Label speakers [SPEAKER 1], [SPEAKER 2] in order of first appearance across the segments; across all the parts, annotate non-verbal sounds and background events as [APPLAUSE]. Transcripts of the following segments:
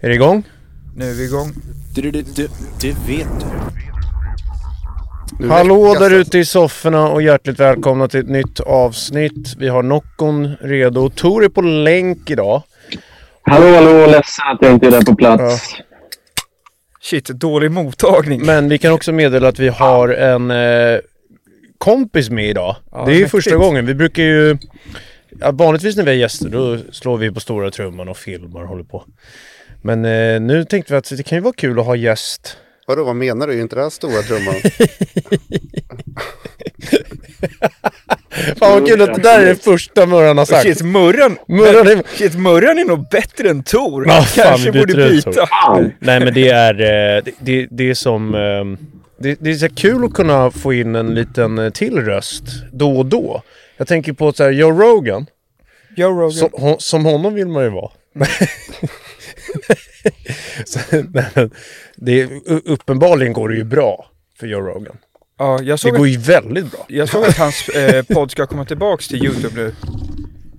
[SPEAKER 1] Är det igång?
[SPEAKER 2] Nu är vi igång.
[SPEAKER 3] Du, du, du, du vet du.
[SPEAKER 1] Hallå där ute i sofforna och hjärtligt välkomna till ett nytt avsnitt. Vi har Noccon redo. Tor är på länk idag.
[SPEAKER 4] Hallå, hallå, ledsen att jag inte är där på plats.
[SPEAKER 2] Shit, dålig mottagning.
[SPEAKER 1] Men vi kan också meddela att vi har en eh, kompis med idag.
[SPEAKER 2] Ja,
[SPEAKER 1] det är ju
[SPEAKER 2] mäktigt.
[SPEAKER 1] första gången. Vi brukar ju... Ja, vanligtvis när vi har gäster då slår vi på stora trumman och filmar och håller på. Men eh, nu tänkte vi att det kan ju vara kul att ha gäst.
[SPEAKER 5] Vadå, vad menar du? Är inte det här
[SPEAKER 1] [LAUGHS]
[SPEAKER 5] stora trumman?
[SPEAKER 1] Fan vad kul att det där är det första Murran har sagt.
[SPEAKER 2] Shit, Murran,
[SPEAKER 1] Murran är...
[SPEAKER 2] shit, murran är nog bättre än Tor.
[SPEAKER 1] Ja, fan,
[SPEAKER 2] Kanske
[SPEAKER 1] vi
[SPEAKER 2] borde
[SPEAKER 1] byter ut
[SPEAKER 2] byta.
[SPEAKER 1] Nej men det är, eh, det, det, det är som... eh, Det, det är så här kul att kunna få in en liten eh, till röst då och då. Jag tänker på så här, Joe Rogan,
[SPEAKER 2] Joe Rogan.
[SPEAKER 1] som, hon- som honom vill man ju vara. [LAUGHS] så, nej, men, det, är- u- uppenbarligen går det ju bra för Joe Rogan.
[SPEAKER 2] Ja, jag
[SPEAKER 1] Det
[SPEAKER 2] såg,
[SPEAKER 1] går ju väldigt bra.
[SPEAKER 2] jag såg att hans eh, podd ska komma tillbaks till YouTube nu.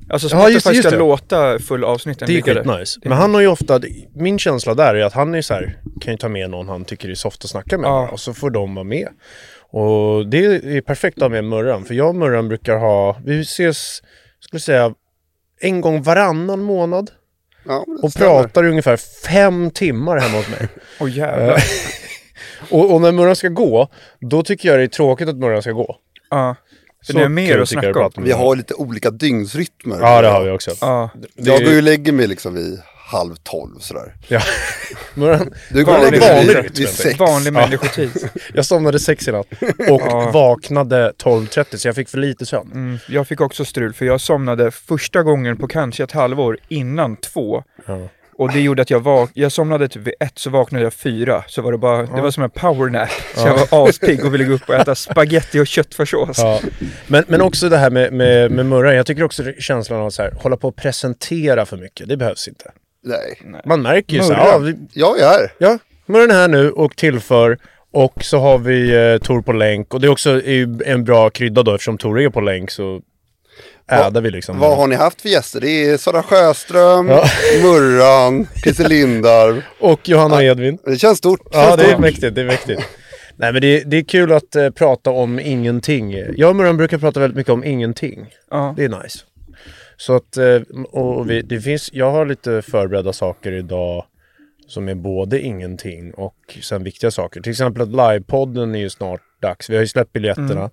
[SPEAKER 2] Alltså Spotify
[SPEAKER 1] Ja, just det, just
[SPEAKER 2] ska
[SPEAKER 1] det.
[SPEAKER 2] låta full avsnitten
[SPEAKER 1] Det är
[SPEAKER 2] liggande.
[SPEAKER 1] skitnice. Men han har ju ofta, min känsla där är att han är så här, kan ju ta med någon han tycker är soft att snacka med
[SPEAKER 2] Ja.
[SPEAKER 1] bara, och så får de vara med. Och det är perfekt att ha med Murran, för jag och Murran brukar ha, vi ses, skulle säga, en gång varannan månad
[SPEAKER 5] Ja, men det
[SPEAKER 1] och
[SPEAKER 5] stämmer.
[SPEAKER 1] pratar i ungefär fem timmar hemma hos
[SPEAKER 2] [LAUGHS]
[SPEAKER 1] mig.
[SPEAKER 2] Åh
[SPEAKER 1] Eh,
[SPEAKER 2] jävlar.
[SPEAKER 1] och, och när Murran ska gå, då tycker jag det är tråkigt att Murran ska gå.
[SPEAKER 2] Ja. För
[SPEAKER 1] Så
[SPEAKER 2] ni har mer
[SPEAKER 1] kul
[SPEAKER 2] att
[SPEAKER 1] tycker jag det
[SPEAKER 2] snacka
[SPEAKER 1] är
[SPEAKER 2] om.
[SPEAKER 1] att prata med
[SPEAKER 5] Vi
[SPEAKER 1] Murran.
[SPEAKER 5] har lite olika dygnsrytmer.
[SPEAKER 1] Ja, det har vi också.
[SPEAKER 2] Ja.
[SPEAKER 5] Jag
[SPEAKER 1] Det-
[SPEAKER 5] går ju och lägger mig liksom vid halv tolv sådär.
[SPEAKER 1] Ja. [LAUGHS] Murran,
[SPEAKER 5] Du går och
[SPEAKER 2] Vanlig-
[SPEAKER 5] lägger
[SPEAKER 1] vanlig
[SPEAKER 5] dig vid,
[SPEAKER 1] rytm,
[SPEAKER 5] vid
[SPEAKER 1] helt
[SPEAKER 5] sex.
[SPEAKER 2] Vanlig människotid.
[SPEAKER 1] jag somnade sex i natt och
[SPEAKER 2] Ja.
[SPEAKER 1] vaknade 12.30 så jag fick för lite sömn.
[SPEAKER 2] Mm, jag fick också strul för jag somnade första gången på kanske ett halvår innan två.
[SPEAKER 1] Ja.
[SPEAKER 2] Och det gjorde att jag vak- jag somnade typ vid ett så vaknade jag fyra. Så var det bara, det var som en powernap. Så jag var aspigg och ville gå upp och äta spaghetti och köttfärssås.
[SPEAKER 1] Ja. Men, men också det här med, med, med Murran. Jag tycker också känslan av så här, hålla på och presentera för mycket. Det behövs inte.
[SPEAKER 5] Nej.
[SPEAKER 1] Man märker ju så här,
[SPEAKER 2] Murran.
[SPEAKER 1] ja, vi-
[SPEAKER 5] Jag är här.
[SPEAKER 1] ja, Murran är här nu och tillför. Och så har vi eh, Tor på länk. Och det är också är ju en bra krydda då, eftersom Tor är på länk så ädar vi liksom.
[SPEAKER 5] Vad har ni haft för gäster? Det är Sara Sjöström,
[SPEAKER 1] Ja.
[SPEAKER 5] [LAUGHS] Murran, Christer Lindarw.
[SPEAKER 1] Och Johanna Edvin.
[SPEAKER 5] Det känns stort.
[SPEAKER 1] Ja, det är mäktigt. Det är mäktigt. Nej, men det, det är kul att eh, prata om ingenting. Jag och Murran brukar prata väldigt mycket om ingenting.
[SPEAKER 2] Ja.
[SPEAKER 1] Det är nice. Så att, eh, och vi, det finns, jag har lite förberedda saker idag som är både ingenting och sen viktiga saker. Till exempel att livepodden är ju snart dags. Vi har ju släppt biljetterna.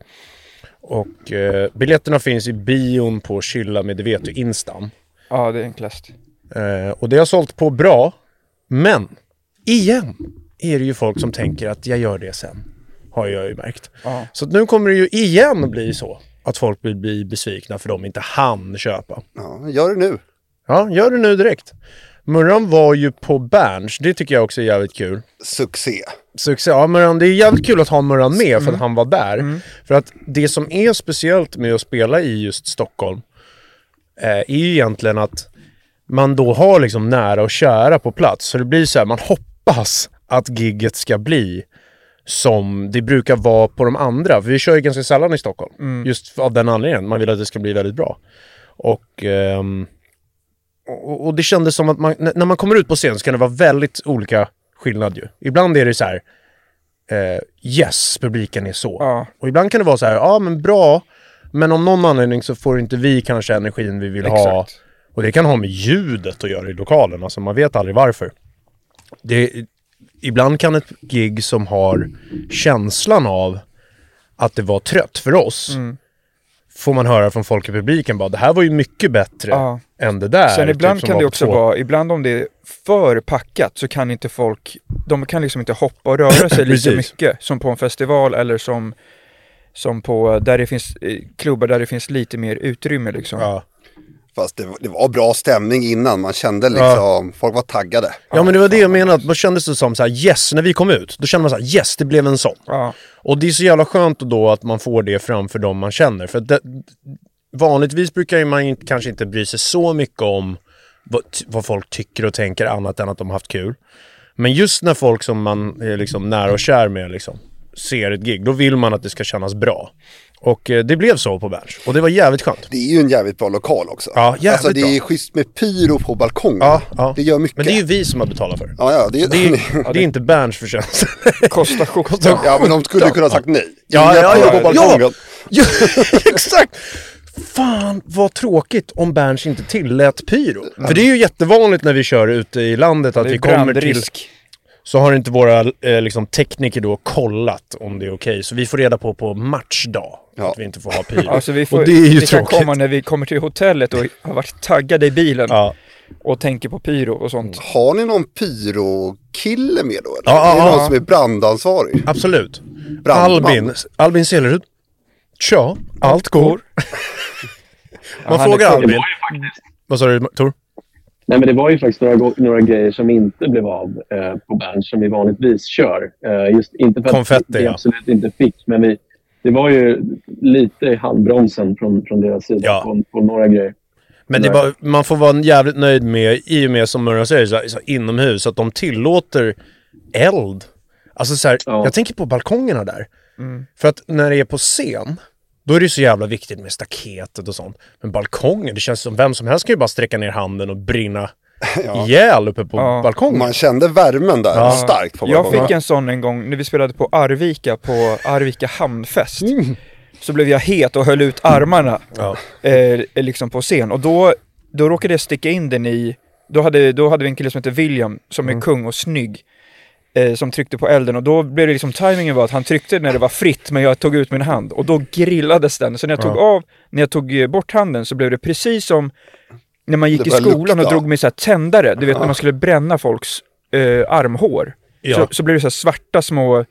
[SPEAKER 1] Och eh, biljetterna finns i bion på Chilla med det vet du, Instan.
[SPEAKER 2] ja, det är enklast.
[SPEAKER 1] Eh, och det har sålt på bra. Men, igen, är det ju folk som tänker att jag gör det sen. Har jag ju märkt.
[SPEAKER 2] Ja.
[SPEAKER 1] Så att nu kommer det ju igen bli så att folk blir, blir besvikna för de inte hann köpa.
[SPEAKER 5] Ja, gör det nu.
[SPEAKER 1] Ja, gör det nu direkt. Murran var ju på Berns, det tycker jag också är jävligt kul.
[SPEAKER 5] Succé.
[SPEAKER 1] Succé. Ja, Murran, det är jävligt kul att ha Murran med för att han var där. För att det som är speciellt med att spela i just Stockholm eh, är ju egentligen att man då har liksom nära och kära på plats. Så det blir så här, man hoppas att gigget ska bli som det brukar vara på de andra. För vi kör ju ganska sällan i Stockholm. Just av den anledningen. Man vill att det ska bli väldigt bra. Och, ehm, och, och det kändes som att man, n- när man kommer ut på scen så kan det vara väldigt olika skillnad ju. Ibland är det så här, eh, yes, publiken är så.
[SPEAKER 2] Ja.
[SPEAKER 1] Och ibland kan det vara så här, ja men bra, men om någon anledning så får inte vi kanske energin vi vill ha.
[SPEAKER 2] Exakt.
[SPEAKER 1] Och det kan ha med ljudet att göra i lokalen, alltså man vet aldrig varför. Det, ibland kan ett gig som har känslan av att det var trött för oss,
[SPEAKER 2] Mm.
[SPEAKER 1] får man höra från folk i publiken bara, det här var ju mycket bättre
[SPEAKER 2] Ja.
[SPEAKER 1] än det där.
[SPEAKER 2] Sen
[SPEAKER 1] typ,
[SPEAKER 2] ibland
[SPEAKER 1] som
[SPEAKER 2] kan
[SPEAKER 1] var
[SPEAKER 2] det
[SPEAKER 1] på
[SPEAKER 2] också
[SPEAKER 1] två-
[SPEAKER 2] vara, ibland om det är för packat så kan inte folk, de kan liksom inte hoppa och
[SPEAKER 1] [LAUGHS]
[SPEAKER 2] röra sig lika
[SPEAKER 1] Precis.
[SPEAKER 2] mycket som på en festival eller som, som på, där det finns eh, klubbar där det finns lite mer utrymme liksom.
[SPEAKER 1] Ja.
[SPEAKER 5] Fast det, det var bra stämning innan. Man kände liksom, folk var taggade.
[SPEAKER 1] Ja men det var det jag menade, då kändes det som så här yes, när vi kom ut, då kände man så här yes, det blev en sån.
[SPEAKER 2] Ja.
[SPEAKER 1] Och det är så jävla skönt då att man får det framför dem man känner. För att det, vanligtvis brukar ju man inte, kanske inte bry sig så mycket om vad, vad folk tycker och tänker annat än att de har haft kul. Men just när folk som man är liksom nära och kär med liksom, ser ett gig, då vill man att det ska kännas bra. Och eh, det blev så på Berns. Och det var jävligt skönt.
[SPEAKER 5] Det är ju en jävligt bra lokal också.
[SPEAKER 1] Ja, jävligt
[SPEAKER 5] alltså det är
[SPEAKER 1] bra.
[SPEAKER 5] schysst med pyro på balkongen.
[SPEAKER 1] Ja, ja.
[SPEAKER 5] Det gör mycket.
[SPEAKER 1] Men det är ju vi som har betalat för det.
[SPEAKER 5] Ja, [LAUGHS] ja, det,
[SPEAKER 1] Det är, det är inte Berns förtjänst. [LAUGHS]
[SPEAKER 2] Kostar skjortan.
[SPEAKER 5] ja, men de skulle ju kunna ha sagt nej.
[SPEAKER 1] Ja,
[SPEAKER 5] Inga
[SPEAKER 1] ja,
[SPEAKER 5] pyro
[SPEAKER 1] ja,
[SPEAKER 5] på
[SPEAKER 1] ja.
[SPEAKER 5] balkongen.
[SPEAKER 1] [LAUGHS] Ja, exakt! Fan vad tråkigt om Berns inte tillät pyro. För det är ju jättevanligt när vi kör ute i landet att
[SPEAKER 2] Det är
[SPEAKER 1] vi kommer till...
[SPEAKER 2] brandrisk.
[SPEAKER 1] Så har inte våra eh, liksom, tekniker då kollat om det är okej. Så vi får reda på på matchdag
[SPEAKER 5] Ja.
[SPEAKER 1] att vi inte får ha pyro.
[SPEAKER 2] [LAUGHS] Alltså vi får,
[SPEAKER 1] Och det är ju
[SPEAKER 2] vi kan
[SPEAKER 1] tråkigt.
[SPEAKER 2] komma när vi kommer till hotellet och har varit taggade i bilen
[SPEAKER 1] Ja. Mm.
[SPEAKER 2] och tänker på pyro och sånt.
[SPEAKER 5] Har ni någon pyrokille med då? Eller?
[SPEAKER 1] Ja,
[SPEAKER 5] är det
[SPEAKER 1] ja,
[SPEAKER 5] någon
[SPEAKER 1] ja.
[SPEAKER 5] som är brandansvarig?
[SPEAKER 1] Absolut.
[SPEAKER 5] Brandman.
[SPEAKER 1] Albin, Albin Selerud. Tja, allt [LAUGHS] går.
[SPEAKER 2] Ja,
[SPEAKER 1] Man
[SPEAKER 2] han är
[SPEAKER 1] frågar
[SPEAKER 2] cool.
[SPEAKER 4] Det var
[SPEAKER 1] Albin.
[SPEAKER 4] ju faktiskt,
[SPEAKER 1] Vad sa du Tor?
[SPEAKER 4] nej, men det var ju faktiskt några, gå- några grejer som inte blev av eh, på band som vi vanligtvis kör. Eh, just inte för att
[SPEAKER 1] Konfetti,
[SPEAKER 4] vi, vi
[SPEAKER 1] ja.
[SPEAKER 4] absolut inte fick, men vi, det var ju lite i handbromsen från, från deras sida
[SPEAKER 1] Ja.
[SPEAKER 4] på, på några grejer.
[SPEAKER 1] Men det är
[SPEAKER 4] Nej.
[SPEAKER 1] bara, man får vara jävligt nöjd med, i och med som Murran säger, så här, så här, inomhus, att de tillåter eld. Alltså så här,
[SPEAKER 4] Ja.
[SPEAKER 1] jag tänker på balkongerna där.
[SPEAKER 2] Mm.
[SPEAKER 1] För att när det är på scen, då är det så jävla viktigt med staketet och sånt. Men balkongen, det känns som vem som helst kan ju bara sträcka ner handen och
[SPEAKER 2] [LAUGHS]
[SPEAKER 1] brinna ihjäl uppe på
[SPEAKER 2] Ja.
[SPEAKER 1] balkongen.
[SPEAKER 5] Man kände värmen där starkt på
[SPEAKER 2] Jag
[SPEAKER 5] balkongen.
[SPEAKER 2] fick en sån en gång när vi spelade på Arvika på Arvika hamnfest.
[SPEAKER 1] Mm.
[SPEAKER 2] Så blev jag het och höll ut armarna
[SPEAKER 1] Ja.
[SPEAKER 2] eh, liksom på scen. Och då, då råkade jag sticka in den i, då hade, då hade vi en kille som heter William som
[SPEAKER 5] Mm.
[SPEAKER 2] är kung och snygg. Eh, som tryckte på elden och då blev det liksom, tajmingen var att han tryckte när det var fritt men jag tog ut min hand och då grillades den. Så när jag tog av, när jag tog eh, bort handen så blev det precis som när man gick
[SPEAKER 5] Det
[SPEAKER 2] i
[SPEAKER 5] började
[SPEAKER 2] skolan och
[SPEAKER 5] lukta.
[SPEAKER 2] drog med så här tändare, du vet när man skulle bränna folks eh, armhår.
[SPEAKER 1] Ja.
[SPEAKER 2] Så, så blev det så här svarta små,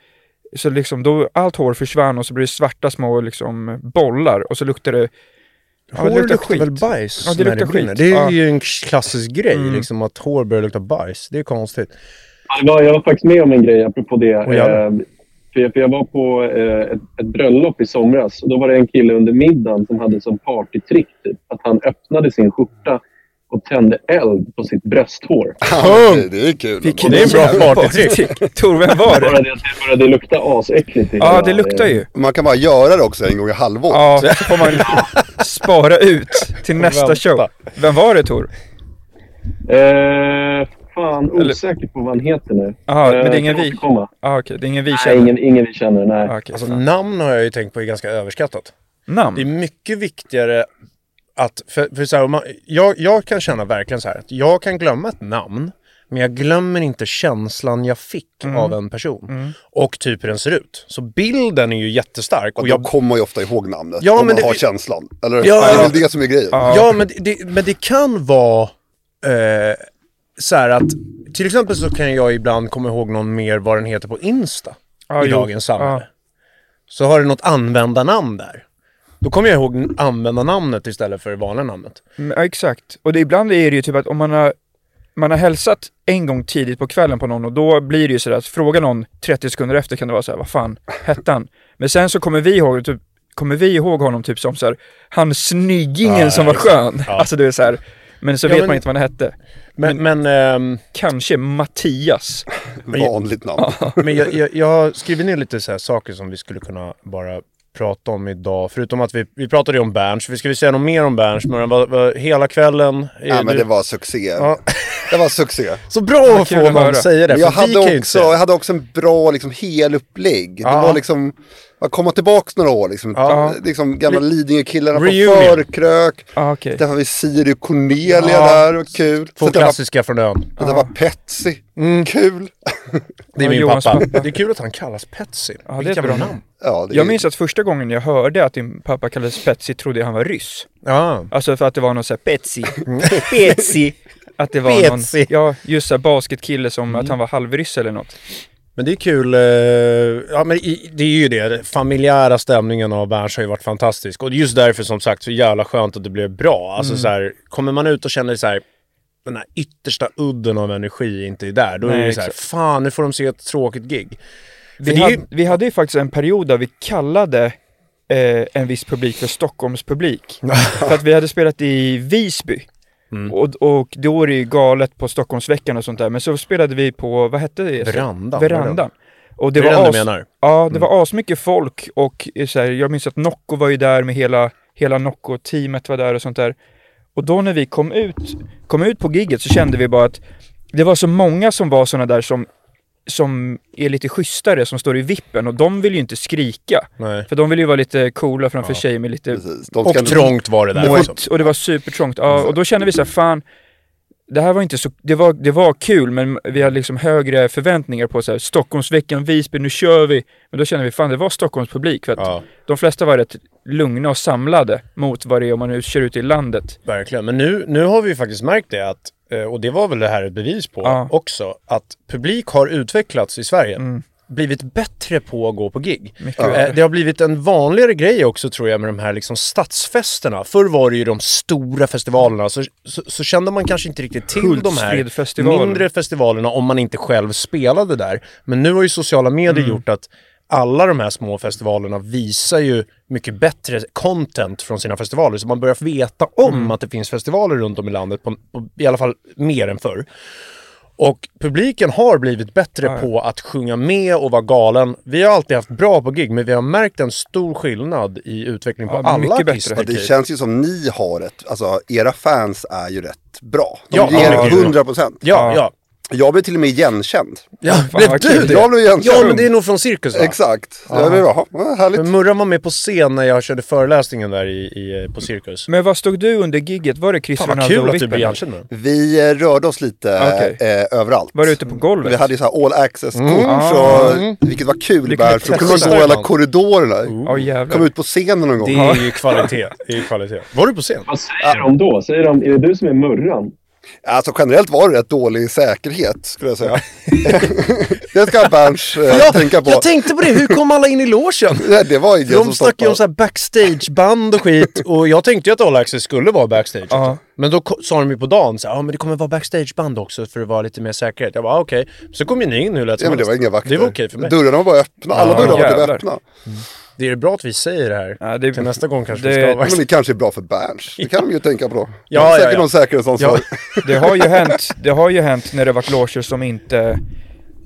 [SPEAKER 2] så liksom då allt hår försvann och så blev det svarta små liksom bollar och så luktade det Ja,
[SPEAKER 1] Hår luktar, väl bajs
[SPEAKER 2] Ja, det
[SPEAKER 1] när det
[SPEAKER 2] luktar
[SPEAKER 1] brinner.
[SPEAKER 2] skit.
[SPEAKER 1] Det är
[SPEAKER 2] Ja. Mm.
[SPEAKER 1] ju en klassisk grej, liksom att hår börjar lukta bajs. Det är konstigt.
[SPEAKER 4] Ja, det var, jag var faktiskt med om en grej apropå det.
[SPEAKER 1] Oj, jävlar.
[SPEAKER 4] Eh, för, jag, för jag var på eh, ett, ett bröllop i somras och då var det en kille under middagen som hade som partytrick typ, att han öppnade sin skjorta och tände eld på sitt brösthår.
[SPEAKER 5] Ja, det, det är kul.
[SPEAKER 1] Det är en bra
[SPEAKER 2] Jävla
[SPEAKER 1] partytrick.
[SPEAKER 2] Tor, vem var
[SPEAKER 4] Bara
[SPEAKER 2] det?
[SPEAKER 4] det att det började lukta asäckligt. i
[SPEAKER 2] Ja,
[SPEAKER 4] hela-
[SPEAKER 2] det luktar ju.
[SPEAKER 5] Man kan bara göra det också en gång i halvåret.
[SPEAKER 2] Ja, så får man spara ut till nästa
[SPEAKER 1] vänta.
[SPEAKER 2] show. Vem var det Tor?
[SPEAKER 4] Eh, fan, osäker på vad han heter nu.
[SPEAKER 2] Jaha, men det är
[SPEAKER 4] kan
[SPEAKER 2] ingen vi?
[SPEAKER 4] återkomma.
[SPEAKER 2] Ah, okej, det är ingen vi
[SPEAKER 4] Nej,
[SPEAKER 2] känner.
[SPEAKER 4] ingen, ingen vi känner. Nej.
[SPEAKER 2] Ah, okej,
[SPEAKER 1] Alltså,
[SPEAKER 2] fan.
[SPEAKER 1] namn har jag ju tänkt på är ganska överskattat. Det är
[SPEAKER 2] Namn? mycket
[SPEAKER 1] mycket viktigare att... För, för så här, om man, jag, jag kan känna verkligen så här att jag kan glömma ett namn, men jag glömmer inte känslan jag fick
[SPEAKER 2] Mm.
[SPEAKER 1] av en person och typ hur den ser ut. Så bilden är ju jättestark.
[SPEAKER 5] Och
[SPEAKER 1] Och
[SPEAKER 5] då
[SPEAKER 1] jag,
[SPEAKER 5] kommer man ju ofta ihåg namnet
[SPEAKER 1] Ja,
[SPEAKER 5] om
[SPEAKER 1] men
[SPEAKER 5] man
[SPEAKER 1] det-
[SPEAKER 5] har känslan. Eller
[SPEAKER 1] Ja,
[SPEAKER 5] det är
[SPEAKER 1] ja.
[SPEAKER 5] väl det som är grejen.
[SPEAKER 1] ja, men det, men det kan vara eh, så här att... Till exempel så kan jag ibland komma ihåg någon mer vad den heter på Insta
[SPEAKER 2] Ja,
[SPEAKER 1] i
[SPEAKER 2] jo.
[SPEAKER 1] dagens samhälle. Så har du något användarnamn där. Då kommer jag ihåg användarnamnet istället för det vanliga namnet.
[SPEAKER 2] Mm, Ja, exakt. Och det, ibland är det ju typ att om man har, man har hälsat en gång tidigt på kvällen på någon och då blir det ju sådär att fråga någon 30 sekunder efter kan det vara såhär, vad fan hette han? Men sen så kommer vi ihåg, typ, kommer vi ihåg honom typ som såhär, han snyggingen som var skön. Alltså det är såhär, men så
[SPEAKER 1] Ja,
[SPEAKER 2] vet
[SPEAKER 1] men-
[SPEAKER 2] man inte vad han hette.
[SPEAKER 1] Men, men, ehm, [LAUGHS]
[SPEAKER 2] Kanske Mattias.
[SPEAKER 5] Vanligt namn.
[SPEAKER 1] men jag, jag, jag har skrivit ner lite så här saker som vi skulle kunna bara prata om idag. Förutom att vi, vi pratade ju om Berns. Vi ska vi säga något mer om Berns? Men vad, vad, hela kvällen? är
[SPEAKER 5] Ja, men
[SPEAKER 1] du-
[SPEAKER 5] det var succé.
[SPEAKER 1] Ja.
[SPEAKER 5] Det var succé.
[SPEAKER 1] Så bra att
[SPEAKER 2] kul
[SPEAKER 1] få
[SPEAKER 2] att
[SPEAKER 1] någon
[SPEAKER 2] höra.
[SPEAKER 1] säga det.
[SPEAKER 5] Men jag,
[SPEAKER 1] för vi kan ju
[SPEAKER 5] hade
[SPEAKER 1] inte
[SPEAKER 5] också,
[SPEAKER 1] säga det.
[SPEAKER 5] jag hade också en bra liksom, helupplägg.
[SPEAKER 1] Ja.
[SPEAKER 5] Det var liksom, man kommer tillbaka några år liksom.
[SPEAKER 1] Ja.
[SPEAKER 5] liksom gamla Lidingö-killarna från
[SPEAKER 1] Reunion.
[SPEAKER 5] Förkrök.
[SPEAKER 2] Ah, okej.
[SPEAKER 5] Där var vi Siri och Cornelia
[SPEAKER 1] Ja.
[SPEAKER 5] där, och kul.
[SPEAKER 1] Två
[SPEAKER 5] Sen där var,
[SPEAKER 1] klassiska Mm. från ön.
[SPEAKER 5] sen där var Petsy, kul.
[SPEAKER 1] Det är
[SPEAKER 2] Ja,
[SPEAKER 1] min
[SPEAKER 2] Johans
[SPEAKER 1] pappa.
[SPEAKER 2] pappa.
[SPEAKER 1] Det är kul att han kallas Petsy.
[SPEAKER 2] det är ett
[SPEAKER 1] Vilka
[SPEAKER 2] bra
[SPEAKER 1] namn.
[SPEAKER 2] namn.
[SPEAKER 5] Ja, det är-
[SPEAKER 2] Jag minns att första gången jag hörde att din pappa kallades Petsy trodde jag han var ryss.
[SPEAKER 1] Ja.
[SPEAKER 2] Alltså för att det var någon såhär Petsy,
[SPEAKER 1] Mm.
[SPEAKER 2] Petsy. Att det var
[SPEAKER 1] Petsy.
[SPEAKER 2] någon, ja, just såhär basketkille som
[SPEAKER 1] Mm.
[SPEAKER 2] att han var halvryss eller något.
[SPEAKER 1] Men det är kul. eh, Ja, men i- det är ju det. Den familjära stämningen av Berns har ju varit fantastisk. Och just därför som sagt så jävla skönt att det blev bra. Alltså
[SPEAKER 2] Mm.
[SPEAKER 1] så här, kommer man ut och känner så här, den här yttersta udden av energi inte är där. Då är
[SPEAKER 2] Nej,
[SPEAKER 1] det så här, fan nu får de se ett tråkigt gig.
[SPEAKER 2] Vi,
[SPEAKER 1] det är ju-
[SPEAKER 2] hade, vi hade ju faktiskt en period där vi kallade eh, en viss publik
[SPEAKER 1] [LAUGHS]
[SPEAKER 2] för Stockholmspublik. för att vi hade spelat i Visby.
[SPEAKER 1] Mm.
[SPEAKER 2] Och, och då är det ju galet på Stockholmsveckan och sånt där. Men så spelade vi på, vad hette det?
[SPEAKER 1] Verandan, var det?
[SPEAKER 2] Verandan. Och
[SPEAKER 1] Det
[SPEAKER 2] det,
[SPEAKER 1] är det
[SPEAKER 2] var
[SPEAKER 1] enda
[SPEAKER 2] as,
[SPEAKER 1] du menar? Mm.
[SPEAKER 2] Ja, det var asmycket folk och eh, så här, jag minns att Nocco var ju där med hela, hela Nocco-teamet var där och sånt där. Och då när vi kom ut, kom ut på gigget så kände vi bara att det var så många som var såna där som, som är lite schysstare, som står i vippen och de vill ju inte skrika.
[SPEAKER 1] Nej.
[SPEAKER 2] För de vill ju vara lite coola framför tjejer med lite
[SPEAKER 5] Precis. De
[SPEAKER 1] Och
[SPEAKER 5] ska-
[SPEAKER 1] trångt var det där också.
[SPEAKER 2] och, och det var supertrångt. Ja, och då kände vi så här, fan, det här var inte så, det var, det var kul men vi hade liksom högre förväntningar på så här, Stockholmsveckan, Visby, nu kör vi. Men då kände vi, fan det var Stockholmspublik för att
[SPEAKER 1] Ja,
[SPEAKER 2] de flesta var rätt lugna och samlade mot vad det är om man nu kör ut i landet.
[SPEAKER 1] verkligen. Men nu, nu har vi faktiskt märkt det att, eh, och det var väl det här ett bevis på
[SPEAKER 2] Ja. Mm.
[SPEAKER 1] också, att publik har utvecklats i Sverige. blivit bättre på att gå på gig.
[SPEAKER 2] Mycket
[SPEAKER 1] Eh,
[SPEAKER 2] bättre.
[SPEAKER 1] det har blivit en vanligare grej också tror jag med de här liksom stadsfesterna. Förr var det ju de stora festivalerna så, så, så kände man kanske inte riktigt till de här
[SPEAKER 2] Hultsfredsfestivalen.
[SPEAKER 1] mindre festivalerna om man inte själv spelade där. Men nu har ju sociala medier
[SPEAKER 2] Mm.
[SPEAKER 1] gjort att alla de här små festivalerna visar ju mycket bättre content från sina festivaler. Så man börjar veta om
[SPEAKER 2] Mm.
[SPEAKER 1] att det finns festivaler runt om i landet, på, på, i alla fall mer än förr. Och publiken har blivit bättre på att sjunga med och vara galen. Vi har alltid haft bra på gig, men vi har märkt en stor skillnad i utveckling på
[SPEAKER 2] Ja,
[SPEAKER 1] alla
[SPEAKER 2] mycket bättre.
[SPEAKER 1] artister.
[SPEAKER 5] Ja, det
[SPEAKER 1] typ.
[SPEAKER 5] känns ju som ni har ett, alltså era fans är ju rätt bra. De
[SPEAKER 1] Ja,
[SPEAKER 5] ger
[SPEAKER 1] ja.
[SPEAKER 5] 100 procent.
[SPEAKER 1] ja, ja.
[SPEAKER 5] Jag blev till och med igenkänd.
[SPEAKER 1] ja.
[SPEAKER 2] Fan,
[SPEAKER 1] blev
[SPEAKER 2] vad
[SPEAKER 1] du
[SPEAKER 2] kul.
[SPEAKER 1] det?
[SPEAKER 5] Jag blev igenkännad.
[SPEAKER 1] Ja, men det är nog från Cirkus va?
[SPEAKER 5] Exakt. Jag blev, jaha, vad härligt.
[SPEAKER 1] Men Murran var med på scen när jag körde föreläsningen där i, i, eh, på Cirkus.
[SPEAKER 2] Men vad stod du under gigget? Var det Chris
[SPEAKER 1] Mm. Fan vad kul att du
[SPEAKER 2] Ronaldo-vippen?
[SPEAKER 1] blev igenkänd med den.
[SPEAKER 5] Vi eh, rörde oss lite
[SPEAKER 2] Okej.
[SPEAKER 5] eh, överallt.
[SPEAKER 2] Var du ute på
[SPEAKER 1] Mm.
[SPEAKER 2] golvet?
[SPEAKER 5] Vi hade ju så här all access-kort,
[SPEAKER 2] Ah.
[SPEAKER 5] så, vilket var kul.
[SPEAKER 2] Lyckligt
[SPEAKER 5] Bär, för då kunde man
[SPEAKER 1] testat.
[SPEAKER 5] gå alla korridorerna.
[SPEAKER 2] Ja jävlar.
[SPEAKER 5] Kom ut på scenen någon gång.
[SPEAKER 1] Det är ju [LAUGHS] kvalitet. Det är ju kvalitet. Var du på scen?
[SPEAKER 4] Vad säger de då? Säger de, är det du som är murran?
[SPEAKER 5] Alltså generellt var det rätt dålig säkerhet skulle jag säga. [LAUGHS] det ska Berns eh, tänka på.
[SPEAKER 1] jag tänkte på det. Hur kom alla in i logen?
[SPEAKER 5] [LAUGHS] Nej, det var ju det
[SPEAKER 1] De
[SPEAKER 5] som
[SPEAKER 1] snackade ju om så
[SPEAKER 5] stoppade.
[SPEAKER 1] här backstageband och skit och jag tänkte ju att All Access skulle vara backstage.
[SPEAKER 2] Ja.
[SPEAKER 1] Men då ko- sa de ju på dagen så här, ja men det kommer vara backstageband också för att vara lite mer säkerhet. Jag bara ah, okej. Så kom ju ni in hur lätt
[SPEAKER 5] Ja,
[SPEAKER 1] som
[SPEAKER 5] men det var
[SPEAKER 1] helst.
[SPEAKER 5] inga vakter.
[SPEAKER 1] Det var okej för mig.
[SPEAKER 5] Dörrarna var bara öppna. Alla
[SPEAKER 1] Ja,
[SPEAKER 5] dörrar var typ
[SPEAKER 2] jävlar.
[SPEAKER 5] öppna.
[SPEAKER 1] Det är bra att vi säger det här.
[SPEAKER 2] Ja, det-
[SPEAKER 1] Till nästa gång kanske vi
[SPEAKER 2] det-
[SPEAKER 1] ska vara
[SPEAKER 5] Men det kanske är bra för Berns. Det kan de ju tänka på då.
[SPEAKER 1] Ja,
[SPEAKER 5] De har
[SPEAKER 1] ja,
[SPEAKER 5] säkert
[SPEAKER 1] ja.
[SPEAKER 5] någon säkerhetsansvarig.
[SPEAKER 2] Det har ju hänt, det har ju hänt när det har varit loger som inte,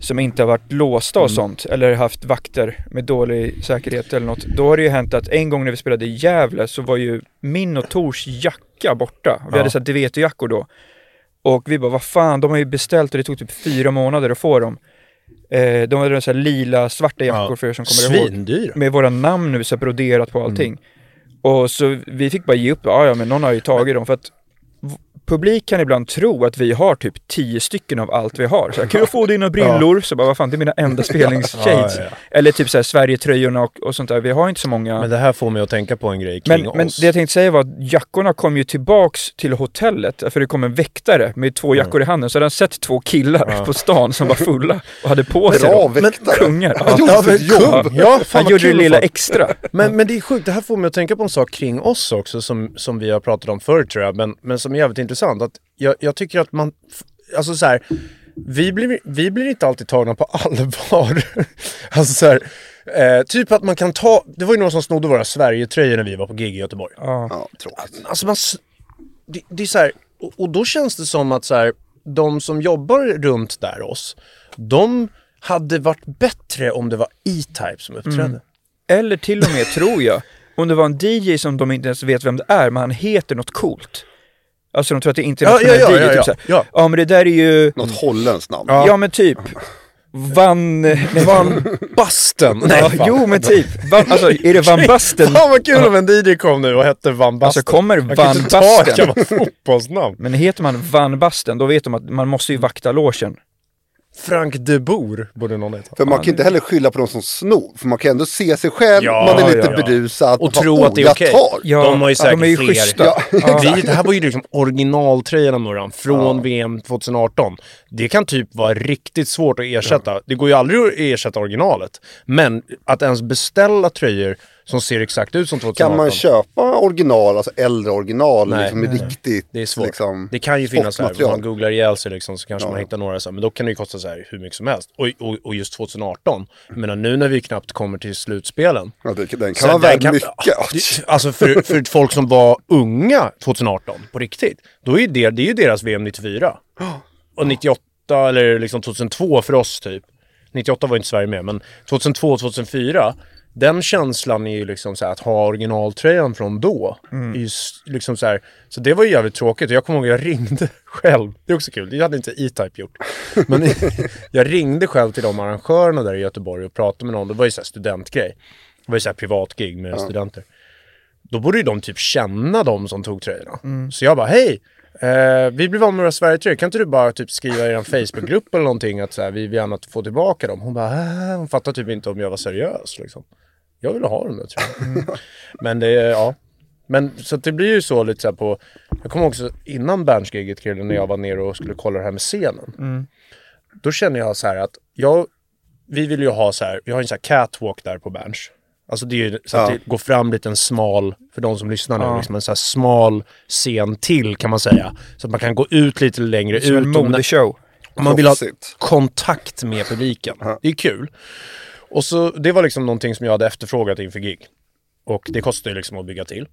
[SPEAKER 2] som inte har varit låsta och sånt, eller haft vakter med dålig säkerhet eller något. Då har det ju hänt att en gång när vi spelade i Gävle så var ju min och Tors jacka borta. Vi hade så här Deveto-jackor då. Och vi bara, vad fan, de har ju beställt och det tog typ fyra månader att få dem. Eh, de hade så här lila, svarta jackor för er som kommer ihåg
[SPEAKER 1] Svindyra.
[SPEAKER 2] med våra namn nu så här broderat på allting. Och så vi fick bara ge upp, ja ja men någon har ju tagit dem för att v- publik kan ibland tro att vi har typ tio stycken av allt vi har. Så här, kan jag
[SPEAKER 1] [LAUGHS]
[SPEAKER 2] få dina brillor? Så bara, vad fan det är mina enda spelningsshades.
[SPEAKER 1] Ja, ja,
[SPEAKER 2] Eller typ så här Sverigetröjorna och, och sånt där, vi har inte så många.
[SPEAKER 1] Men
[SPEAKER 2] Men,
[SPEAKER 1] det här får mig att tänka på en grej kring
[SPEAKER 2] men,
[SPEAKER 1] oss.
[SPEAKER 2] det jag tänkte säga var att jackorna kom ju tillbaks till hotellet, för det kom en väktare med
[SPEAKER 1] Mm.
[SPEAKER 2] två jackor i handen, så hade han sett två killar på stan som var fulla och hade på sig
[SPEAKER 5] Bra
[SPEAKER 2] dem.
[SPEAKER 5] väktare.
[SPEAKER 2] Kungar.
[SPEAKER 5] Han
[SPEAKER 2] Ja.
[SPEAKER 5] gjorde sitt
[SPEAKER 1] Ja,
[SPEAKER 5] jobb.
[SPEAKER 1] ja, fan
[SPEAKER 2] Han
[SPEAKER 1] vad
[SPEAKER 2] gjorde det
[SPEAKER 1] kul
[SPEAKER 2] lilla
[SPEAKER 1] fan.
[SPEAKER 2] extra.
[SPEAKER 1] Men, men det är sjukt, det här får mig att tänka på en sak kring oss också som, som vi har pratat om förr tror jag, men, men som är jävligt intressant. Att jag, jag tycker att man, f- alltså så här, vi blir, vi blir inte alltid tagna på [LAUGHS] allvar. alltså så här, eh, typ att man kan ta, det var ju någon som snodde våra Sverige-tröjor när vi var på gig i Göteborg.
[SPEAKER 2] Ja.
[SPEAKER 5] Ja, tråkigt.
[SPEAKER 1] Alltså man, s- det, det är så här, och, och då känns det som att så här, de som jobbar runt där oss, de hade varit bättre om det var E-Type som uppträdde.
[SPEAKER 2] Eller till och med, tror jag, om det var en DJ som de inte ens vet vem det är, men han heter något coolt. Alltså de tror att det är internationell
[SPEAKER 1] Ja, ja, ja,
[SPEAKER 2] DJ,
[SPEAKER 1] ja, ja.
[SPEAKER 2] typ såhär.
[SPEAKER 1] Ja.
[SPEAKER 2] Ja. men det där är ju,
[SPEAKER 5] Något holländskt namn.
[SPEAKER 2] ja, men typ, Van... Nej,
[SPEAKER 1] Van Basten. Nej,
[SPEAKER 2] ja,
[SPEAKER 1] fan.
[SPEAKER 2] jo men typ, van, alltså är det Van Basten?
[SPEAKER 1] [LAUGHS] Fan vad kul om en DJ kom nu och hette Van Basten.
[SPEAKER 2] Alltså kommer
[SPEAKER 1] Man kan
[SPEAKER 2] Van
[SPEAKER 1] inte ta ett
[SPEAKER 2] Basten?
[SPEAKER 1] gammalt fotbollsnamn.
[SPEAKER 2] Men heter man Van Basten, då vet de att man måste ju vakta logen.
[SPEAKER 1] Frank de Boer borde någon heta.
[SPEAKER 5] För man kan inte heller skylla på de som snor. För man kan ändå se sig själv,
[SPEAKER 1] Ja,
[SPEAKER 5] man är lite
[SPEAKER 1] ja, ja.
[SPEAKER 5] berusad.
[SPEAKER 1] Och
[SPEAKER 5] man
[SPEAKER 1] tro
[SPEAKER 5] bara,
[SPEAKER 1] att det är
[SPEAKER 5] "Oh, jag
[SPEAKER 1] okej."
[SPEAKER 5] tar.
[SPEAKER 2] Ja,
[SPEAKER 1] De har ju
[SPEAKER 2] ja, de är ju
[SPEAKER 1] säkert fler.
[SPEAKER 2] schyssta.
[SPEAKER 5] Ja,
[SPEAKER 1] Vi, det här var ju liksom originaltröjorna Murran, från VM 2018. Det kan typ vara riktigt svårt att ersätta. Det går ju aldrig att ersätta originalet. Men att ens beställa tröjor som ser exakt ut som 2018.
[SPEAKER 5] Kan man köpa original, alltså äldre original,
[SPEAKER 1] Nej.
[SPEAKER 5] liksom med
[SPEAKER 1] Nej.
[SPEAKER 5] riktigt
[SPEAKER 1] Det är svårt.
[SPEAKER 5] Liksom,
[SPEAKER 1] det kan ju finnas så här, om
[SPEAKER 5] sportmaterial.
[SPEAKER 1] man googlar ihjäl sig liksom, så kanske man hittar några så här, men då kan det ju kosta så här hur mycket som helst. Och, och, och just 2018, jag menar nu när vi knappt kommer till slutspelen.
[SPEAKER 5] Ja, det, den
[SPEAKER 1] så
[SPEAKER 5] kan vara
[SPEAKER 1] där
[SPEAKER 5] värd mycket.
[SPEAKER 1] Ja, det- Alltså för, för folk som var unga 2018, på riktigt, då är ju det, det är ju deras VM 94. Och 98 eller liksom 2002 för oss typ. 98 var ju inte Sverige med, men 2002 2004. Den känslan är ju liksom så här, att ha originaltröjan från då. Är ju s- liksom så, här, så det var ju jävligt tråkigt. Och Jag kommer ihåg jag ringde [LAUGHS] själv. Det är också kul. Det hade inte E-Type gjort. Men [LAUGHS] jag ringde själv till de arrangörerna där i Göteborg och pratade med någon. Det var ju så här studentgrej. Det var ju så här privatgig med studenter då borde ju de typ känna de som tog tröjorna. Så jag bara, hej! Eh, vi blev av med våra Sverigetröjor, kan inte du bara typ skriva i en Facebookgrupp eller någonting att så här, vi vill gärna få tillbaka dem? Hon bara, äh, hon fattar typ inte om jag var seriös liksom. Jag ville ha dem där tröjorna.
[SPEAKER 2] Mm.
[SPEAKER 1] Men det, är- ja. Men så att det blir ju så lite så här på, jag kommer också innan Berns-giget Krille, när jag var nere och skulle kolla det här med scenen.
[SPEAKER 2] Mm.
[SPEAKER 1] Då känner jag så här att, jag, vi vill ju ha så här, vi har en så här catwalk där på Berns. Alltså det är ju så att
[SPEAKER 5] Ja.
[SPEAKER 1] det går fram lite en smal, för de som lyssnar nu,
[SPEAKER 2] Ja.
[SPEAKER 1] liksom en så här smal scen till kan man säga. Så att man kan gå ut lite längre
[SPEAKER 2] Som en
[SPEAKER 1] ut. och-
[SPEAKER 2] modeshow.
[SPEAKER 1] om man vill ha
[SPEAKER 5] Proffsigt.
[SPEAKER 1] kontakt med publiken. Det är kul. Och så, det var liksom någonting som jag hade efterfrågat inför gig. Och det kostar ju liksom att bygga till.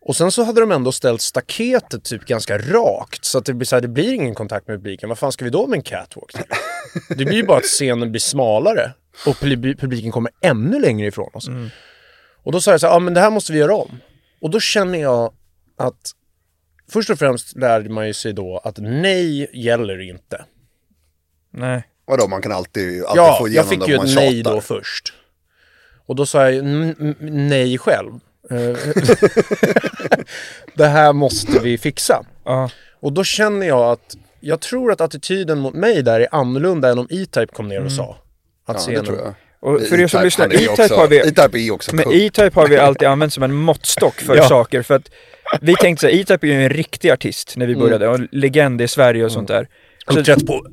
[SPEAKER 1] Och sen så hade de ändå ställt staketet typ ganska rakt. Så att det blir, så här, det blir ingen kontakt med publiken. Vad fan ska vi då med en catwalk till? Det blir ju bara att scenen blir smalare. Och pub- publiken kommer ännu längre ifrån oss. Och då sa jag så här, ja men det här måste vi göra om. Och då känner jag att först och främst lärde man ju sig då att nej gäller inte.
[SPEAKER 2] Nej.
[SPEAKER 5] Vadå, man kan alltid, alltid
[SPEAKER 1] Ja,
[SPEAKER 5] få
[SPEAKER 1] jag
[SPEAKER 5] igenom
[SPEAKER 1] fick
[SPEAKER 5] det
[SPEAKER 1] ju
[SPEAKER 5] om man
[SPEAKER 1] ett nej
[SPEAKER 5] tjatar.
[SPEAKER 1] då först. Och då sa jag n- n- nej själv. Eh, [LAUGHS] det här måste vi fixa.
[SPEAKER 2] Ja.
[SPEAKER 1] Och då känner jag att jag tror att attityden mot mig där är annorlunda än om E-Type kom ner och sa. Att
[SPEAKER 5] Mm. Ja,
[SPEAKER 1] scenen-
[SPEAKER 5] det tror jag.
[SPEAKER 2] Och för er som
[SPEAKER 5] E-Type,
[SPEAKER 2] lyssnar,
[SPEAKER 5] han är ju
[SPEAKER 2] E-Type
[SPEAKER 5] också-
[SPEAKER 2] har vi...
[SPEAKER 5] E-Type är ju också
[SPEAKER 2] Men
[SPEAKER 5] kung.
[SPEAKER 2] E-Type
[SPEAKER 1] [LAUGHS]
[SPEAKER 2] har vi alltid använt som en måttstock för
[SPEAKER 1] Ja.
[SPEAKER 2] saker. För att vi tänkte så här, E-Type är ju en riktig artist när vi
[SPEAKER 1] Mm.
[SPEAKER 2] började. Och en legend i Sverige och sånt där. Så-
[SPEAKER 1] Uppträtt på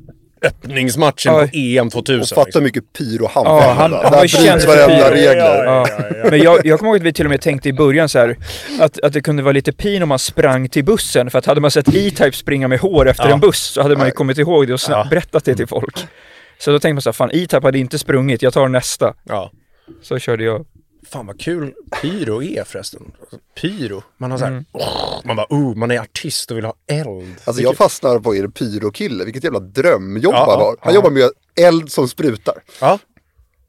[SPEAKER 1] öppningsmatchen
[SPEAKER 2] Ja.
[SPEAKER 1] på EM 2000.
[SPEAKER 5] Fatta
[SPEAKER 1] liksom.
[SPEAKER 5] hur mycket pyro han
[SPEAKER 2] Ja,
[SPEAKER 5] ja,
[SPEAKER 2] han- han
[SPEAKER 5] Där
[SPEAKER 2] var ju känd
[SPEAKER 5] bryts
[SPEAKER 2] för
[SPEAKER 5] varenda
[SPEAKER 2] pyro.
[SPEAKER 5] regler.
[SPEAKER 2] Ja. Men jag, jag kommer ihåg att vi till och med tänkte i början så här, att, att det kunde vara lite pin om man sprang till bussen, för att hade man sett E-Type springa med hår efter en buss så hade man ju kommit ihåg det och snabbt
[SPEAKER 1] Ja. Mm.
[SPEAKER 2] berättat det till folk. Så då tänkte man så här, fan E-Type hade inte sprungit, jag tar nästa.
[SPEAKER 1] Ja.
[SPEAKER 2] Så körde jag.
[SPEAKER 1] Fan vad kul pyro är förresten. Alltså, Pyro. Man har så här, man bara, oh, man är artist och vill ha eld.
[SPEAKER 5] Mm. Alltså jag fastnar på er pyrokille, vilket jävla drömjobb
[SPEAKER 1] Ja,
[SPEAKER 5] han
[SPEAKER 1] ja,
[SPEAKER 5] har. Han jobbar med eld som sprutar.
[SPEAKER 1] Ja.
[SPEAKER 2] Ja,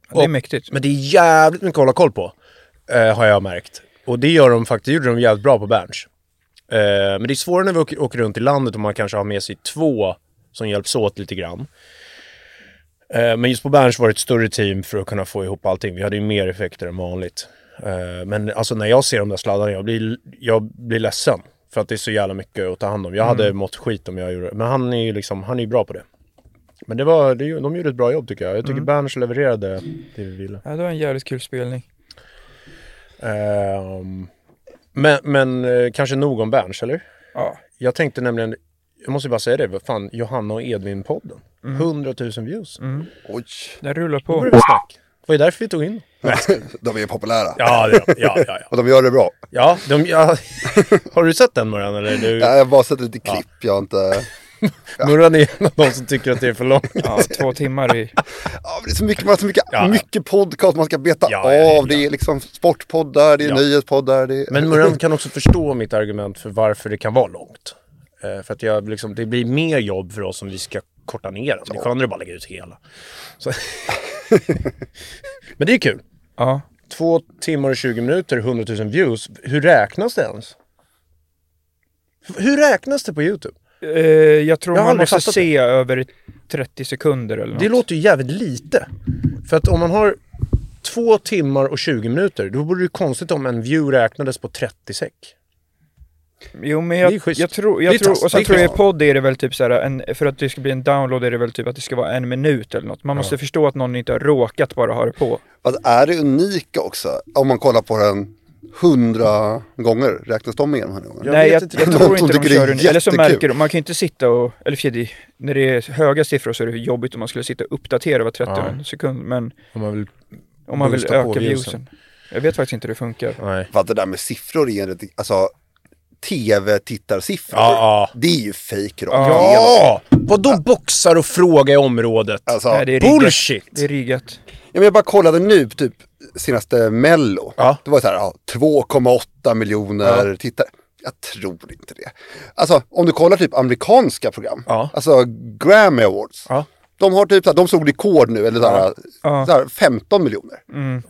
[SPEAKER 2] det är
[SPEAKER 1] Och-
[SPEAKER 2] mäktigt.
[SPEAKER 1] Men det är jävligt mycket att hålla koll på, eh, har jag märkt. Och det gör de faktiskt, det gjorde de jävligt bra på Berns. Eh, men det är svårare när vi åker, åker runt i landet och man kanske har med sig två som hjälps åt lite grann. Eh, men just på Berns var det ett större team för att kunna få ihop allting. Vi hade ju mer effekter än vanligt. Eh, men alltså när jag ser de där sladdarna, jag blir, jag blir ledsen. För att det är så jävla mycket att ta hand om. Jag hade mått skit om jag gjorde det. Men han är ju liksom, han är ju bra på det. Men det var, det, de gjorde ett bra jobb tycker jag. Jag tycker Berns levererade det vi ville.
[SPEAKER 2] Ja, det var en jävligt kul spelning.
[SPEAKER 1] Ehm, men men eh, kanske nog om Berns, eller?
[SPEAKER 2] Ja.
[SPEAKER 1] Jag tänkte nämligen, jag måste bara säga det, vad fan, Johanna och Edvin-podden. 100 000 views. Mm.
[SPEAKER 5] Oj,
[SPEAKER 2] Den rullar
[SPEAKER 1] Då
[SPEAKER 2] på.
[SPEAKER 1] började vi snacka. Det var ju därför vi tog in dem.
[SPEAKER 5] de är populära.
[SPEAKER 1] Ja, det- ja, ja. ja.
[SPEAKER 5] Och de gör det bra.
[SPEAKER 1] ja, de, ja. [LAUGHS] Har du sett den Murran? Eller? Du,
[SPEAKER 5] Jag har bara sett lite klipp, jag har inte...
[SPEAKER 1] Murran är en av de som tycker att det är för långt.
[SPEAKER 2] Ja, två timmar i...
[SPEAKER 5] Ja, men det är så mycket, man har så mycket,
[SPEAKER 1] Ja, ja.
[SPEAKER 5] mycket podcast man ska beta
[SPEAKER 1] Ja,
[SPEAKER 5] av.
[SPEAKER 1] ja, ja.
[SPEAKER 5] Det är liksom sportpoddar, det är
[SPEAKER 1] Ja.
[SPEAKER 5] nyhetspoddar, det är...
[SPEAKER 1] Men
[SPEAKER 5] [LAUGHS]
[SPEAKER 1] Murran kan också förstå mitt argument för varför det kan vara långt. Eh, för att jag, liksom, det blir mer jobb för oss om vi ska korta ner den. Det är skönare att bara lägga ut hela. Så. Men det är kul.
[SPEAKER 2] Ja.
[SPEAKER 1] Två timmar och 20 minuter, 100 000 views. Hur räknas det ens? H- Hur räknas det på YouTube?
[SPEAKER 2] Eh, jag tror
[SPEAKER 1] Jag har
[SPEAKER 2] man
[SPEAKER 1] aldrig
[SPEAKER 2] måste
[SPEAKER 1] fattat
[SPEAKER 2] se över 30 sekunder eller något.
[SPEAKER 1] Det låter ju jävligt lite. För att om man har två timmar och 20 minuter, då vore det ju konstigt om en view räknades på 30 sek.
[SPEAKER 2] Jo men
[SPEAKER 1] Det är
[SPEAKER 2] jag,
[SPEAKER 1] schysst.
[SPEAKER 2] jag tror,
[SPEAKER 1] Det är
[SPEAKER 2] jag tror och
[SPEAKER 1] test,
[SPEAKER 2] sen
[SPEAKER 1] det är
[SPEAKER 2] tror jag i
[SPEAKER 1] test.
[SPEAKER 2] podd är det väl typ såhär, en, för att det ska bli en download är det väl typ att det ska vara en minut eller något. Man måste förstå att någon inte har råkat bara ha det på.
[SPEAKER 5] Fast Alltså, är det unika också? Om man kollar på den hundra gånger, räknas de igenom hundra gånger?
[SPEAKER 1] Jag
[SPEAKER 2] Nej
[SPEAKER 1] vet
[SPEAKER 2] jag,
[SPEAKER 1] inte.
[SPEAKER 2] jag
[SPEAKER 5] De
[SPEAKER 2] tror inte de
[SPEAKER 5] tycker det är
[SPEAKER 2] kör en, eller så
[SPEAKER 5] jättekul.
[SPEAKER 2] märker de, man kan ju inte sitta och, eller för det, när det är höga siffror så är det jobbigt om man skulle sitta och uppdatera var 30
[SPEAKER 1] Ja.
[SPEAKER 2] sekund, men
[SPEAKER 1] Om man vill...
[SPEAKER 2] om man vill
[SPEAKER 1] Boosta på
[SPEAKER 2] öka
[SPEAKER 1] viewsen.
[SPEAKER 2] viewsen. Jag vet faktiskt inte hur det funkar.
[SPEAKER 1] Nej.
[SPEAKER 5] För att det där med siffror är en riktig- alltså tv-tittarsiffror,
[SPEAKER 1] Ja, ja.
[SPEAKER 5] det är ju fejk rakt igenom.
[SPEAKER 1] Ja! Vadå boxar och fråga i området?
[SPEAKER 5] Alltså,
[SPEAKER 2] Nej, det är riggat.
[SPEAKER 1] Bullshit!
[SPEAKER 2] Det är riggat.
[SPEAKER 5] Ja, men jag bara kollade nu, typ senaste Mello.
[SPEAKER 1] Ja.
[SPEAKER 5] Det var så här, ja, 2,8 miljoner tittare. Jag tror inte det. Alltså om du kollar typ amerikanska program,
[SPEAKER 1] Ja.
[SPEAKER 5] alltså Grammy Awards.
[SPEAKER 1] Ja.
[SPEAKER 5] De har typ så här, de slog rekord nu, eller så här,
[SPEAKER 2] Ja.
[SPEAKER 5] så här 15 miljoner.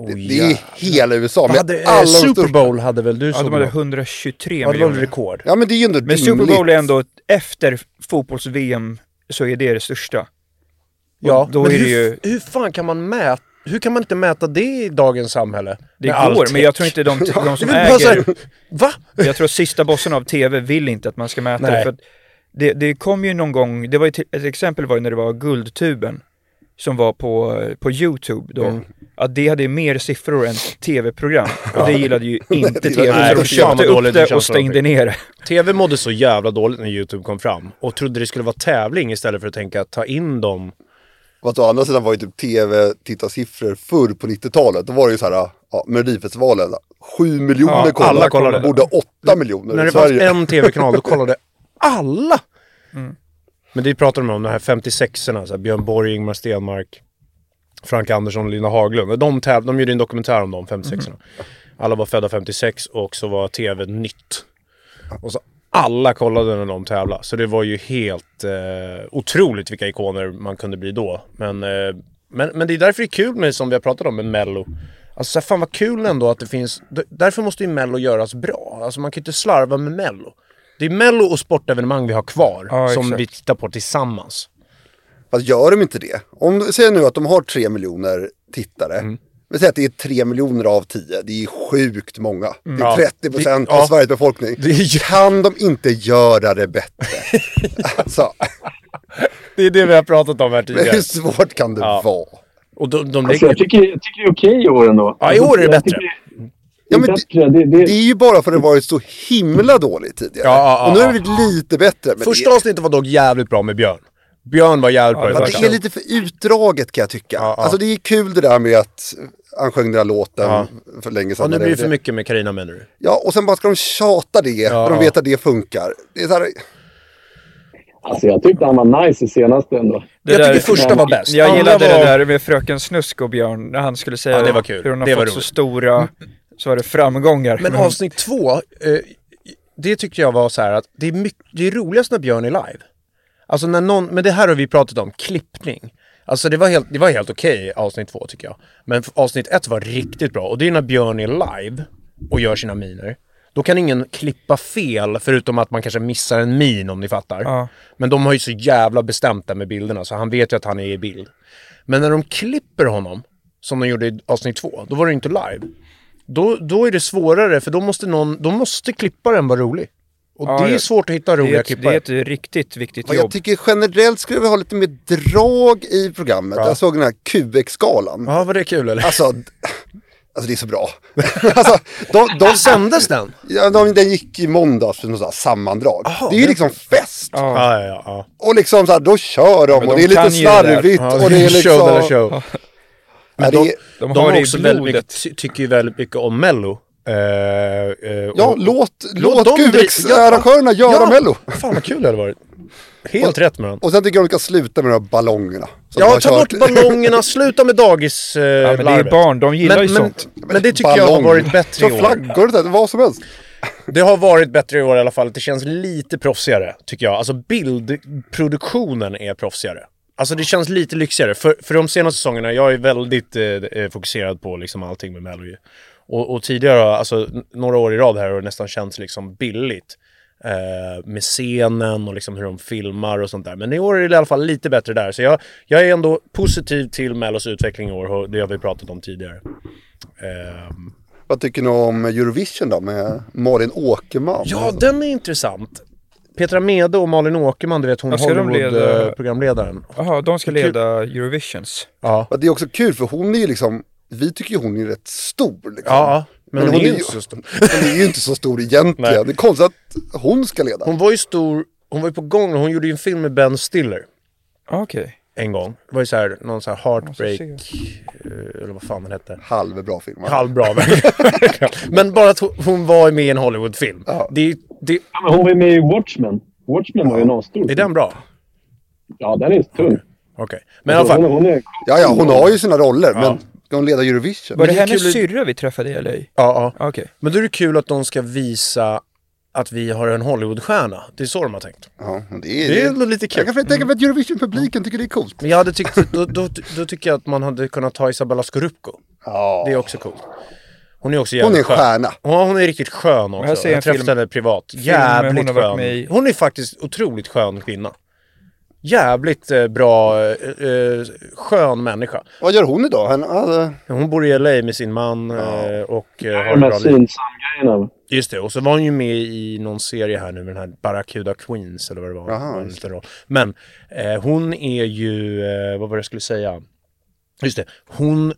[SPEAKER 5] det, det är hela USA.
[SPEAKER 1] Vad hade,
[SPEAKER 5] Med
[SPEAKER 1] eh,
[SPEAKER 5] alla
[SPEAKER 1] Super
[SPEAKER 5] största-
[SPEAKER 1] Bowl hade väl du
[SPEAKER 2] Ja,
[SPEAKER 1] såg
[SPEAKER 2] de hade
[SPEAKER 1] då?
[SPEAKER 2] 123
[SPEAKER 1] Ja, det var väl
[SPEAKER 2] miljoner.
[SPEAKER 1] rekord.
[SPEAKER 5] Ja men det är ju ändå
[SPEAKER 2] Men Super
[SPEAKER 5] rimligt.
[SPEAKER 2] Bowl är ändå, efter fotbolls-VM så är det det största.
[SPEAKER 1] Ja,
[SPEAKER 2] då
[SPEAKER 1] men
[SPEAKER 2] är det
[SPEAKER 1] hur,
[SPEAKER 2] ju-
[SPEAKER 1] hur fan kan man mäta... Hur kan man inte mäta det i dagens samhälle?
[SPEAKER 2] Det
[SPEAKER 1] Med
[SPEAKER 2] går,
[SPEAKER 1] all
[SPEAKER 2] men
[SPEAKER 1] tech?
[SPEAKER 2] jag tror
[SPEAKER 1] [LAUGHS]
[SPEAKER 2] inte de, de som
[SPEAKER 1] Det är bara så
[SPEAKER 2] äger...
[SPEAKER 1] här, va?
[SPEAKER 2] Jag tror sista bossen av TV vill inte att man ska mäta det.
[SPEAKER 1] Nej.
[SPEAKER 2] För att det, det kom ju någon gång, det var ju till, ett exempel var ju när det var Guldtuben som var på, på YouTube då.
[SPEAKER 1] Mm.
[SPEAKER 2] Att det hade ju mer siffror än TV-program. Och det
[SPEAKER 1] [LAUGHS]
[SPEAKER 2] gillade ju inte TV.
[SPEAKER 1] Nej, fy
[SPEAKER 2] Så de
[SPEAKER 1] fan
[SPEAKER 2] köpte
[SPEAKER 1] vad
[SPEAKER 2] upp
[SPEAKER 1] dåligt det
[SPEAKER 2] det
[SPEAKER 1] känns
[SPEAKER 2] och stängde ner det.
[SPEAKER 1] TV mådde så jävla dåligt när YouTube kom fram och trodde det skulle vara tävling istället för att tänka att ta in dem.
[SPEAKER 5] Fast å andra sidan var ju typ tv-tittarsiffror förr på 90-talet. Då var det ju så här, ja, Melodifestivalen, 7 miljoner
[SPEAKER 2] Ja,
[SPEAKER 5] kollade.
[SPEAKER 1] alla kollade.
[SPEAKER 5] Borde 8
[SPEAKER 1] när
[SPEAKER 5] miljoner i
[SPEAKER 1] det Mm. fanns
[SPEAKER 5] Sverige.
[SPEAKER 1] en TV-kanal, då kollade [LAUGHS] alla! Men det pratar de om, de här 56orna, så här Björn Borg, Ingmar Stenmark, Frank Andersson och Lina Haglund. De, täv- de gjorde en dokumentär om de 56orna. Alla var födda 56 och så var TV nytt. Och så alla kollade när de tävlade. Så det var ju helt eh, otroligt vilka ikoner man kunde bli då. Men, eh, men, men det är därför det är kul med, som vi har pratat om, med Mello. Alltså så här, fan vad kul ändå att det finns. d- Därför måste ju Mello göras bra. Alltså man kan ju inte slarva med Mello. Det är Mello och sportevenemang vi har kvar
[SPEAKER 2] Ja,
[SPEAKER 1] som
[SPEAKER 2] exakt.
[SPEAKER 1] vi tittar på tillsammans.
[SPEAKER 5] Fast gör de inte det? Om Säg nu att de har 3 miljoner tittare.
[SPEAKER 1] Mm.
[SPEAKER 5] Vi säger att det är 3 miljoner av 10. Det är sjukt många. Det är
[SPEAKER 1] Ja.
[SPEAKER 5] 30 procent
[SPEAKER 1] Det-
[SPEAKER 5] av
[SPEAKER 1] ja.
[SPEAKER 5] Sveriges befolkning.
[SPEAKER 1] Det är ju-
[SPEAKER 5] Kan de inte göra
[SPEAKER 1] [LAUGHS]
[SPEAKER 5] det bättre? alltså,
[SPEAKER 1] Det är det vi har pratat om här tidigare.
[SPEAKER 5] hur svårt kan det
[SPEAKER 1] Ja.
[SPEAKER 5] vara?
[SPEAKER 1] [LAUGHS] Och de, de
[SPEAKER 4] Alltså,
[SPEAKER 1] lägger...
[SPEAKER 4] jag, tycker, jag tycker det är okej i år ändå.
[SPEAKER 1] Ja, i år är det
[SPEAKER 4] Jag
[SPEAKER 1] bättre.
[SPEAKER 4] tycker det är
[SPEAKER 5] Ja, men
[SPEAKER 4] bättre. Det, det,
[SPEAKER 5] Det är ju bara för att det varit så himla dåligt tidigare.
[SPEAKER 1] Ja, ja, ja,
[SPEAKER 5] och nu har
[SPEAKER 1] ja.
[SPEAKER 5] det blivit lite bättre. Men
[SPEAKER 1] Första avsnittet var dock jävligt bra med Björn. Björn var jävligt bra i
[SPEAKER 2] det var
[SPEAKER 5] det, är,
[SPEAKER 1] första.
[SPEAKER 5] det är lite för utdraget kan jag tycka.
[SPEAKER 1] ja.
[SPEAKER 5] Alltså det är kul det där med att han sjöng den där låten för länge sedan.
[SPEAKER 1] Ja, nu blir det för
[SPEAKER 5] Det-
[SPEAKER 1] mycket med Carina menar du?
[SPEAKER 5] Ja, och sen bara ska de tjata det och de
[SPEAKER 1] ja.
[SPEAKER 5] vet att det funkar. Det är så här,
[SPEAKER 4] alltså, jag tyckte han var nice i senaste ändå.
[SPEAKER 2] Det
[SPEAKER 1] jag
[SPEAKER 2] där-
[SPEAKER 1] tycker första var bäst.
[SPEAKER 2] Jag
[SPEAKER 1] Andra
[SPEAKER 2] gillade
[SPEAKER 1] var-
[SPEAKER 2] det där med Fröken Snusk och Björn, när han skulle säga
[SPEAKER 1] Ja, det var kul.
[SPEAKER 2] hur hon har
[SPEAKER 1] Det var
[SPEAKER 2] fått så
[SPEAKER 1] roligt.
[SPEAKER 2] stora så var det framgångar.
[SPEAKER 1] Men avsnitt två, eh, det tyckte jag var så här att det är, mycket, det är roligast när Björn är live. Alltså när någon, men det här har vi pratat om, klippning. Alltså det var helt, det var helt okej avsnitt två tycker jag. Men f- avsnitt ett var riktigt bra och det är när Björn är live och gör sina miner. Då kan ingen klippa fel förutom att man kanske missar en min om ni fattar.
[SPEAKER 2] Ja.
[SPEAKER 1] Men de har ju så jävla bestämt det med bilderna så han vet ju att han är i bild. Men när de klipper honom, som de gjorde i avsnitt två, då var det ju inte live. Då, då är det svårare för då måste någon, då måste klipparen vara rolig. Och
[SPEAKER 2] Ja,
[SPEAKER 1] det är
[SPEAKER 2] ja.
[SPEAKER 1] svårt att hitta
[SPEAKER 2] det, är
[SPEAKER 1] roliga
[SPEAKER 2] ett, det är
[SPEAKER 1] klippare.
[SPEAKER 2] ett riktigt viktigt
[SPEAKER 5] ja,
[SPEAKER 2] jobb.
[SPEAKER 5] jag tycker generellt skulle vi ha lite mer drag i programmet. Jag såg den här QX-galan.
[SPEAKER 1] Ja, var det kul eller?
[SPEAKER 5] Alltså, d- alltså, det är så bra. alltså, de, de,
[SPEAKER 1] Då sändes den?
[SPEAKER 5] ja, de, den gick i måndags för något sånt här sammandrag. det är ju liksom fest.
[SPEAKER 1] Ja, ja, ja.
[SPEAKER 5] Och liksom så här, då kör de
[SPEAKER 2] Men
[SPEAKER 5] och
[SPEAKER 2] de
[SPEAKER 5] det är lite
[SPEAKER 2] kan ju det där.
[SPEAKER 5] slarvigt.
[SPEAKER 1] ja.
[SPEAKER 5] och det är liksom...
[SPEAKER 1] Show eller show.
[SPEAKER 5] Ja, det är,
[SPEAKER 2] De
[SPEAKER 1] De,
[SPEAKER 2] har det
[SPEAKER 1] har
[SPEAKER 2] i
[SPEAKER 1] också väldigt
[SPEAKER 2] blodet.
[SPEAKER 1] mycket, ty- tycker ju väldigt mycket om Mello. Eh, eh,
[SPEAKER 5] ja,
[SPEAKER 1] och-
[SPEAKER 5] låt, låt,
[SPEAKER 1] dem dri- ja.
[SPEAKER 5] QX-arrangörerna göra Mello.
[SPEAKER 1] Fan vad kul det hade varit. Helt rätt med den.
[SPEAKER 5] Och sen tycker jag de ska sluta med de här ballongerna. som de
[SPEAKER 1] Ja,
[SPEAKER 5] har
[SPEAKER 1] ta bort
[SPEAKER 5] kört.
[SPEAKER 1] ballongerna, sluta med dagis eh,
[SPEAKER 2] men det är
[SPEAKER 1] larvet.
[SPEAKER 2] barn, de gillar ju sånt.
[SPEAKER 1] Men, men det tycker jag har
[SPEAKER 5] Ballong.
[SPEAKER 1] varit bättre i
[SPEAKER 5] Så
[SPEAKER 1] år.
[SPEAKER 5] flaggor och sånt, vad som helst.
[SPEAKER 1] Det har varit bättre i år i alla fall. Det känns lite proffsigare, tycker jag. Alltså bildproduktionen är proffsigare. Alltså det känns lite lyxigare. För, för de senaste säsongerna, jag är väldigt eh, eh, fokuserad på liksom allting med Mello ju. och, och tidigare, alltså n- några år i rad här, har det nästan känts liksom billigt. Eh, med scenen och liksom hur de filmar och sånt där. Men i år är det i alla fall lite bättre där. Så jag, jag är ändå positiv till Mellos utveckling i år. och Det har vi pratat om tidigare. Ehm,
[SPEAKER 5] Vad tycker ni om Eurovision då med Malin Åkerman?
[SPEAKER 1] Ja, den är intressant. Petra Mede och Malin Åkerman, du vet hon eh,
[SPEAKER 2] Ja, ska de leda-
[SPEAKER 1] Hollywood-programledaren.
[SPEAKER 2] Jaha, de ska
[SPEAKER 1] Det är kul.
[SPEAKER 2] leda Eurovisions.
[SPEAKER 1] Ja.
[SPEAKER 5] Men Det är också kul för hon är ju liksom, vi tycker ju hon är rätt stor. Liksom.
[SPEAKER 1] ja, men, hon, är ju inte så stor.
[SPEAKER 5] [LAUGHS] Hon är ju inte så stor egentligen.
[SPEAKER 1] Nej.
[SPEAKER 5] Det är konstigt att hon ska leda.
[SPEAKER 1] Hon var ju stor, hon var ju på gång, hon gjorde ju en film med Ben Stiller
[SPEAKER 2] Ah, Okej.
[SPEAKER 1] en gång. Det var ju så här, någon så här heartbreak,
[SPEAKER 2] Jag måste
[SPEAKER 1] eh, eller vad fan den hette.
[SPEAKER 5] Halvbra film. va?
[SPEAKER 1] Halvbra verkligen. [LAUGHS] Men bara att hon- hon var med i en Hollywoodfilm.
[SPEAKER 5] Ja.
[SPEAKER 1] Det, är- det,
[SPEAKER 4] Ja, men hon var ju med i Watchmen. Watchmen var ju en asstor.
[SPEAKER 1] är den bra?
[SPEAKER 4] Ja, den är tung.
[SPEAKER 1] Okej. Men i alla
[SPEAKER 4] Hon,
[SPEAKER 1] fall,
[SPEAKER 4] hon är...
[SPEAKER 5] Ja, ja, hon har ju sina roller, men ska hon leda Eurovision?
[SPEAKER 2] Var det,
[SPEAKER 1] det är
[SPEAKER 2] hennes
[SPEAKER 1] kul-
[SPEAKER 2] syrra vi träffade i LA?
[SPEAKER 1] ja, ja.
[SPEAKER 2] Ah, Okej.
[SPEAKER 1] Men då är det kul att de ska visa att vi har en Hollywoodstjärna. Det är så de har tänkt.
[SPEAKER 5] Ja, men det är,
[SPEAKER 1] Det är ändå lite
[SPEAKER 5] Jag
[SPEAKER 1] kul. Mm.
[SPEAKER 5] kan tänka mig att Eurovision-publiken tycker det är coolt.
[SPEAKER 1] Men jag hade tyckt, då, då, då tycker jag att man hade kunnat ta Isabella Scorupco.
[SPEAKER 5] Ja.
[SPEAKER 1] Det är också coolt. Hon är också jävligt
[SPEAKER 5] Hon är en
[SPEAKER 1] skön.
[SPEAKER 5] stjärna.
[SPEAKER 1] Ja, hon är riktigt skön
[SPEAKER 2] Och här
[SPEAKER 1] också.
[SPEAKER 2] ser jag
[SPEAKER 1] Jag
[SPEAKER 2] en
[SPEAKER 1] träffade
[SPEAKER 2] film-
[SPEAKER 1] henne privat.
[SPEAKER 2] film med hon
[SPEAKER 1] Jävligt
[SPEAKER 2] har varit
[SPEAKER 1] skön.
[SPEAKER 2] med i-
[SPEAKER 1] Hon är faktiskt otroligt skön kvinna. Jävligt eh, bra, eh, eh, skön människa.
[SPEAKER 5] Vad gör hon idag? Hon, ja,
[SPEAKER 1] Hon bor i LA med sin man eh, och eh, har ett
[SPEAKER 4] de här
[SPEAKER 1] bra liv.
[SPEAKER 4] synsam-grejerna.
[SPEAKER 1] Just det, och så var hon ju med i någon serie här nu med den här Barracuda Queens eller vad det var.
[SPEAKER 5] Jaha,
[SPEAKER 1] Det var en
[SPEAKER 5] just
[SPEAKER 1] liten roll. Men eh, hon är ju, eh, vad var det jag skulle säga? Just det, hon,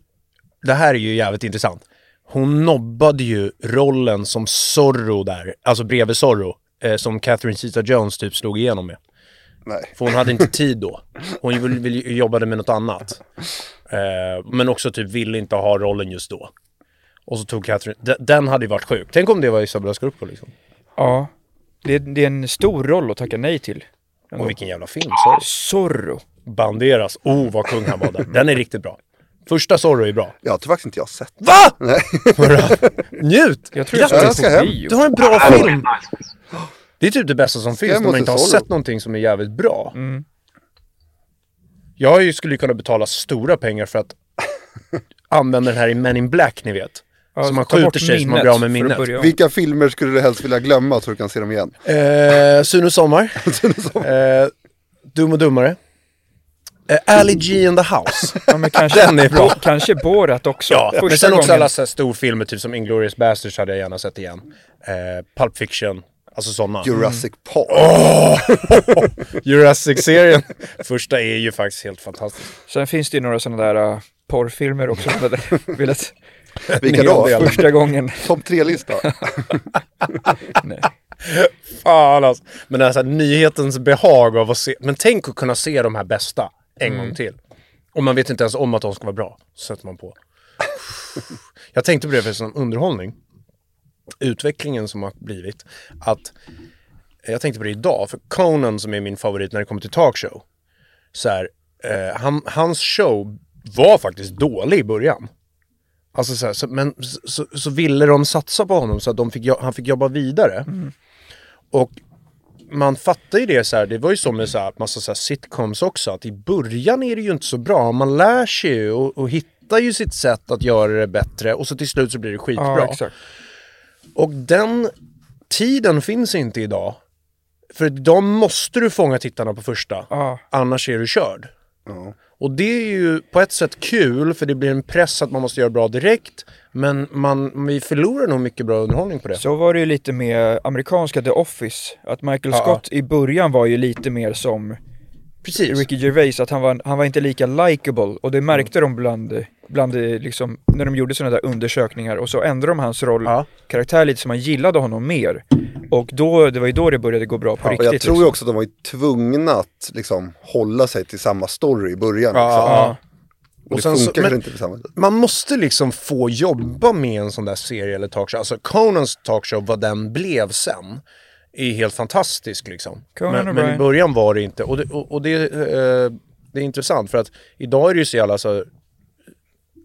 [SPEAKER 1] det här är ju jävligt intressant. Hon nobbade ju rollen som Zorro där, alltså bredvid Zorro, eh, som Catherine Zeta-Jones typ slog igenom med.
[SPEAKER 5] Nej.
[SPEAKER 1] För hon hade inte tid då. Hon vill, vill, jobbade med något annat. Eh, men också typ ville inte ha rollen just då. Och så tog Catherine, de- den hade ju varit sjuk. Tänk om det var Isabella Scorupco liksom.
[SPEAKER 2] Ja. Det är, det är en stor roll att tacka nej till. Ändå.
[SPEAKER 1] Och vilken jävla film, sorry.
[SPEAKER 2] Zorro.
[SPEAKER 1] Banderas, oh vad kung han var där. Den är riktigt bra. Första Zorro är
[SPEAKER 2] [LAUGHS]
[SPEAKER 1] bra.
[SPEAKER 5] Jag tror faktiskt inte jag har sett.
[SPEAKER 1] Va?
[SPEAKER 5] Nej.
[SPEAKER 1] Hurra. Njut!
[SPEAKER 2] Jag tror jag
[SPEAKER 5] Ja, jag
[SPEAKER 2] såg
[SPEAKER 5] ska
[SPEAKER 2] den
[SPEAKER 5] hem.
[SPEAKER 2] på bio.
[SPEAKER 1] Du har en bra
[SPEAKER 4] Ja, det var
[SPEAKER 1] film!
[SPEAKER 4] nice.
[SPEAKER 1] Det är typ det bästa som finns när
[SPEAKER 5] Jag
[SPEAKER 1] man
[SPEAKER 5] måste
[SPEAKER 1] inte har
[SPEAKER 5] Zorro.
[SPEAKER 1] sett någonting som är jävligt bra.
[SPEAKER 2] Mm.
[SPEAKER 1] Jag ju- skulle ju kunna betala stora pengar för att [LAUGHS] använda den här i Men in Black, ni vet.
[SPEAKER 2] Ja,
[SPEAKER 1] så man
[SPEAKER 2] ta bort
[SPEAKER 1] skjuter sig så man
[SPEAKER 2] minnet
[SPEAKER 1] blir av med
[SPEAKER 2] för att
[SPEAKER 1] minnet.
[SPEAKER 2] börja om.
[SPEAKER 5] Vilka filmer skulle du helst vilja glömma så du kan se dem igen?
[SPEAKER 1] Eh, Sune Sommar.
[SPEAKER 2] [LAUGHS]
[SPEAKER 1] Eh, Dum och Dummare. Eh, Ali G and the House.
[SPEAKER 2] [LAUGHS] Ja, men kanske,
[SPEAKER 1] Den är bra.
[SPEAKER 2] [LAUGHS] Kanske Borat också.
[SPEAKER 1] Ja,
[SPEAKER 2] Första
[SPEAKER 1] men sen också
[SPEAKER 2] gången.
[SPEAKER 1] alla så här storfilmer, typ som Inglourious Basterds hade jag gärna sett igen. Eh, Pulp Fiction, alltså sådana.
[SPEAKER 5] Jurassic Park.
[SPEAKER 1] Jurassic-serien. [LAUGHS] Första är ju faktiskt helt fantastisk.
[SPEAKER 2] Sen finns det ju några sådana där äh, porrfilmer också. som jag hade [LAUGHS] velat
[SPEAKER 5] Vilka då?
[SPEAKER 1] Neondel. [LAUGHS]
[SPEAKER 2] första gången.
[SPEAKER 5] Topp tre-lista.
[SPEAKER 2] Nej.
[SPEAKER 1] Fan alltså. Men alltså, nyhetens behag av att se. Men tänk att kunna se de här bästa en gång till. Och man vet inte ens om att de ska vara bra. Så sätter man på. Jag tänkte på det för som underhållning. Utvecklingen som har blivit. Att jag tänkte på det idag. För Conan som är min favorit när det kommer till talkshow. Så här, eh, han, hans show var faktiskt dålig i början. Alltså så här, så, men så, så, så ville de satsa på honom så att de fick, jo- han fick jobba vidare. Och man fattar ju det så här, det var ju så med så här, massa så här sitcoms också, att i början är det ju inte så bra. Man lär sig ju och, och hittar ju sitt sätt att göra det bättre och så till slut så blir det skitbra.
[SPEAKER 2] Ja, exakt.
[SPEAKER 1] Och den tiden finns inte idag. För då måste du fånga tittarna på första,
[SPEAKER 2] Ja.
[SPEAKER 1] annars är du körd.
[SPEAKER 5] Ja.
[SPEAKER 1] Och det är ju på ett sätt kul, för det blir en press att man måste göra bra direkt. Men man, vi förlorar nog mycket bra underhållning på det.
[SPEAKER 2] Så var det ju lite med amerikanska The Office. Att Michael Scott i början var ju lite mer som
[SPEAKER 1] Precis.
[SPEAKER 2] Ricky Gervais, att han var, han var inte lika likable. Och det märkte de bland, bland eh, liksom, när de gjorde sådana där undersökningar. Och så ändrade de hans roll,
[SPEAKER 1] Ja.
[SPEAKER 2] karaktär lite så man gillade honom mer. Och då, det var ju då det började gå bra på
[SPEAKER 5] Och
[SPEAKER 2] riktigt.
[SPEAKER 5] jag tror ju
[SPEAKER 2] liksom.
[SPEAKER 5] också att de var ju tvungna att liksom, hålla sig till samma story i början.
[SPEAKER 1] Ja,
[SPEAKER 5] liksom.
[SPEAKER 1] ja.
[SPEAKER 5] Och,
[SPEAKER 1] Och
[SPEAKER 5] det
[SPEAKER 1] sen så-
[SPEAKER 5] funkar kanske
[SPEAKER 1] men-
[SPEAKER 5] inte på samma sätt.
[SPEAKER 1] man måste liksom få jobba med en sån där serie eller talkshow. Alltså Conans talkshow, vad den blev sen, är helt fantastisk liksom.
[SPEAKER 2] Conan
[SPEAKER 1] men, men i
[SPEAKER 2] O'Brien.
[SPEAKER 1] början var det inte. Och det, och, och det, eh, det är intressant för att idag är det ju så jävla så...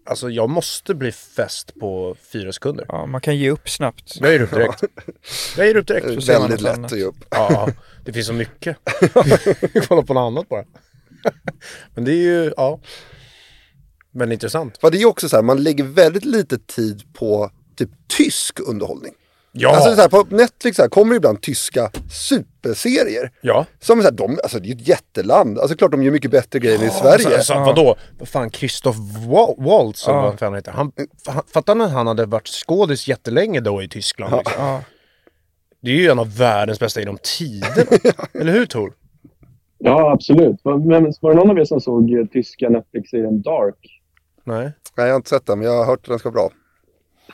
[SPEAKER 1] Alltså jag måste bli fäst på fyra sekunder.
[SPEAKER 2] Ja, man kan ge upp snabbt.
[SPEAKER 1] Jag ger upp direkt.
[SPEAKER 5] [LAUGHS]
[SPEAKER 1] Jag ger upp direkt.
[SPEAKER 5] Det är
[SPEAKER 1] Så ser man
[SPEAKER 5] Väldigt
[SPEAKER 1] något
[SPEAKER 5] lätt
[SPEAKER 1] annat.
[SPEAKER 5] att ge upp.
[SPEAKER 1] Ja, det finns så mycket. [LAUGHS] Kolla på något annat bara. [LAUGHS] Men det är ju, ja. Men intressant.
[SPEAKER 5] För det är ju också så här, man lägger väldigt lite tid på typ tysk underhållning.
[SPEAKER 1] Ja,
[SPEAKER 5] Alltså så här, på Netflix så här, kommer det ibland tyska superserier.
[SPEAKER 1] ja.
[SPEAKER 5] Som är så här, de, alltså det är ju ett jätteland. Alltså klart de gör mycket bättre grejer än i Sverige.
[SPEAKER 1] Alltså, alltså, vadå? Vad fan, Christoph Wa- Waltz, eller vad fan han heter. Han, fa- fattar ni att han hade varit skådis jättelänge då i Tyskland? Liksom.
[SPEAKER 2] Ja.
[SPEAKER 1] Det är ju en av världens bästa genom tiderna.
[SPEAKER 5] [LAUGHS]
[SPEAKER 1] eller hur Tor?
[SPEAKER 4] Ja, absolut. Men men var det någon av er som såg eh, tyska Netflix-serien Dark?
[SPEAKER 1] Nej.
[SPEAKER 5] Nej, jag har inte sett den, men jag har hört att den ska vara bra.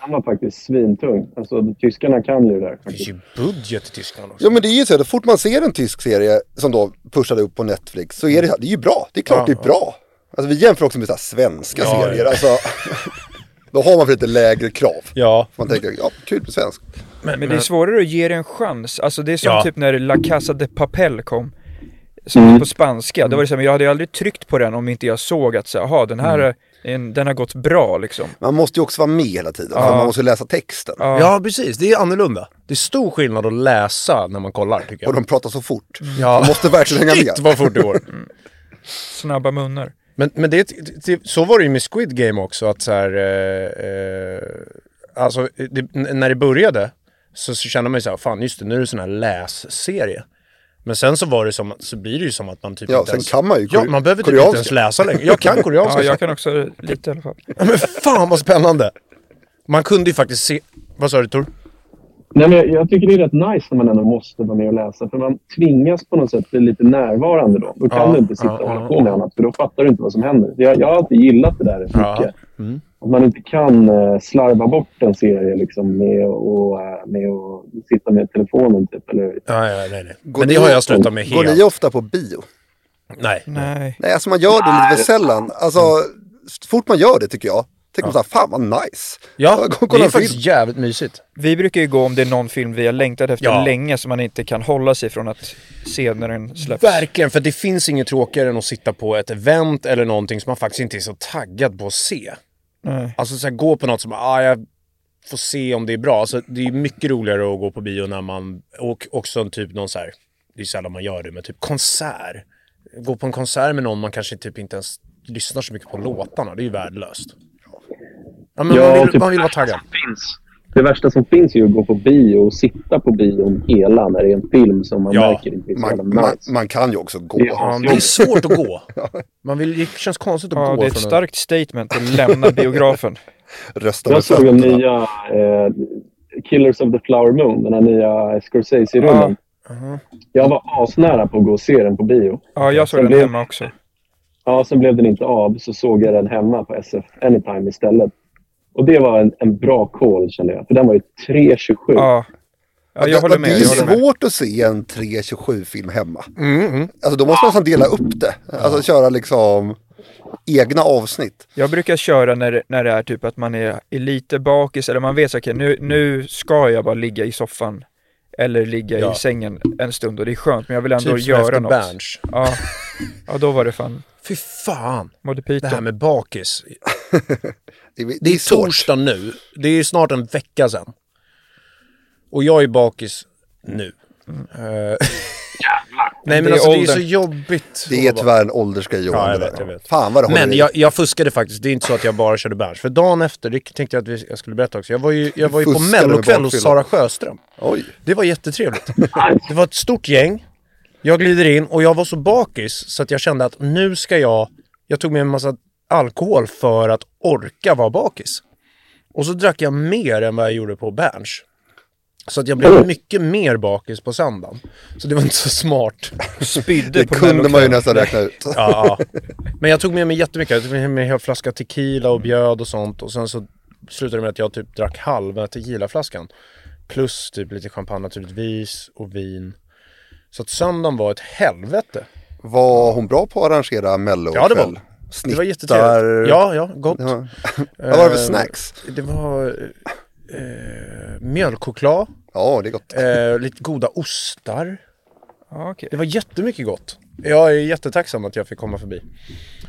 [SPEAKER 4] Den var faktiskt svintung. Alltså, tyskarna kan ju det där.
[SPEAKER 1] Det finns
[SPEAKER 4] faktiskt.
[SPEAKER 1] ju budget i Tyskland också.
[SPEAKER 5] Ja men det är ju så, här, så fort man ser en tysk serie som då pushade upp på Netflix så är det, så här, det är ju bra. Det är klart det är bra. Alltså vi jämför också med så här, svenska
[SPEAKER 1] Ja,
[SPEAKER 5] serier.
[SPEAKER 1] ja.
[SPEAKER 5] Alltså, [LAUGHS] då har man för lite lägre krav.
[SPEAKER 1] Ja,
[SPEAKER 5] Man tänker, ja kul med svensk.
[SPEAKER 2] Men det är svårare att ge det en chans. Alltså det är som
[SPEAKER 1] Ja.
[SPEAKER 2] typ när La Casa de Papel kom. Som på spanska. Då var det så här, men jag hade ju aldrig tryckt på den om inte jag såg att så här, aha, den här eh, en, den har gått bra liksom.
[SPEAKER 5] Man måste ju också vara med hela tiden,
[SPEAKER 2] Ja.
[SPEAKER 5] för man måste läsa texten.
[SPEAKER 1] Ja, precis. Det är annorlunda. Det är stor skillnad att läsa när man kollar, tycker
[SPEAKER 5] Och
[SPEAKER 1] jag.
[SPEAKER 5] de pratar så fort.
[SPEAKER 1] Ja.
[SPEAKER 5] Man måste verkligen hänga
[SPEAKER 1] Shit,
[SPEAKER 5] med.
[SPEAKER 1] vad fort det går.
[SPEAKER 2] Snabba munnar.
[SPEAKER 1] Men, men det, det, så var det ju med Squid Game också, att så här, eh, eh, alltså det, n- när det började så, så kände man ju så här, fan just det, nu är det sån här lässerie. Men sen så var det som, att- så blir det ju som att man typ
[SPEAKER 5] Ja,
[SPEAKER 1] inte
[SPEAKER 5] sen kan man ju
[SPEAKER 1] Ja,
[SPEAKER 5] kore-
[SPEAKER 1] man behöver typ inte
[SPEAKER 5] koreanska.
[SPEAKER 1] ens läsa längre. Jag
[SPEAKER 5] [LAUGHS]
[SPEAKER 1] kan koreanska.
[SPEAKER 2] Ja, jag kan också lite i alla fall.
[SPEAKER 1] Men fan vad spännande! Man kunde ju faktiskt se, vad sa du Tor?
[SPEAKER 4] Nej, men jag, jag tycker det är rätt nice när man ändå måste vara med och läsa. För man tvingas på något sätt bli lite närvarande då. Då kan
[SPEAKER 1] Ja,
[SPEAKER 4] du inte sitta
[SPEAKER 1] ja,
[SPEAKER 4] och hålla
[SPEAKER 1] ja.
[SPEAKER 4] på med annat. För då fattar du inte vad som händer. Jag, jag har alltid gillat det där rätt
[SPEAKER 1] Ja. Mm.
[SPEAKER 4] mycket. Att man inte kan eh, slarva bort en serie liksom, med att och, eh, med att sitta med telefonen. Typ, eller,
[SPEAKER 1] Ja, ja, nej, nej.
[SPEAKER 5] Går
[SPEAKER 1] Men det
[SPEAKER 5] ni
[SPEAKER 1] har
[SPEAKER 5] o-
[SPEAKER 1] jag slutat med
[SPEAKER 5] Går ni
[SPEAKER 1] helt.
[SPEAKER 5] ofta på bio?
[SPEAKER 1] Nej.
[SPEAKER 2] Nej.
[SPEAKER 5] Nej, alltså man gör det lite för sällan. Alltså, så fort man gör det tycker jag, tänker man så här, fan vad nice.
[SPEAKER 1] Ja,
[SPEAKER 5] gå och
[SPEAKER 1] det
[SPEAKER 5] kolla
[SPEAKER 1] är
[SPEAKER 5] en
[SPEAKER 1] faktiskt
[SPEAKER 5] film.
[SPEAKER 1] jävligt mysigt.
[SPEAKER 2] Vi brukar ju gå om det är någon film vi har längtat efter
[SPEAKER 1] Ja.
[SPEAKER 2] länge som man inte kan hålla sig från att se när den släpps.
[SPEAKER 1] Verkligen, för det finns inget tråkigare än att sitta på ett event eller någonting som man faktiskt inte är så taggad på att se.
[SPEAKER 2] Nej.
[SPEAKER 1] Alltså så här, gå på något som, ah, jag får se om det är bra. Alltså, det är mycket roligare att gå på bio när man, och också en typ någon så här, det är sällan man gör det, men typ konsert. Gå på en konsert med någon man kanske typ inte ens lyssnar så mycket på låtarna, det är ju värdelöst. Ja, men
[SPEAKER 4] Ja,
[SPEAKER 1] man, vill,
[SPEAKER 4] typ-
[SPEAKER 1] man vill vara taggad.
[SPEAKER 4] Det värsta som finns är ju att gå på bio och sitta på bion hela när det är en film som man
[SPEAKER 1] Ja.
[SPEAKER 4] märker inte är så jävla
[SPEAKER 5] Man, man,
[SPEAKER 4] nice.
[SPEAKER 5] man kan ju också gå.
[SPEAKER 4] Ja.
[SPEAKER 1] Ja, men det är svårt att
[SPEAKER 4] [LAUGHS]
[SPEAKER 1] gå. Man vill, det känns konstigt att
[SPEAKER 2] Ja,
[SPEAKER 1] gå.
[SPEAKER 2] det är ett
[SPEAKER 1] från en-
[SPEAKER 2] starkt statement att lämna biografen.
[SPEAKER 5] Rösta
[SPEAKER 4] Jag
[SPEAKER 5] med
[SPEAKER 4] såg den
[SPEAKER 5] fötterna.
[SPEAKER 4] nya eh, Killers of the Flower Moon, den här nya Scorsese-rullen. Jag var asnära på att gå och se den på bio.
[SPEAKER 2] Ja, jag såg
[SPEAKER 4] Men
[SPEAKER 2] den
[SPEAKER 4] det-
[SPEAKER 2] hemma också.
[SPEAKER 4] Ja, sen blev den inte av, så såg jag den hemma på SF Anytime istället. Och det var en, en bra call, kände jag. För den var ju 3.27.
[SPEAKER 2] Ja. ja jag
[SPEAKER 5] Men-
[SPEAKER 2] håller
[SPEAKER 5] men
[SPEAKER 2] med.
[SPEAKER 5] Det är
[SPEAKER 2] Jag håller med.
[SPEAKER 5] svårt att se en 3.27-film hemma.
[SPEAKER 1] Mm,
[SPEAKER 5] Alltså då måste man nästan dela upp det. Alltså köra liksom egna avsnitt.
[SPEAKER 2] Jag brukar köra när, när det är typ att man är, är lite bakis eller man vet så okej nu, nu ska jag bara ligga i soffan eller ligga
[SPEAKER 1] Ja.
[SPEAKER 2] i sängen en stund och det är skönt men jag vill ändå
[SPEAKER 1] Typ som
[SPEAKER 2] göra
[SPEAKER 1] efter
[SPEAKER 2] något.
[SPEAKER 1] Berns.
[SPEAKER 2] Ja. ja, då var det fan
[SPEAKER 1] Fy fan,
[SPEAKER 2] Monty
[SPEAKER 1] det här
[SPEAKER 2] Python.
[SPEAKER 1] med bakis.
[SPEAKER 5] Det, det
[SPEAKER 1] Det är
[SPEAKER 5] svårt.
[SPEAKER 1] torsdag nu. Det är snart en vecka sedan. Och jag är bakis nu. Eh, [LAUGHS] Nej men
[SPEAKER 2] är
[SPEAKER 1] alltså det är så
[SPEAKER 2] åldern.
[SPEAKER 1] jobbigt.
[SPEAKER 5] Det är
[SPEAKER 1] att vara
[SPEAKER 5] tyvärr en åldersgrej Johan.
[SPEAKER 1] Ja, jag
[SPEAKER 5] det
[SPEAKER 1] vet,
[SPEAKER 5] där.
[SPEAKER 1] jag vet.
[SPEAKER 5] Fan vad det håller
[SPEAKER 1] Men
[SPEAKER 5] i.
[SPEAKER 1] jag, jag fuskade faktiskt. Det är inte så att jag bara körde bärs. För dagen efter, det tänkte jag att vi, jag skulle berätta också. Jag var ju, jag var ju på
[SPEAKER 5] Fuskade med
[SPEAKER 1] mellokväll hos
[SPEAKER 5] bakfyllan.
[SPEAKER 1] Sara Sjöström.
[SPEAKER 5] Oj.
[SPEAKER 1] Det var jättetrevligt. Det var ett stort gäng. Jag glider in och jag var så bakis så att jag kände att nu ska jag... Jag tog med en massa alkohol för att orka vara bakis. Och så drack jag mer än vad jag gjorde på Berns. Så att jag blev mycket mer bakis på söndagen. Så det var inte så smart.
[SPEAKER 2] Spydde
[SPEAKER 5] Det
[SPEAKER 2] på
[SPEAKER 5] kunde man ju
[SPEAKER 2] mellokvällen.
[SPEAKER 5] nästan räkna ut.
[SPEAKER 1] Ja, ja. Men jag tog med mig jättemycket. Jag tog med mig en hel flaska tequila och bjöd och sånt. Och sen så slutade det med att jag typ drack halva tequilaflaskan. Plus typ lite champagne naturligtvis och vin. Så att söndagen var ett helvete.
[SPEAKER 5] Var hon bra på att arrangera mello
[SPEAKER 1] Ja, det var hon.
[SPEAKER 5] kväll?
[SPEAKER 1] Det
[SPEAKER 5] Snittar...
[SPEAKER 1] var jättetrevligt. Ja, ja, gott. Eh,
[SPEAKER 5] Ja. Vad var det för snacks?
[SPEAKER 1] Det var eh, mjölkchoklad,
[SPEAKER 5] Ja, det är gott.
[SPEAKER 1] eh, lite goda ostar.
[SPEAKER 2] Ja, okej.
[SPEAKER 1] Det var jättemycket gott. Jag är jättetacksam att jag fick komma förbi.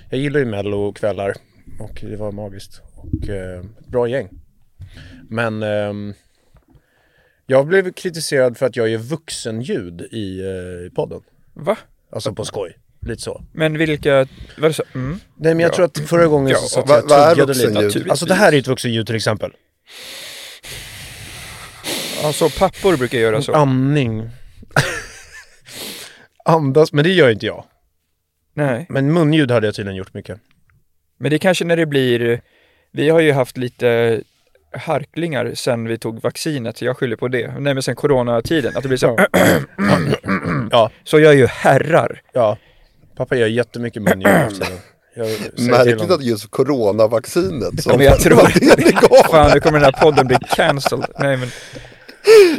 [SPEAKER 1] Jag gillar ju mello kvällar och det var magiskt. Och eh, bra gäng. Men ehm, jag blev kritiserad för att jag gör vuxenljud i eh, podden.
[SPEAKER 2] Va?
[SPEAKER 1] Alltså på skoj. Lite så.
[SPEAKER 2] Men vilka, var det så? Mm.
[SPEAKER 1] Nej men jag
[SPEAKER 2] Ja.
[SPEAKER 1] tror att förra gången
[SPEAKER 2] Ja,
[SPEAKER 1] så satt
[SPEAKER 5] vad-
[SPEAKER 1] jag och
[SPEAKER 5] vad är
[SPEAKER 1] tuggade lite.
[SPEAKER 5] vuxenljud?
[SPEAKER 1] Alltså det här är ett vuxenljud till exempel.
[SPEAKER 2] Ja, så pappor brukar göra så.
[SPEAKER 1] Andning.
[SPEAKER 5] [LAUGHS]
[SPEAKER 1] Andas, men det gör inte jag.
[SPEAKER 2] Nej,
[SPEAKER 1] Men munljud hade jag tydligen gjort mycket.
[SPEAKER 2] men det är kanske när det blir, vi har ju haft lite harklingar sen vi tog vaccinet, så jag skyller på det. Nej men sen coronatiden, att det blir så [CLEARS THROAT]
[SPEAKER 1] Ja.
[SPEAKER 2] Så gör ju herrar.
[SPEAKER 1] Ja, pappa gör jättemycket munljud nu för tiden. Jag säger till
[SPEAKER 5] Märkligt
[SPEAKER 1] honom.
[SPEAKER 5] att just coronavaccinet som
[SPEAKER 2] Men jag tror
[SPEAKER 5] var [LAUGHS] det ni gav.
[SPEAKER 2] Fan, nu kommer den här podden bli cancelled. Nej men,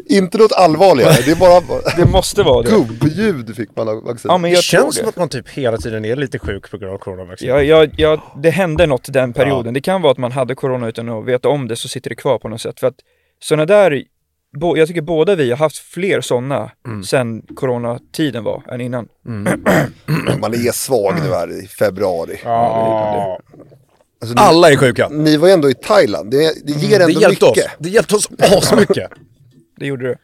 [SPEAKER 5] Inte något allvarligare, det är bara
[SPEAKER 2] det måste vara det.
[SPEAKER 5] gubbljud fick man av vaccinet.
[SPEAKER 2] Ja men
[SPEAKER 1] Det
[SPEAKER 2] jag tror
[SPEAKER 1] känns som
[SPEAKER 2] det.
[SPEAKER 1] att man typ hela tiden är lite sjuk på grund av coronavaccinet.
[SPEAKER 2] Jag, jag, jag, det hände något den perioden. Det kan vara att man hade corona utan att veta om det, så sitter det kvar på något sätt. För att sådana där, bo, jag tycker båda vi har haft fler sådana sen coronatiden var, än innan.
[SPEAKER 5] [CLEARS THROAT] Man är svag nu här i februari.
[SPEAKER 1] Ja.
[SPEAKER 5] Alltså, ni,
[SPEAKER 1] Alla är sjuka.
[SPEAKER 5] ni var ju ändå i Thailand. Det, det ger
[SPEAKER 1] Mm. Det hjälpte
[SPEAKER 5] ändå
[SPEAKER 1] oss.
[SPEAKER 5] mycket.
[SPEAKER 1] Det hjälpte oss asmycket. [LAUGHS]
[SPEAKER 2] Det gjorde du.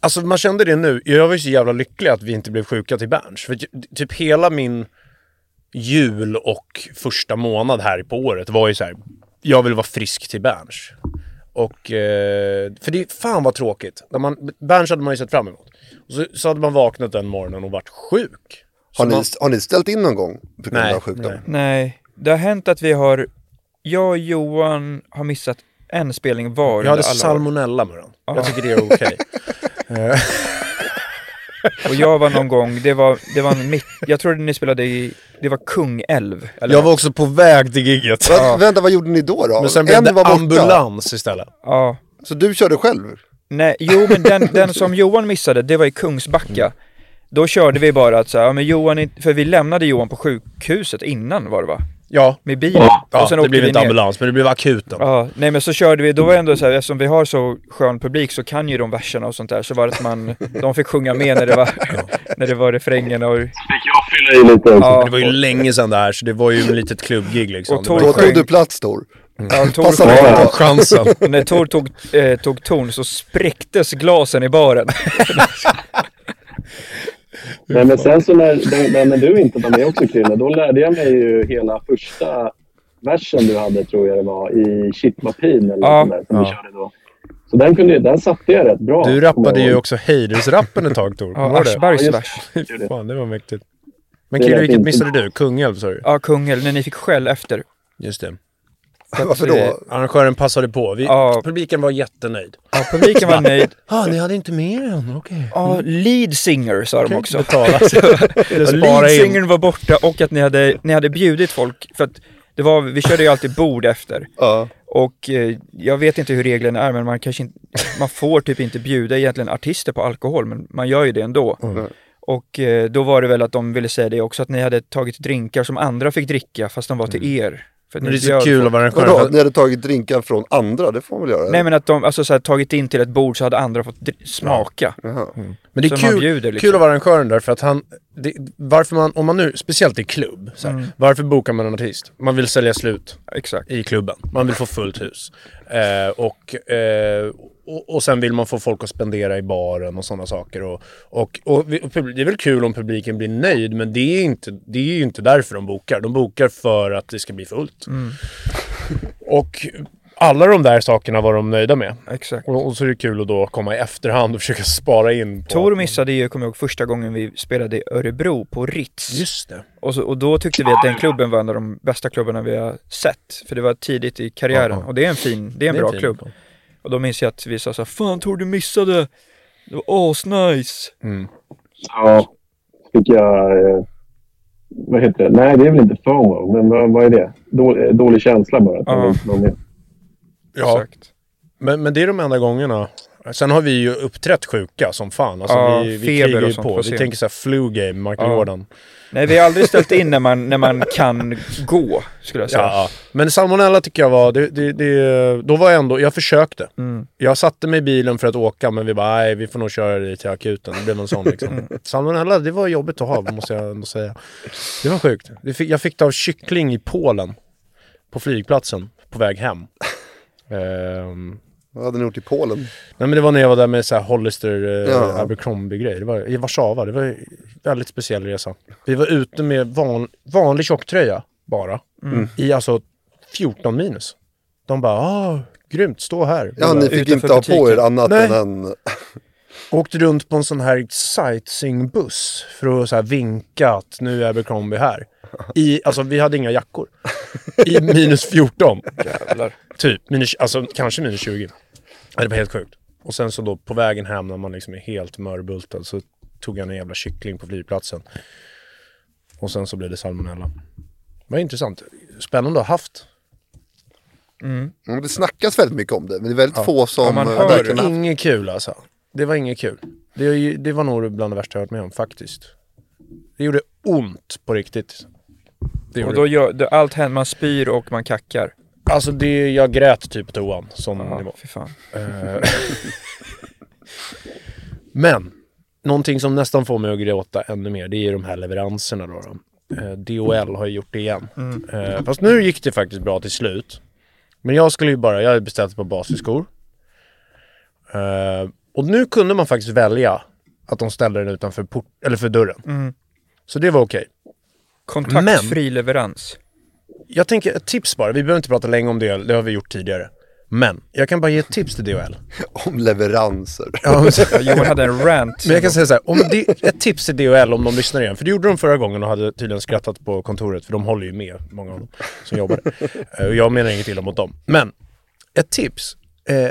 [SPEAKER 1] Alltså man kände det nu. Jag var ju så jävla lycklig att vi inte blev sjuka till Berns. För ty- typ hela min jul och första månad här på året var ju så här. Jag vill vara frisk till Berns. Och, eh, för det, fan vad tråkigt. När man, Berns hade man ju sett fram emot. Och så, så hade man vaknat den morgonen och varit sjuk. Så
[SPEAKER 5] Har ni,
[SPEAKER 1] man,
[SPEAKER 5] har ni ställt in någon gång på grund
[SPEAKER 1] Nej,
[SPEAKER 5] av sjukdom?
[SPEAKER 1] nej.
[SPEAKER 2] Nej, det har hänt att vi har, jag och Johan har missat en spelning var under
[SPEAKER 1] jag hade
[SPEAKER 2] alla Ah. år.
[SPEAKER 1] salmonella Murran. Jag tycker det är okej.
[SPEAKER 2] Och jag var någon gång, det var, det var mitt, jag trodde ni spelade i, det var Kungälv. [LAUGHS] Eller
[SPEAKER 1] jag var också på väg till gigget.
[SPEAKER 5] Va, Vänta, vad gjorde ni då? då?
[SPEAKER 1] Men sen blev
[SPEAKER 5] en
[SPEAKER 1] det
[SPEAKER 5] var borta,
[SPEAKER 1] ambulans istället.
[SPEAKER 2] Ja.
[SPEAKER 5] så du körde själv?
[SPEAKER 2] Nej, jo men den, den som Johan missade, det var i Kungsbacka. Då körde vi bara att så här, ja, men Johan, är- för vi lämnade Johan på sjukhuset innan var det va?
[SPEAKER 1] Ja.
[SPEAKER 2] Med bilen.
[SPEAKER 1] ja det blev
[SPEAKER 2] vi
[SPEAKER 1] inte
[SPEAKER 2] ner. Ah.
[SPEAKER 1] ambulans, men det blev akuten.
[SPEAKER 2] Ja, nej men så körde vi, då var det ändå så här, eftersom vi har så skön publik så kan ju de verserna och sånt där, så var det
[SPEAKER 1] [LAUGHS]
[SPEAKER 2] att man, de fick sjunga med när det var, när det var refrängen och,
[SPEAKER 1] Mm.
[SPEAKER 4] Fick jag fylla i lite också?
[SPEAKER 2] ja,
[SPEAKER 1] Det var ju länge sedan det här, så det var ju ett litet klubbgig liksom.
[SPEAKER 2] Och
[SPEAKER 1] Det var
[SPEAKER 5] Då
[SPEAKER 1] ju- [LAUGHS]
[SPEAKER 2] Sjöng.
[SPEAKER 5] tog du plats Tor.
[SPEAKER 2] ja, Tor
[SPEAKER 5] Passa
[SPEAKER 2] sjöng,
[SPEAKER 5] på.
[SPEAKER 1] chansen.
[SPEAKER 2] och när Tor tog, eh, tog ton så spräcktes glasen i baren.
[SPEAKER 4] Nej, men sen så när, då- när, när du inte var med också Chrille, då lärde jag mig ju hela första versen du hade, tror jag det var, i Chitmapin eller
[SPEAKER 2] Ja.
[SPEAKER 4] ja. där, som vi
[SPEAKER 1] Ja.
[SPEAKER 4] körde då. Så den, kunde, den satte jag rätt bra.
[SPEAKER 1] Du rappade ju
[SPEAKER 4] Och-
[SPEAKER 1] också hejdus-rappen ett tag Tor.
[SPEAKER 2] Ja,
[SPEAKER 1] Kommer du ihåg
[SPEAKER 2] Aschbergs
[SPEAKER 4] Ja, just-
[SPEAKER 2] vers.
[SPEAKER 1] det? Fan, det var mäktigt. Men
[SPEAKER 4] Det
[SPEAKER 1] Kille,
[SPEAKER 4] lät
[SPEAKER 1] vilket
[SPEAKER 4] inte
[SPEAKER 1] missade du? Kungälv sa du?
[SPEAKER 2] Ja, Kungälv, när ni fick skäll efter.
[SPEAKER 1] Just det.
[SPEAKER 5] [LAUGHS] Varför
[SPEAKER 2] eh,
[SPEAKER 5] då?
[SPEAKER 1] Arrangören passade på. Vi,
[SPEAKER 2] Ja.
[SPEAKER 1] Publiken var jättenöjd. [LAUGHS]
[SPEAKER 2] Ja, publiken var nöjd.
[SPEAKER 1] Ja, ah, ni hade inte med er än? Okej.
[SPEAKER 2] Ja, lead singer sa de också. [LAUGHS]
[SPEAKER 1] Betala. [LAUGHS] Eller spara
[SPEAKER 2] Lead
[SPEAKER 1] in.
[SPEAKER 2] singern var borta och att ni hade, ni hade bjudit folk, för att det var, vi körde ju alltid bord efter.
[SPEAKER 5] Ja.
[SPEAKER 2] Och eh, jag vet inte hur reglerna är, men man kanske inte, man får typ inte bjuda egentligen artister på alkohol, men man gör ju det ändå.
[SPEAKER 1] Mm.
[SPEAKER 2] Och eh, då var det väl att de ville säga det också, att ni hade tagit drinkar som andra fick dricka, fast de var till er. För att
[SPEAKER 1] Men det
[SPEAKER 2] ni
[SPEAKER 1] är så
[SPEAKER 2] bjöd
[SPEAKER 1] kul
[SPEAKER 2] folk.
[SPEAKER 1] av arrangören.
[SPEAKER 5] Vadå?
[SPEAKER 1] för-
[SPEAKER 5] Ni hade tagit drinkar från andra? Det får man väl göra?
[SPEAKER 2] Nej men att de, alltså så här, tagit in till ett bord så hade andra fått dri- smaka.
[SPEAKER 5] Jaha.
[SPEAKER 1] Men det är
[SPEAKER 2] Så man
[SPEAKER 1] kul,
[SPEAKER 2] bjuder, liksom.
[SPEAKER 1] kul av arrangören där för att han, det, varför man, om man nu, speciellt i klubb, så här,
[SPEAKER 2] Mm.
[SPEAKER 1] varför bokar man en artist? Man vill sälja slut
[SPEAKER 2] Exakt.
[SPEAKER 1] i klubben. Man vill få fullt hus. Eh, och, eh, och, och sen vill man få folk att spendera i baren och sådana saker. Och, och, och, vi- och publi- det är väl kul om publiken blir nöjd, men det är, inte, det är ju inte därför de bokar. De bokar för att det ska bli fullt.
[SPEAKER 2] Mm.
[SPEAKER 1] Och alla de där sakerna var de nöjda med.
[SPEAKER 2] Exakt.
[SPEAKER 1] Och, och så är det kul att då komma i efterhand och försöka spara in. På
[SPEAKER 2] Tor missade ju, kommer jag ihåg, första gången vi spelade i Örebro på Ritz.
[SPEAKER 1] Just det.
[SPEAKER 2] Och, så, och då tyckte vi att den klubben var en av de bästa klubbarna vi har sett. För det var tidigt i karriären.
[SPEAKER 1] Ja, ja.
[SPEAKER 2] Och det är en fin, det är en
[SPEAKER 1] Det är
[SPEAKER 2] bra
[SPEAKER 1] en fin
[SPEAKER 2] klubb.
[SPEAKER 1] klubb.
[SPEAKER 2] Och då minns jag att vi sa så här, Fan Tor du missade! Det var asnice!
[SPEAKER 4] Ja, fick jag... eh, Vad heter det? Nej, det är väl inte FOMO, men vad, vad är det? Då, eh, dålig känsla bara. Att man
[SPEAKER 2] Ja.
[SPEAKER 4] inte var med.
[SPEAKER 1] Ja,
[SPEAKER 2] Exakt.
[SPEAKER 1] men, men det är de enda gångerna. Sen har vi ju uppträtt sjuka som fan. Alltså,
[SPEAKER 2] Ja,
[SPEAKER 1] vi, vi
[SPEAKER 2] feber
[SPEAKER 1] krigar
[SPEAKER 2] och
[SPEAKER 1] ju
[SPEAKER 2] sånt
[SPEAKER 1] på.
[SPEAKER 2] på
[SPEAKER 1] Vi
[SPEAKER 2] scen.
[SPEAKER 1] tänker så här flu game, Michael
[SPEAKER 2] Ja.
[SPEAKER 1] Jordan.
[SPEAKER 2] Nej vi har aldrig ställt in när man, när man kan gå, skulle
[SPEAKER 1] Ja.
[SPEAKER 2] jag säga.
[SPEAKER 1] Men salmonella tycker jag var... Det, det, det, då var jag ändå... Jag försökte.
[SPEAKER 2] Mm.
[SPEAKER 1] Jag satte mig i bilen för att åka, men vi bara nej, vi får nog köra dig till akuten. Det blev någon sån
[SPEAKER 2] [LAUGHS]
[SPEAKER 1] liksom.
[SPEAKER 2] Mm.
[SPEAKER 1] Salmonella, det var jobbigt att ha, måste jag ändå säga. Det var sjukt. Det fick, jag fick det av kyckling i Polen. På flygplatsen, på väg
[SPEAKER 2] [LAUGHS]
[SPEAKER 1] hem. Ehm,
[SPEAKER 5] Vad hade ni gjort i Polen?
[SPEAKER 1] Nej men det var när jag var där med så här Hollister eh,
[SPEAKER 5] Ja.
[SPEAKER 1] Abercrombie-grejer. Det var i Warszawa. Det var en väldigt speciell resa. Vi var ute med van, vanlig tjocktröja bara.
[SPEAKER 5] Mm.
[SPEAKER 1] I alltså 14 minus. De bara ah, grymt, stå här. Vi
[SPEAKER 5] Ja,
[SPEAKER 1] bara,
[SPEAKER 5] ni fick
[SPEAKER 2] utanför
[SPEAKER 5] inte ha på
[SPEAKER 2] butiken.
[SPEAKER 5] er annat
[SPEAKER 1] Nej.
[SPEAKER 5] än en...
[SPEAKER 1] Åkte runt på en sån här sightseeingbuss för att så här vinka att nu är Abercrombie här. I, alltså vi hade inga jackor. I minus 14.
[SPEAKER 2] Jävlar.
[SPEAKER 1] Typ, minus, alltså kanske minus 20. Ja, Det var helt sjukt. Och sen så då på vägen hem när man liksom är helt mörbultad så tog jag en jävla kyckling på flygplatsen. Och sen så blev det salmonella. Vad intressant. Spännande att ha haft.
[SPEAKER 5] Mm, Det snackas väldigt mycket om det, men det är väldigt få som
[SPEAKER 2] man
[SPEAKER 5] eh,
[SPEAKER 2] hör
[SPEAKER 5] verkligen [LAUGHS] har haft
[SPEAKER 1] Inget kul alltså. Det var inget kul. Det, är ju- det var nog bland det värsta jag varit med om faktiskt. Det gjorde ont på riktigt. Det
[SPEAKER 2] Och
[SPEAKER 1] gjorde
[SPEAKER 2] då gör, då, allt händer, man spyr och man kackar.
[SPEAKER 1] det. Alltså det, jag grät typ på toan. Sån nivå.
[SPEAKER 2] Ja, fy fan.
[SPEAKER 1] Men, någonting som nästan får mig att gråta ännu mer, det är ju de här leveranserna då. då. eh, DOL har ju gjort det igen. Eh, fast nu gick det faktiskt bra till slut. Men jag skulle ju bara, jag hade beställt på basisskor. Eh, och nu kunde man faktiskt välja att de ställde den utanför port, eller för dörren. Så det var okej.
[SPEAKER 2] Kontaktfri leverans.
[SPEAKER 1] Jag tänker, ett tips bara, vi behöver inte prata länge om det, det har vi gjort tidigare. Men, jag kan bara ge ett tips till DHL.
[SPEAKER 5] Om leveranser.
[SPEAKER 1] Ja, men- [LAUGHS]
[SPEAKER 2] Ja, Johan hade en rant.
[SPEAKER 1] Men jag kan säga så här, om det, ett tips till DHL om de lyssnar igen, för det gjorde de förra gången och hade tydligen skrattat på kontoret, för de håller ju med, många av dem som jobbar där. Eh, Och jag menar inget illa mot dem. Men, ett tips. Eh,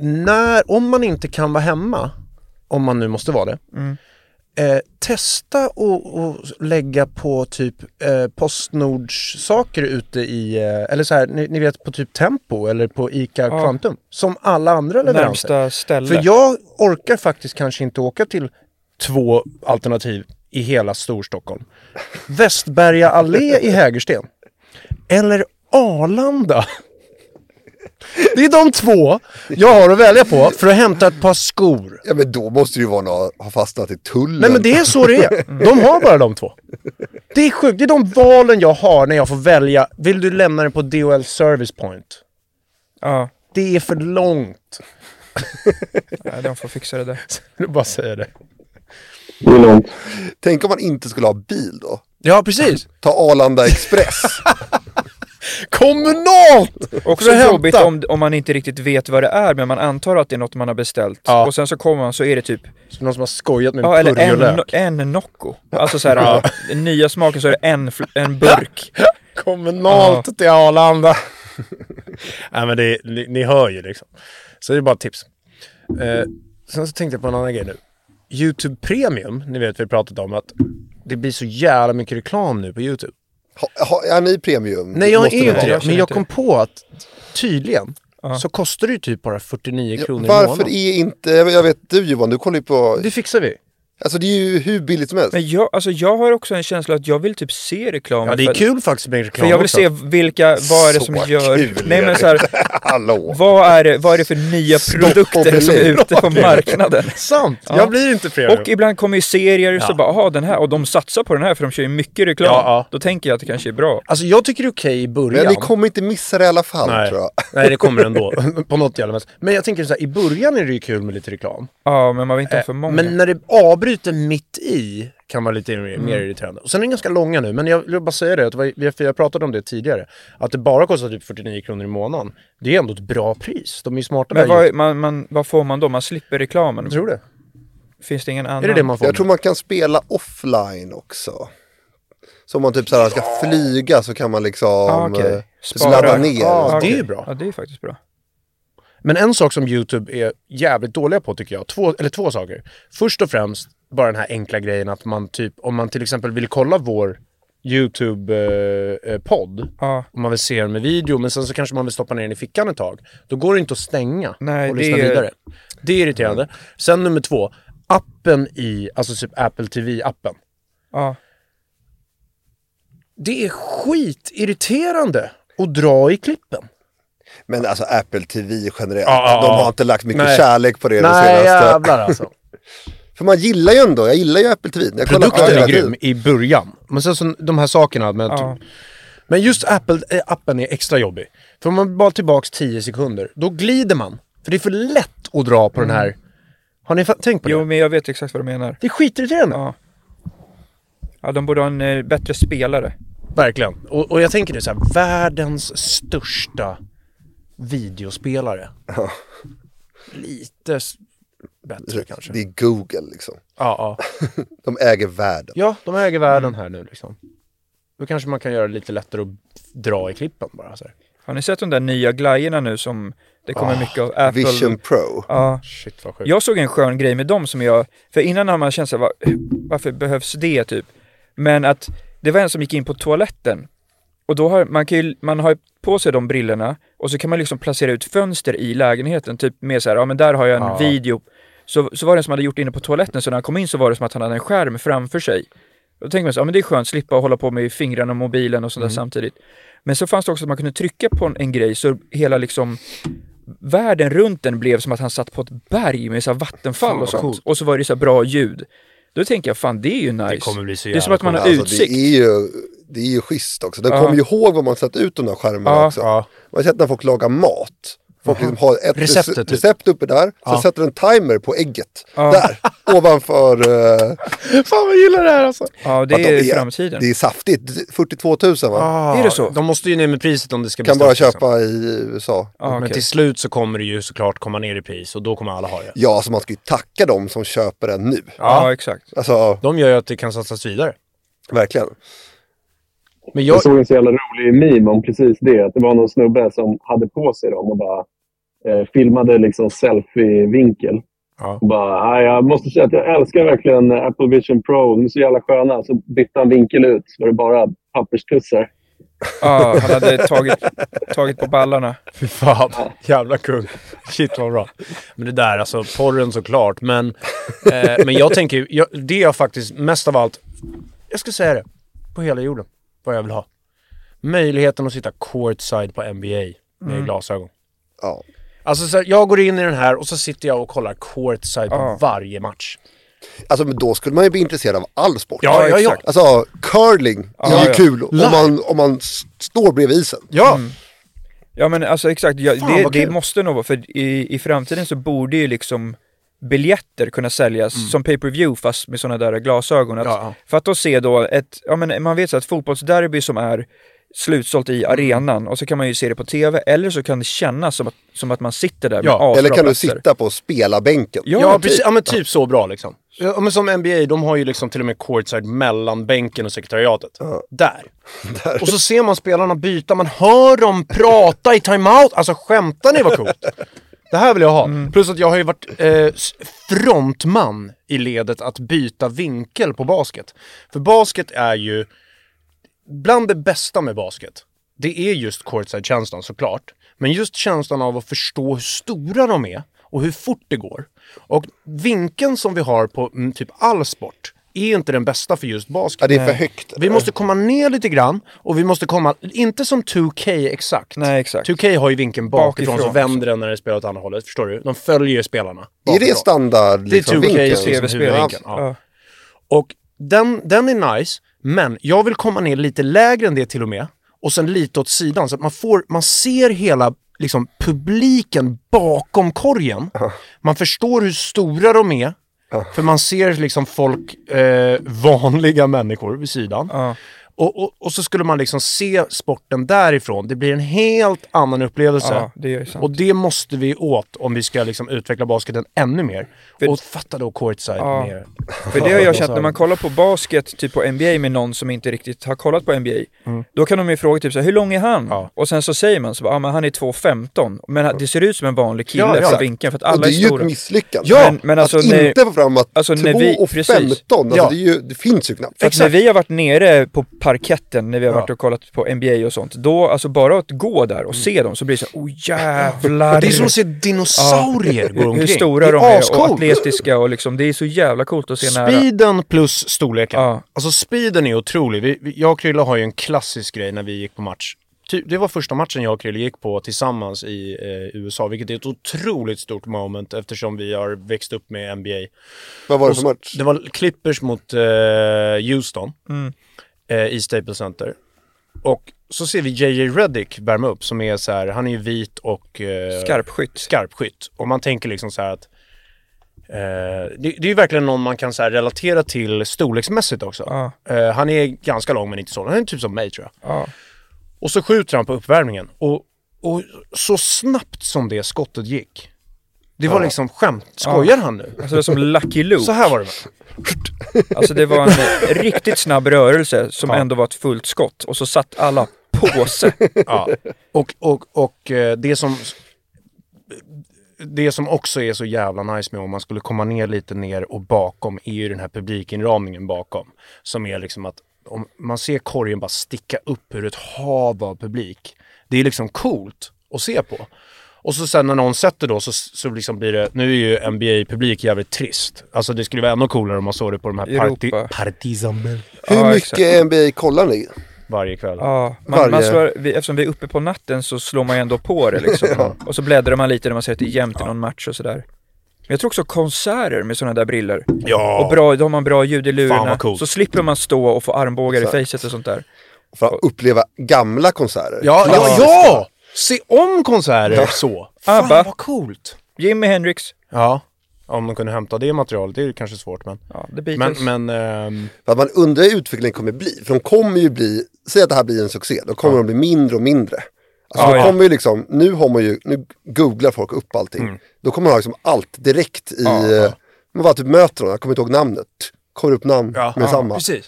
[SPEAKER 1] när, om man inte kan vara hemma, om man nu måste vara det,
[SPEAKER 2] Mm.
[SPEAKER 1] eh, testa och, och lägga på typ eh, Postnords saker ute i, eh, eller så här, ni, ni vet på typ Tempo eller på ICA
[SPEAKER 2] Ja.
[SPEAKER 1] Quantum, som alla andra leveranser.
[SPEAKER 2] Närmsta ställe.
[SPEAKER 1] För jag orkar faktiskt kanske inte åka till två alternativ i hela [LAUGHS] Storstockholm. Västberga allé i Hägersten. Eller Arlanda. Det är de två jag har att välja på för att hämta ett par skor.
[SPEAKER 5] Ja, men då måste det ju vara någon ha fastnat i tullen.
[SPEAKER 1] Nej men det är så det är. De har bara de två. Det är sjukt. Det är de valen jag har när jag får välja. Vill du lämna den på DHL Service Point?
[SPEAKER 2] Ja,
[SPEAKER 1] Det är för långt.
[SPEAKER 2] nej, de får fixa det där.
[SPEAKER 1] Jag bara säger det.
[SPEAKER 4] Det är långt.
[SPEAKER 5] Tänk om man inte skulle ha bil då?
[SPEAKER 1] Ja, precis.
[SPEAKER 5] Ta Arlanda Express.
[SPEAKER 1] Kommunalt!
[SPEAKER 2] Också
[SPEAKER 1] För att
[SPEAKER 2] jobbigt
[SPEAKER 1] hämta.
[SPEAKER 2] om, om man inte riktigt vet vad det är, men man antar att det är något man har beställt.
[SPEAKER 1] Ja.
[SPEAKER 2] Och sen så kommer man så är det typ,
[SPEAKER 1] Som någon som har skojat med en
[SPEAKER 2] ja eller en,
[SPEAKER 1] purjolök.
[SPEAKER 2] en Nocco. Alltså så här, den nya smaken så är det en, fl- en burk.
[SPEAKER 1] Kommunalt till Arlanda. [LAUGHS] Nej men det, ni, ni hör ju liksom. Så det är bara ett tips. Eh, sen så tänkte jag på en annan grej nu. YouTube Premium, ni vet vi har pratat om att det blir så jävla mycket reklam nu på YouTube.
[SPEAKER 5] Ha, ha, är ni premium?
[SPEAKER 1] Nej jag är
[SPEAKER 5] Måste
[SPEAKER 1] ju
[SPEAKER 5] det
[SPEAKER 1] inte
[SPEAKER 5] vara.
[SPEAKER 2] jag
[SPEAKER 1] det,
[SPEAKER 2] känner
[SPEAKER 1] men jag
[SPEAKER 2] inte
[SPEAKER 1] kom
[SPEAKER 2] det.
[SPEAKER 1] på att tydligen så kostar det ju typ bara 49 kronor i
[SPEAKER 5] Varför
[SPEAKER 1] månaden.
[SPEAKER 5] är inte, jag vet du Johan, du kollar ju på,
[SPEAKER 1] Det fixar vi.
[SPEAKER 5] alltså det är ju hur billigt som [LAUGHS] helst.
[SPEAKER 2] Men jag, alltså jag har också en känsla att jag vill typ se reklam.
[SPEAKER 1] Ja det
[SPEAKER 2] för
[SPEAKER 1] är
[SPEAKER 2] att-
[SPEAKER 1] kul faktiskt med reklam
[SPEAKER 2] För jag vill
[SPEAKER 1] också.
[SPEAKER 2] se vilka, vad är det som
[SPEAKER 5] Så
[SPEAKER 2] gör...
[SPEAKER 5] kul
[SPEAKER 2] Nej
[SPEAKER 5] är
[SPEAKER 2] men
[SPEAKER 5] det.
[SPEAKER 2] så här,
[SPEAKER 5] Alla år.
[SPEAKER 2] vad är det, vad är det för nya produkter som är
[SPEAKER 5] belägg.
[SPEAKER 2] ute på marknaden?
[SPEAKER 1] Sant!
[SPEAKER 2] Ja.
[SPEAKER 1] Jag blir inte Premium.
[SPEAKER 2] Och ibland kommer ju serier så
[SPEAKER 1] Ja.
[SPEAKER 2] bara, aha den här, och de satsar på den här för de kör ju mycket reklam.
[SPEAKER 1] Ja, ja.
[SPEAKER 2] Då tänker jag att det kanske är bra.
[SPEAKER 1] Alltså jag tycker det är okej i början.
[SPEAKER 5] Men ni kommer inte missa det i alla fall
[SPEAKER 1] Nej.
[SPEAKER 5] tror jag.
[SPEAKER 1] [LAUGHS] Nej, det kommer
[SPEAKER 5] [LAUGHS]
[SPEAKER 1] ändå. på något jävla sätt. Men jag tänker så här, i början är det ju kul med lite reklam.
[SPEAKER 2] Ja, men man vill inte ha för många.
[SPEAKER 1] Eh, Men när det avbryter mitt i kan vara lite mer,
[SPEAKER 2] Mm.
[SPEAKER 1] mer irriterande. Och sen är det ganska långa nu, men jag vill bara säga det, att det var- vi- för jag pratade om det tidigare, att det bara kostar typ 49 kronor i månaden. Det är ändå ett bra pris. De är ju smarta
[SPEAKER 2] men
[SPEAKER 1] där.
[SPEAKER 2] vad, man, man, vad får man då? Man slipper reklamen.
[SPEAKER 1] Jag tror det.
[SPEAKER 2] Finns det ingen annan?
[SPEAKER 1] Är det det man får?
[SPEAKER 5] Jag tror man kan spela offline också. Så om man typ så här ska flyga så kan man liksom
[SPEAKER 2] Ah, okej.
[SPEAKER 5] eh, typ
[SPEAKER 2] Spara.
[SPEAKER 5] ladda ner.
[SPEAKER 1] Ja,
[SPEAKER 2] Ja,
[SPEAKER 1] det är ju
[SPEAKER 2] okej.
[SPEAKER 1] bra.
[SPEAKER 2] Ja, det är faktiskt bra.
[SPEAKER 1] Men en sak som YouTube är jävligt dåliga på tycker jag, två, eller två saker. Först och främst bara den här enkla grejen att man typ, om man till exempel vill kolla vår eh, YouTube-podd,
[SPEAKER 2] Ja.
[SPEAKER 1] om man vill se den med video, men sen så kanske man vill stoppa ner den i fickan ett tag. Då går det inte att stänga
[SPEAKER 2] Nej,
[SPEAKER 1] och
[SPEAKER 2] det
[SPEAKER 1] lyssna
[SPEAKER 2] är-
[SPEAKER 1] vidare. Det är irriterande. Sen nummer två, appen i, alltså typ Apple TV-appen.
[SPEAKER 2] Ja.
[SPEAKER 1] Det är skitirriterande att dra i klippen.
[SPEAKER 5] Men alltså Apple TV generellt,
[SPEAKER 1] Ja, ja,
[SPEAKER 5] de
[SPEAKER 1] ja.
[SPEAKER 5] har inte lagt mycket
[SPEAKER 1] Nej.
[SPEAKER 5] kärlek på det, det
[SPEAKER 1] Nej,
[SPEAKER 5] senaste.
[SPEAKER 1] jävlar [LAUGHS] alltså.
[SPEAKER 5] För man gillar ju ändå, jag gillar ju Apple TV. Jag kollar på
[SPEAKER 1] Produkten
[SPEAKER 5] hela
[SPEAKER 1] är
[SPEAKER 5] tiden.
[SPEAKER 1] grym i början, men sen så de här sakerna. typ- Men,
[SPEAKER 2] Ja.
[SPEAKER 1] men just Apple-appen är extra jobbig. För om man bara tillbaks 10 sekunder, då glider man. För det är för lätt att dra på den här... Har ni fa- tänkt på det?
[SPEAKER 2] Mm. Jo, men jag vet exakt vad du menar.
[SPEAKER 1] Det är skitirriterande.
[SPEAKER 2] Ja. Ja, de borde ha en eh, bättre spelare.
[SPEAKER 1] Verkligen. Och, och jag tänker nu så här, världens största videospelare. Lite s- bättre kanske.
[SPEAKER 5] Det är Google liksom.
[SPEAKER 1] Ja, ja.
[SPEAKER 5] De äger världen.
[SPEAKER 1] ja, de äger världen här nu liksom. Då kanske man kan göra det lite lättare att dra i klippen bara. Så här.
[SPEAKER 2] Har ni sett de där nya glajjorna nu som det kommer mycket av? Apple...
[SPEAKER 5] Ah, Vision Pro.
[SPEAKER 2] Ja.
[SPEAKER 1] Shit vad sjukt.
[SPEAKER 2] Jag såg en skön grej med dem som jag, för innan har man känt såhär, va, varför behövs det typ? Men att det var en som gick in på toaletten och då har man, kan ju, man har ju på sig de brillorna och så kan man liksom placera ut fönster i lägenheten, typ med såhär, ja men där har jag en
[SPEAKER 1] Ja.
[SPEAKER 2] video. Så, så var det en som hade gjort det inne på toaletten, så när han kom in så var det som att han hade en skärm framför sig. Då tänker man så, ja men det är skönt, slippa hålla på med fingrarna och mobilen och sånt där
[SPEAKER 1] Mm.
[SPEAKER 2] samtidigt. Men så fanns det också att man kunde trycka på en, en grej så hela liksom världen runt den blev som att han satt på ett berg med så här vattenfall och sånt. Och så var det så här bra ljud. Då tänker jag, fan det är ju nice.
[SPEAKER 1] Det kommer bli så
[SPEAKER 2] Det är
[SPEAKER 1] jävla
[SPEAKER 2] som att man har
[SPEAKER 5] Alltså, det,
[SPEAKER 2] utsikt.
[SPEAKER 5] är ju, det är ju schysst också. De
[SPEAKER 2] Ja.
[SPEAKER 5] kommer ju ihåg vad man satt ut de där skärmarna
[SPEAKER 2] Ja,
[SPEAKER 5] också.
[SPEAKER 1] Ja.
[SPEAKER 5] Man har sett när folk lagar mat. Folk liksom har ett
[SPEAKER 1] Receptet,
[SPEAKER 5] rece-
[SPEAKER 1] typ.
[SPEAKER 5] recept uppe där, sen
[SPEAKER 1] Ja.
[SPEAKER 5] sätter en timer på ägget.
[SPEAKER 2] Ja.
[SPEAKER 5] Där,
[SPEAKER 2] [LAUGHS]
[SPEAKER 5] ovanför. eh,
[SPEAKER 1] Fan vad jag gillar det här alltså.
[SPEAKER 2] Ja, det
[SPEAKER 5] att de
[SPEAKER 2] är framtiden.
[SPEAKER 5] Det är saftigt. 42 000 va?
[SPEAKER 2] Är det så?
[SPEAKER 1] Ah, De måste ju ner med priset om det ska bli
[SPEAKER 5] Kan bara
[SPEAKER 1] stort, liksom. Ah,
[SPEAKER 5] köpa i USA.
[SPEAKER 2] Ja,
[SPEAKER 1] Men
[SPEAKER 2] okej.
[SPEAKER 1] till slut så kommer det ju såklart komma ner i pris och då kommer alla ha det.
[SPEAKER 5] Ja, alltså man ska ju tacka dem som köper den nu.
[SPEAKER 2] ja, exakt.
[SPEAKER 5] Alltså,
[SPEAKER 1] De gör ju att det kan satsas vidare.
[SPEAKER 5] verkligen.
[SPEAKER 1] Men
[SPEAKER 4] Jag
[SPEAKER 1] jag...
[SPEAKER 4] såg en så jävla rolig meme om precis det. Att det var någon snubbe som hade på sig dem och bara eh, filmade liksom selfie-vinkel.
[SPEAKER 1] Ja.
[SPEAKER 4] Och bara, "Nej, jag måste säga att jag älskar verkligen eh, Apple Vision Pro. De är så jävla sköna. Så bytte han vinkel ut så var det bara papperstussar.
[SPEAKER 2] Ja, han hade tagit, tagit på ballarna.
[SPEAKER 1] Fy fan, jävla kung. Shit vad bra. Men det där, alltså porren såklart. Men, eh, men jag tänker, ju- jag, det jag faktiskt mest av allt, jag ska säga det, på hela jorden, vad jag vill ha. Möjligheten att sitta courtside på NBA med glasögon.
[SPEAKER 5] Ja.
[SPEAKER 1] Alltså så här, jag går in i den här och så sitter jag och kollar courtside på
[SPEAKER 2] Ja.
[SPEAKER 1] varje match.
[SPEAKER 5] Alltså, men då skulle man ju bli intresserad av all sport.
[SPEAKER 1] Ja, ja, ja.
[SPEAKER 2] exakt.
[SPEAKER 5] Alltså, curling är
[SPEAKER 2] Ja,
[SPEAKER 5] ju
[SPEAKER 2] ja.
[SPEAKER 5] kul om man, om man s- står bredvid isen.
[SPEAKER 1] Ja,
[SPEAKER 2] Ja men alltså exakt, ja,
[SPEAKER 1] Fan,
[SPEAKER 2] det,
[SPEAKER 1] vad
[SPEAKER 2] det
[SPEAKER 1] kul.
[SPEAKER 2] måste nog vara, för i, i framtiden så borde ju liksom biljetter kunna säljas som pay-per-view fast med sådana där glasögon. Att,
[SPEAKER 1] Mm. Ja.
[SPEAKER 2] För att då se då ett, ja men man vet så att fotbollsderby som är slutsålt i
[SPEAKER 1] Mm.
[SPEAKER 2] arenan och så kan man ju se det på tv eller så kan det kännas som att, som att man sitter där med
[SPEAKER 1] Ja,
[SPEAKER 2] asbra
[SPEAKER 5] Eller kan du
[SPEAKER 2] platser.
[SPEAKER 5] sitta på spelarbänken?
[SPEAKER 2] Ja,
[SPEAKER 1] Ja,
[SPEAKER 2] typ.
[SPEAKER 1] precis. Ja, men typ så bra liksom. Ja, men som NBA, de har ju liksom till och med courtside mellan bänken och sekretariatet. [LAUGHS] Där. Och så ser man spelarna byta, man hör dem prata i timeout. Alltså skämtar ni vad coolt? Det här vill jag ha. Plus att jag har ju varit eh, s- frontman i ledet att byta vinkel på basket. För basket är ju bland det bästa med basket, det är just courtside-känslan såklart. Men just känslan av att förstå hur stora de är och hur fort det går. Och vinkeln som vi har på mm, typ all sport är inte den bästa för just basket.
[SPEAKER 5] Ja, det är för högt.
[SPEAKER 1] Vi måste komma ner lite grann och vi måste komma, inte som 2K exakt.
[SPEAKER 2] Nej, exakt.
[SPEAKER 1] 2K har ju vinkeln bakifrån,
[SPEAKER 2] Bakifrån,
[SPEAKER 1] så vänder den när den spelar åt andra hållet. Förstår du? De följer ju spelarna.
[SPEAKER 5] Är det
[SPEAKER 1] bakifrån.
[SPEAKER 5] standard
[SPEAKER 1] Det är
[SPEAKER 5] liksom,
[SPEAKER 1] 2K
[SPEAKER 5] vinkeln?
[SPEAKER 1] och tv-spel.
[SPEAKER 5] Ja.
[SPEAKER 1] Ja. Och den, den är nice, men jag vill komma ner lite lägre än det till och med. Och sen lite åt sidan så att man, får, man ser hela liksom, publiken bakom korgen. Man förstår hur stora de är. För man ser liksom folk, eh, vanliga människor vid sidan.
[SPEAKER 2] Ja.
[SPEAKER 1] Och, och, och så skulle man liksom se sporten därifrån. Det blir en helt annan upplevelse.
[SPEAKER 2] Ja, det är sant.
[SPEAKER 1] Och det måste vi åt om vi ska liksom utveckla basketen ännu mer. och fatta då courtside
[SPEAKER 2] Ja.
[SPEAKER 1] mer.
[SPEAKER 2] För det har jag känt när man kollar på basket, typ på NBA med någon som inte riktigt har kollat på NBA. Då kan de ju fråga typ så här, hur lång är han?
[SPEAKER 1] Mm. Ja.
[SPEAKER 2] Och sen så säger man så bara, ah, men han är 2,15. Men det ser ut som en vanlig kille
[SPEAKER 1] Ja, ja.
[SPEAKER 2] efter vinkeln för att
[SPEAKER 5] Och
[SPEAKER 2] alla
[SPEAKER 5] det är
[SPEAKER 2] är
[SPEAKER 5] ju ett
[SPEAKER 2] stora.
[SPEAKER 5] misslyckande.
[SPEAKER 2] Ja, men alltså
[SPEAKER 5] att
[SPEAKER 2] när-
[SPEAKER 5] inte få fram att
[SPEAKER 2] alltså när
[SPEAKER 5] 2
[SPEAKER 2] vi-
[SPEAKER 5] och
[SPEAKER 2] precis.
[SPEAKER 5] 15, alltså,
[SPEAKER 1] Ja.
[SPEAKER 5] det, är ju, det finns ju knappt.
[SPEAKER 2] För att när
[SPEAKER 1] Exakt.
[SPEAKER 2] vi har varit nere på parketten, när vi har
[SPEAKER 1] Ja.
[SPEAKER 2] varit och kollat på NBA och sånt, då, alltså bara att gå där och se dem så blir det så här, oh jävlar.
[SPEAKER 1] Mm. Det är som att se dinosaurier gå
[SPEAKER 2] hur
[SPEAKER 1] omkring.
[SPEAKER 2] stora
[SPEAKER 1] det
[SPEAKER 2] de är och
[SPEAKER 1] ascoolt.
[SPEAKER 2] atletiska och liksom, det är så jävla coolt att se nära.
[SPEAKER 1] Speeden plus storleken.
[SPEAKER 2] Ja.
[SPEAKER 1] Alltså speeden är otrolig. Vi, vi, jag och Krille har ju en klassisk grej när vi gick på match. Ty, det var första matchen jag och Krille gick på tillsammans i eh, USA, vilket är ett otroligt stort moment eftersom vi har växt upp med NBA.
[SPEAKER 5] Vad var det
[SPEAKER 1] Och
[SPEAKER 5] för
[SPEAKER 1] så-
[SPEAKER 5] match?
[SPEAKER 1] Det var Clippers mot eh, Houston eh, i Staples Center. Och så ser vi JJ Redick värma upp som är så här, han är ju vit och... Eh,
[SPEAKER 2] Skarpskytt.
[SPEAKER 1] skarpskytt. Och man tänker liksom så här att eh, det, det är ju verkligen någon man kan så här relatera till storleksmässigt också.
[SPEAKER 2] Ja.
[SPEAKER 1] Eh, han är ganska lång men inte så lång. Han är typ som mig tror jag.
[SPEAKER 2] Ja.
[SPEAKER 1] Och så skjuter han på uppvärmningen. Och, och så snabbt som det skottet gick. Det var liksom skämt. Skojar han nu?
[SPEAKER 2] Alltså det var som Lucky Luke.
[SPEAKER 1] Så här var det.
[SPEAKER 2] Alltså det var en [LAUGHS] eh, riktigt snabb rörelse som ändå var ett fullt skott och så satt alla
[SPEAKER 1] [LAUGHS]
[SPEAKER 2] påse.
[SPEAKER 1] Ja. Och, och, och eh, det som... Det som också är så jävla nice med om man skulle komma ner lite ner och bakom är ju den här publikinramningen bakom. Som är liksom att om man ser korgen bara sticka upp ur ett hav av publik. Det är liksom coolt att se på. Och så sen när någon sätter då så, så liksom blir det, nu är ju NBA-publik jävligt trist. Alltså det skulle vara ännu coolare om man såg det på de här parti,
[SPEAKER 2] Europa.
[SPEAKER 1] partisan
[SPEAKER 5] Hur
[SPEAKER 2] Ja,
[SPEAKER 5] mycket NBA kollar ni?
[SPEAKER 1] varje kväll.
[SPEAKER 2] Ja, man,
[SPEAKER 5] Varje-
[SPEAKER 2] man slår, vi, eftersom vi är uppe på natten så slår man ju ändå på det liksom. Och så bläddrar man lite när man ser att det är jämnt i någon match och sådär. Men jag tror också konserter med sådana där briller.
[SPEAKER 1] Ja.
[SPEAKER 2] Och bra, då har man bra ljud i
[SPEAKER 1] Fan,
[SPEAKER 2] lurarna.
[SPEAKER 1] vad coolt.
[SPEAKER 2] Så slipper man stå och få armbågar
[SPEAKER 5] Exakt.
[SPEAKER 2] i facet och sånt där.
[SPEAKER 5] För att uppleva gamla konserter.
[SPEAKER 1] Ja, ja,
[SPEAKER 5] Klassiska.
[SPEAKER 1] ja! Se om konserter så. Fan
[SPEAKER 2] ABBA.
[SPEAKER 1] vad coolt.
[SPEAKER 2] Jimi Hendrix,
[SPEAKER 1] Ja. Om de kunde hämta det materialet, det är ju kanske svårt men.
[SPEAKER 2] ja, The
[SPEAKER 1] Men,
[SPEAKER 2] Beatles.
[SPEAKER 1] men ehm,
[SPEAKER 5] För att man undrar hur utvecklingen kommer bli. För de kommer ju bli, säg att det här blir en succé, då kommer de bli mindre och mindre. Alltså
[SPEAKER 2] Ja,
[SPEAKER 5] de
[SPEAKER 2] ja.
[SPEAKER 5] kommer ju liksom, nu har man ju, nu googlar folk upp allting.
[SPEAKER 1] Mm.
[SPEAKER 5] Då kommer man ha liksom allt direkt i, eh, man bara typ möter någon, jag kommer inte ihåg namnet. Kommer upp namn
[SPEAKER 1] Ja,
[SPEAKER 5] med
[SPEAKER 1] ja,
[SPEAKER 5] samma.
[SPEAKER 1] precis.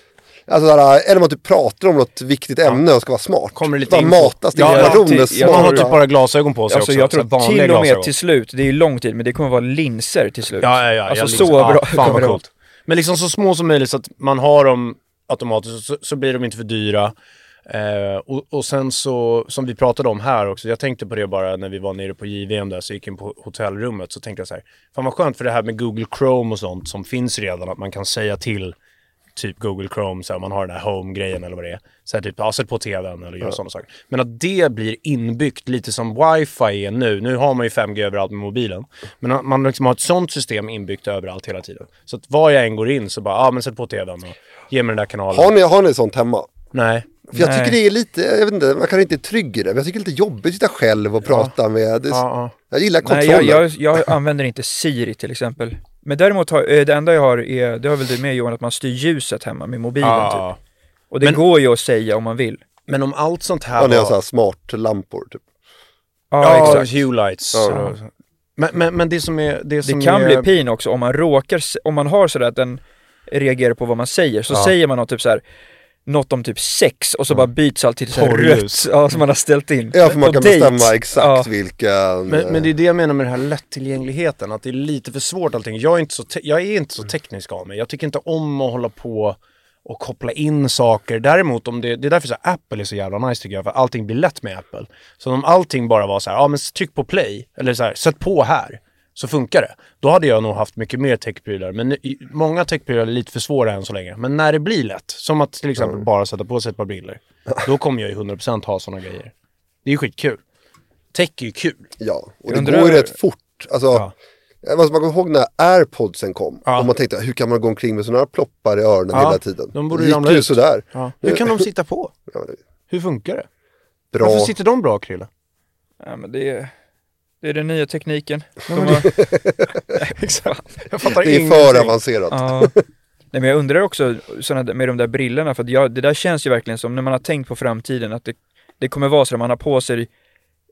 [SPEAKER 5] Alltså sådär, eller man typ pratar om något viktigt ämne och ska vara smart.
[SPEAKER 1] Kommer det lite
[SPEAKER 5] bara
[SPEAKER 1] info.
[SPEAKER 5] matas till
[SPEAKER 1] Ja, ja,
[SPEAKER 5] information.
[SPEAKER 2] till-
[SPEAKER 5] med
[SPEAKER 2] jag
[SPEAKER 1] Man
[SPEAKER 5] smarta-
[SPEAKER 1] har typ bara glasögon på sig
[SPEAKER 2] Alltså
[SPEAKER 1] också.
[SPEAKER 2] jag
[SPEAKER 1] så
[SPEAKER 2] tror
[SPEAKER 1] här
[SPEAKER 2] till
[SPEAKER 1] vanliga
[SPEAKER 2] och med
[SPEAKER 1] glasögon.
[SPEAKER 2] till slut, det är ju lång tid, men det kommer vara linser till slut.
[SPEAKER 1] Ja, ja, ja.
[SPEAKER 2] Alltså
[SPEAKER 1] jag
[SPEAKER 2] så
[SPEAKER 1] liksom-
[SPEAKER 2] bra
[SPEAKER 1] ah, fan
[SPEAKER 2] kommer
[SPEAKER 1] vad
[SPEAKER 2] det
[SPEAKER 1] coolt. Men liksom så små som möjligt så att man har dem automatiskt så, så blir de inte för dyra. Eh, och, och sen så, som vi pratade om här också, jag tänkte på det bara när vi var nere på JVM där, så gick jag in på hotellrummet så tänkte jag så här, fan vad skönt för det här med Google Chrome och sånt som finns redan, att man kan säga till typ Google Chrome, så här, man har den här home-grejen eller vad det är. Så här, typ, ja, sätt på tvn eller gör sådana saker. Men att det blir inbyggt lite som wifi är nu. Nu har man ju 5G överallt med mobilen. Men att man liksom har ett sånt system inbyggt överallt hela tiden. Så att var jag än går in så bara, ja ah, men sätt på tvn och ge mig den där kanalen.
[SPEAKER 5] Har ni, har ni sånt hemma?
[SPEAKER 1] Nej.
[SPEAKER 5] För jag
[SPEAKER 2] Nej.
[SPEAKER 5] tycker det är lite, jag vet inte, man kanske inte är trygg i det, men jag tycker det är lite jobbigt att sitta själv och prata med, det,
[SPEAKER 1] Ja, ja.
[SPEAKER 5] jag gillar kontroller.
[SPEAKER 2] Nej, jag, jag, jag använder inte Siri till exempel. Men däremot, har, eh, det enda jag har är, det har väl du med Johan, att man styr ljuset hemma med mobilen typ.
[SPEAKER 1] Ah.
[SPEAKER 2] Och det
[SPEAKER 1] Men-
[SPEAKER 2] går ju att säga om man vill.
[SPEAKER 1] Men om allt sånt här
[SPEAKER 5] Ja, ni har
[SPEAKER 1] var-
[SPEAKER 5] sådana här smart lampor typ.
[SPEAKER 2] Ja,
[SPEAKER 1] Ja,
[SPEAKER 2] exakt.
[SPEAKER 1] Hue lights.
[SPEAKER 5] Ja.
[SPEAKER 1] Men, men, men det som är... Det, som
[SPEAKER 2] Det kan
[SPEAKER 1] är...
[SPEAKER 2] bli pin också om man råkar, se- om man har sådär att den reagerar på vad man säger, så
[SPEAKER 1] Ja.
[SPEAKER 2] säger man något typ såhär, något om typ sex och så bara byts allt till såhär
[SPEAKER 1] Porrljus.
[SPEAKER 2] rött, ja, som man har ställt in.
[SPEAKER 5] Ja, för man
[SPEAKER 2] På
[SPEAKER 5] kan
[SPEAKER 2] date.
[SPEAKER 5] bestämma exakt
[SPEAKER 2] Ja.
[SPEAKER 5] vilken...
[SPEAKER 1] Men, men det är det jag menar med den här lättillgängligheten, att det är lite för svårt allting. Jag är inte så, te- jag är inte så teknisk av mig. Jag tycker inte om att hålla på och koppla in saker. Däremot, om det, det är därför så här, Apple är så jävla nice tycker jag, för allting blir lätt med Apple. Så om allting bara var så här, ja men tryck på play, eller så här, sätt på här, så funkar det. Då hade jag nog haft mycket mer techprylar. Men nu- i- många techprylar är lite för svåra än så länge. Men när det blir lätt, som att till exempel bara sätta på sig ett par briller, då kommer jag ju 100% ha sådana grejer. Det är ju skitkul. Tech är ju kul.
[SPEAKER 5] Ja, och
[SPEAKER 2] Jag
[SPEAKER 5] det
[SPEAKER 2] undrar-
[SPEAKER 5] går ju rätt fort. Alltså, alltså, man kommer ihåg när airpodsen kom.
[SPEAKER 1] Ja.
[SPEAKER 5] Och man tänkte, hur kan man gå omkring med sådana här ploppar i öronen
[SPEAKER 1] Ja,
[SPEAKER 5] hela tiden?
[SPEAKER 1] de borde
[SPEAKER 5] det gick
[SPEAKER 1] ramla
[SPEAKER 5] ju
[SPEAKER 1] ut.
[SPEAKER 5] sådär.
[SPEAKER 1] Hur kan de sitta på?
[SPEAKER 5] Ja, det är
[SPEAKER 1] Hur funkar det?
[SPEAKER 5] Bra.
[SPEAKER 1] Varför sitter de bra,
[SPEAKER 5] [LAUGHS]
[SPEAKER 1] Krille?
[SPEAKER 2] Ja, men det är, det är den
[SPEAKER 1] [LAUGHS]
[SPEAKER 2] nya tekniken. De har,
[SPEAKER 1] Exakt. Jag fattar
[SPEAKER 5] det är för
[SPEAKER 1] ingenting.
[SPEAKER 5] avancerat.
[SPEAKER 2] ja. Nej, men jag undrar också såna, där- med de där brillorna, för att jag, det där känns ju verkligen som när man har tänkt på framtiden, att det, det kommer vara så att man har på sig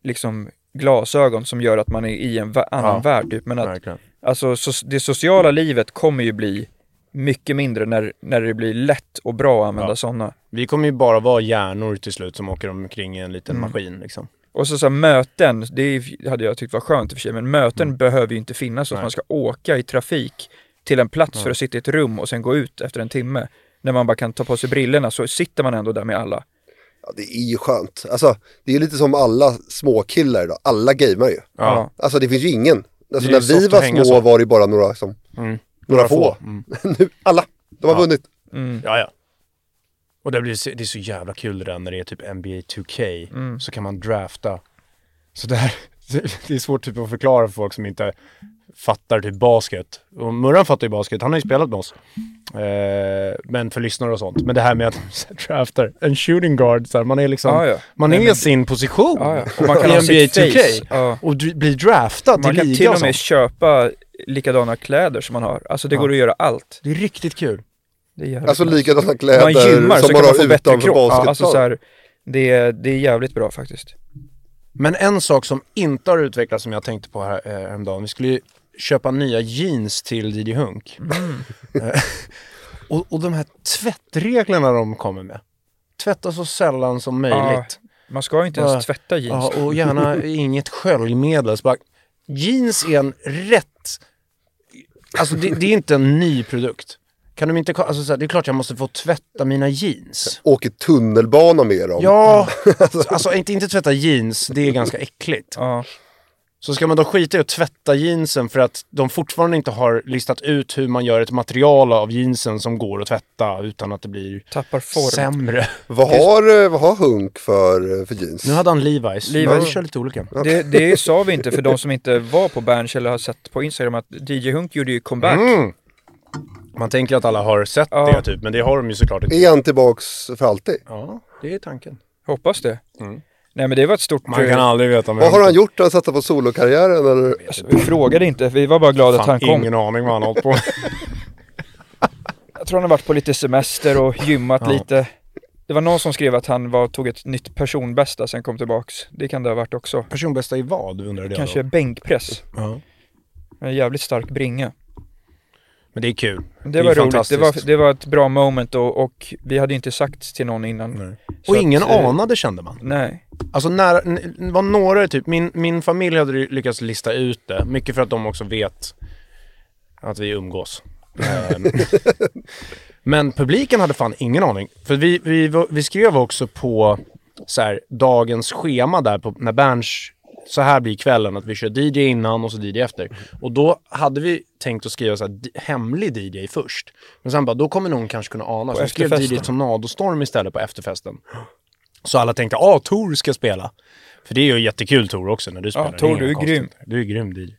[SPEAKER 2] liksom glasögon som gör att man är i en va- annan
[SPEAKER 1] Ja.
[SPEAKER 2] värld. Typ. Men att
[SPEAKER 1] Verkligen.
[SPEAKER 2] Alltså so det sociala livet kommer ju bli mycket mindre när, när det blir lätt och bra att använda
[SPEAKER 1] Ja.
[SPEAKER 2] sådana.
[SPEAKER 1] Vi kommer ju bara vara hjärnor till slut som åker omkring i en liten
[SPEAKER 5] Mm.
[SPEAKER 1] maskin. Liksom.
[SPEAKER 2] Och så, så här, möten, det är- hade jag tyckt var skönt i och för sig, men möten behöver ju inte finnas så att
[SPEAKER 1] Mm. Nej.
[SPEAKER 2] man ska åka i trafik till en plats för att sitta i ett rum och sen gå ut efter en timme. När man bara kan ta på sig brillorna så sitter man ändå där med alla.
[SPEAKER 5] Ja, det är ju skönt. Alltså, det är ju lite som alla småkillar idag. Alla gamer ju.
[SPEAKER 1] Ja.
[SPEAKER 5] Alltså det finns ju ingen.
[SPEAKER 1] är
[SPEAKER 5] Alltså,
[SPEAKER 1] ju
[SPEAKER 5] när
[SPEAKER 1] soft
[SPEAKER 5] vi
[SPEAKER 1] att
[SPEAKER 5] var
[SPEAKER 1] hänga
[SPEAKER 5] små
[SPEAKER 1] så. Mm.
[SPEAKER 5] var det ju bara några, som, några, få. [LAUGHS] nu, alla. De har vunnit.
[SPEAKER 1] Ja, ja. Och det, blir, så- det är så jävla kul det där när det är typ NBA 2K.
[SPEAKER 2] Mm.
[SPEAKER 1] Så kan man drafta. Så det, här, [LAUGHS] det är svårt typ att förklara för folk som inte fattar typ basket. Och Murran fattar ju basket, han har ju spelat med oss. Eh, men för lyssnare och sånt. Men det här med att [LAUGHS] så här, draftar en shooting guard, så här, man är liksom,
[SPEAKER 2] Ah, Ja, ja.
[SPEAKER 1] man
[SPEAKER 2] Nej,
[SPEAKER 1] är
[SPEAKER 2] men- Ah,
[SPEAKER 1] sin position
[SPEAKER 2] Ja, ja. Och man
[SPEAKER 1] [LAUGHS]
[SPEAKER 2] kan
[SPEAKER 1] i
[SPEAKER 2] ha
[SPEAKER 1] NBA
[SPEAKER 2] sitt
[SPEAKER 1] 2K.
[SPEAKER 2] face. Ja.
[SPEAKER 1] Och dr- bli draftad
[SPEAKER 2] Man
[SPEAKER 1] till
[SPEAKER 2] kan
[SPEAKER 1] liga
[SPEAKER 2] till
[SPEAKER 1] och
[SPEAKER 2] och med
[SPEAKER 1] sånt.
[SPEAKER 2] köpa likadana kläder som man har. Alltså det går att göra allt.
[SPEAKER 1] Det är riktigt kul.
[SPEAKER 2] Det är jävligt
[SPEAKER 5] Alltså
[SPEAKER 2] nice.
[SPEAKER 5] likadana
[SPEAKER 2] man
[SPEAKER 5] kläder
[SPEAKER 2] gymmar så
[SPEAKER 5] som
[SPEAKER 2] kan
[SPEAKER 5] man
[SPEAKER 2] man få
[SPEAKER 5] har
[SPEAKER 2] bättre
[SPEAKER 5] utanför
[SPEAKER 2] kropp. Ja, alltså så
[SPEAKER 5] basketplan.
[SPEAKER 2] här, det, är, det är jävligt bra faktiskt.
[SPEAKER 1] Men en sak som inte har utvecklats som jag tänkte på här, eh, häromdagen. Vi skulle ju köpa nya jeans till Didi Hunk. Eh, [LAUGHS] och, och de här tvättreglerna de kommer med. Tvätta så sällan som möjligt.
[SPEAKER 2] Man ska ju inte ens
[SPEAKER 1] Ja.
[SPEAKER 2] tvätta jeans.
[SPEAKER 1] Ja, och gärna inget sköljmedel. Så bara, jeans är en rätt... Alltså det, det är inte en ny produkt. Kan de inte... Alltså, så här, det är klart jag måste få tvätta mina jeans.
[SPEAKER 5] Åker tunnelbana med dem.
[SPEAKER 1] Ja, alltså inte, inte tvätta jeans, det är ganska äckligt.
[SPEAKER 2] Ja.
[SPEAKER 1] Så ska man då skita i att tvätta jeansen för att de fortfarande inte har listat ut hur man gör ett material av jeansen som går att tvätta utan att det blir
[SPEAKER 2] Tappar form.
[SPEAKER 1] sämre.
[SPEAKER 5] Vad har, eh, vad har Hunk för, för jeans?
[SPEAKER 1] Nu hade han Levi's.
[SPEAKER 2] Levi's.
[SPEAKER 1] Levi's kör lite olika.
[SPEAKER 2] Det, det sa vi inte för de som inte var på Berns eller har sett på Instagram att DJ Hunk gjorde ju comeback.
[SPEAKER 1] Mm. Man tänker att alla har sett
[SPEAKER 2] Ja.
[SPEAKER 1] det typ, men det har de ju såklart inte.
[SPEAKER 5] Är han tillbaks för alltid?
[SPEAKER 1] Ja, det är tanken.
[SPEAKER 2] Hoppas det. Nej men det var ett stort...
[SPEAKER 1] Mm.
[SPEAKER 2] eh,
[SPEAKER 1] Man kan aldrig veta.
[SPEAKER 5] Vad har han gjort? Har han satsat på solokarriären? Eller?
[SPEAKER 2] Alltså, vi frågade inte, vi var bara glada att han
[SPEAKER 1] Fan,
[SPEAKER 2] kom.
[SPEAKER 1] ingen aning vad han har hållit på med.
[SPEAKER 2] Jag tror han har varit på lite semester och gymmat lite. Det var någon som skrev att han var, tog ett nytt personbästa sen kom tillbaks. Det kan det ha varit också.
[SPEAKER 1] [LAUGHS] Personbästa i vad, undrade jag
[SPEAKER 2] Kanske
[SPEAKER 1] då.
[SPEAKER 2] bänkpress.
[SPEAKER 1] Ja.
[SPEAKER 2] En jävligt stark bringa.
[SPEAKER 1] Men det är kul.
[SPEAKER 2] Det,
[SPEAKER 1] är
[SPEAKER 2] var roligt. Det
[SPEAKER 1] fantastiskt.
[SPEAKER 2] var, det var ett bra moment och, och vi hade ju inte sagt till någon innan.
[SPEAKER 1] Nej.
[SPEAKER 2] Så
[SPEAKER 1] Och
[SPEAKER 2] att,
[SPEAKER 1] ingen
[SPEAKER 2] eh,
[SPEAKER 1] anade kände man.
[SPEAKER 2] Nej.
[SPEAKER 1] Alltså nära, n- var några typ, min, min familj hade ju lyckats lista ut det. Mycket för att de också vet att vi umgås. Ehm, [LAUGHS] Men publiken hade fan ingen aning. För vi, vi, var- vi skrev också på så här, dagens schema där på, när Berns, så här blir kvällen, att vi kör DJ innan och så DJ efter. Och då hade vi tänkt att skriva så här, d- hemlig DJ först. Men sen bara, då kommer någon kanske kunna ana. Så vi skrev DJ
[SPEAKER 2] efterfesten.
[SPEAKER 1] Tornadostorm istället på efterfesten. Så alla tänkte, ah, Tor ska spela. För det är ju jättekul Tor också när du spelar. Det
[SPEAKER 2] Tor,
[SPEAKER 1] inga
[SPEAKER 2] du är
[SPEAKER 1] konstigheter.
[SPEAKER 2] grym.
[SPEAKER 1] Du är grym DJ.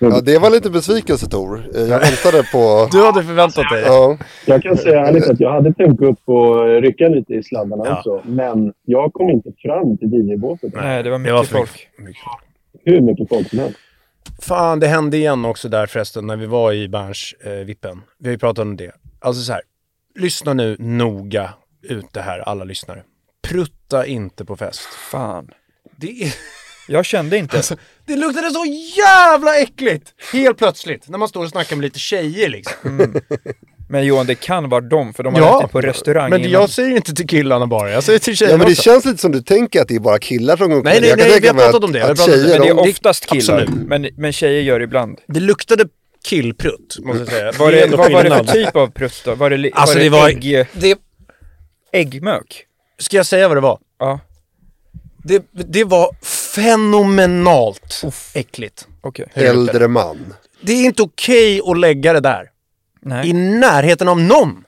[SPEAKER 5] Ja, det var lite besvikelse Tor. Eh, Jag väntade på...
[SPEAKER 1] Du hade förväntat dig.
[SPEAKER 5] Ja.
[SPEAKER 4] Jag kan säga ärligt att jag hade tänkt gå upp och rycka lite i sladdarna
[SPEAKER 1] Ja.
[SPEAKER 4] också. Men jag kom inte fram till DJ-båset.
[SPEAKER 2] Nej, det var mycket
[SPEAKER 1] för mycket-
[SPEAKER 2] folk.
[SPEAKER 1] mycket.
[SPEAKER 4] Hur mycket folk som helst.
[SPEAKER 1] Fan, det hände igen också där förresten när vi var i Berns-vippen. vi har ju pratat om det. Alltså så här, lyssna nu noga ut det här, alla lyssnare. Prutta inte på fest.
[SPEAKER 2] Fan.
[SPEAKER 1] Det, är, [LAUGHS] alltså,
[SPEAKER 2] Jag kände inte.
[SPEAKER 1] det luktade så jävla äckligt! Helt plötsligt, när man står och snackar med lite tjejer liksom.
[SPEAKER 2] Men Johan, det kan vara dem, för de har ätit på restaurang
[SPEAKER 1] men
[SPEAKER 2] innan.
[SPEAKER 1] jag säger inte till killarna bara, jag säger till
[SPEAKER 5] ja,
[SPEAKER 1] tjejerna
[SPEAKER 5] men det
[SPEAKER 1] också.
[SPEAKER 5] känns lite som du tänker att det är bara killar som går omkring.
[SPEAKER 1] Alltså- Nej, nej,
[SPEAKER 5] Jag kan
[SPEAKER 1] nej,
[SPEAKER 5] tänka
[SPEAKER 1] vi har
[SPEAKER 5] mig
[SPEAKER 1] pratat
[SPEAKER 5] att-
[SPEAKER 1] om det, vi har
[SPEAKER 5] att
[SPEAKER 1] pratat om det.
[SPEAKER 5] tjejer,
[SPEAKER 2] Men det
[SPEAKER 1] det-
[SPEAKER 2] är oftast killar.
[SPEAKER 1] absolut.
[SPEAKER 2] Men, men tjejer gör det ibland.
[SPEAKER 1] Det luktade killprutt, måste jag säga.
[SPEAKER 2] Var
[SPEAKER 1] är
[SPEAKER 2] Mm. det,
[SPEAKER 1] ändå
[SPEAKER 2] vad var det för
[SPEAKER 1] skillnad.
[SPEAKER 2] typ av prutt då? Var det, li-
[SPEAKER 1] Alltså,
[SPEAKER 2] var det,
[SPEAKER 1] det var-
[SPEAKER 2] ägg,
[SPEAKER 1] Det,
[SPEAKER 2] äggmök?
[SPEAKER 1] ska jag säga vad det var?
[SPEAKER 2] Ja,
[SPEAKER 1] Det, det var fenomenalt äckligt.
[SPEAKER 2] okej. Alltså,
[SPEAKER 5] de- äldre man.
[SPEAKER 1] Det är inte okej att lägga det där. I
[SPEAKER 2] Nej.
[SPEAKER 1] närheten av någon.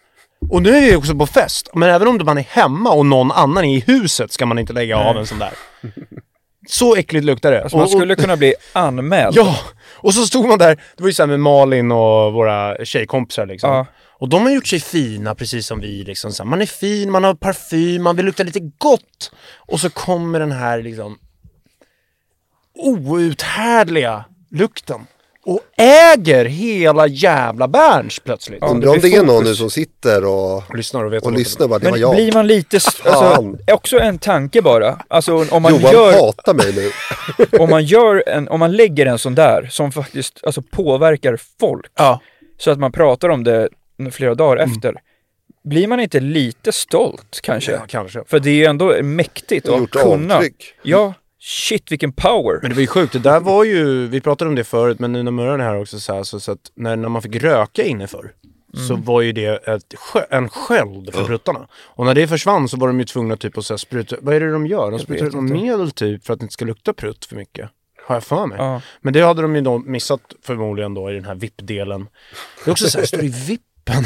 [SPEAKER 1] Och nu är vi också på fest. Men även om man är hemma och någon annan är i huset ska man inte lägga av en sån där. Så äckligt luktar det.
[SPEAKER 2] Alltså man
[SPEAKER 1] Och-
[SPEAKER 2] skulle
[SPEAKER 1] och,
[SPEAKER 2] kunna bli anmäld.
[SPEAKER 1] ja, och så stod man där. Det var ju så här med Malin och våra tjejkompisar liksom.
[SPEAKER 2] Ja.
[SPEAKER 1] Och de har gjort sig fina precis som vi. Liksom. Så här, man är fin, man har parfym, man vill lukta lite gott. Och så kommer den här liksom outhärdliga lukten. Och äger hela jävla Berns plötsligt.
[SPEAKER 2] Ja.
[SPEAKER 5] Undrar om
[SPEAKER 2] det
[SPEAKER 5] det
[SPEAKER 2] blir
[SPEAKER 5] är någon
[SPEAKER 2] fokus.
[SPEAKER 5] nu som sitter och,
[SPEAKER 1] Lyssnar och vet
[SPEAKER 5] och
[SPEAKER 1] vad-
[SPEAKER 5] lyssnar bara, det var
[SPEAKER 2] Men
[SPEAKER 5] jag.
[SPEAKER 2] blir man lite... s- Alltså,
[SPEAKER 5] Fan.
[SPEAKER 2] också en tanke bara. Alltså om man,
[SPEAKER 5] Johan
[SPEAKER 2] gör,
[SPEAKER 5] hatar mig nu.
[SPEAKER 2] om, man gör en, om man lägger en sån där som faktiskt alltså, påverkar folk
[SPEAKER 1] Ja.
[SPEAKER 2] så att man pratar om det flera dagar
[SPEAKER 1] Mm.
[SPEAKER 2] efter. Blir man inte lite stolt kanske?
[SPEAKER 1] Ja, kanske.
[SPEAKER 2] För det är ju ändå mäktigt att
[SPEAKER 5] Gjort
[SPEAKER 2] kunna.
[SPEAKER 5] avtryck.
[SPEAKER 2] Ja, shit vilken power.
[SPEAKER 1] Men det var ju sjukt, det där var ju, vi pratade om det förut, men nu när Murran är här också så, här, så, så att när, när man fick röka inne förr så
[SPEAKER 2] Mm.
[SPEAKER 1] var ju det ett, skö- en sköld för pruttarna. Och när det försvann så var de ju tvungna typ att så här, spruta, vad är det de gör? De sprutar ut något medel typ för att det inte ska lukta prutt för mycket. Har jag för mig.
[SPEAKER 2] Ja.
[SPEAKER 1] Men det hade de ju då missat förmodligen då i den här VIP-delen. Det är också så här, står det i vippen?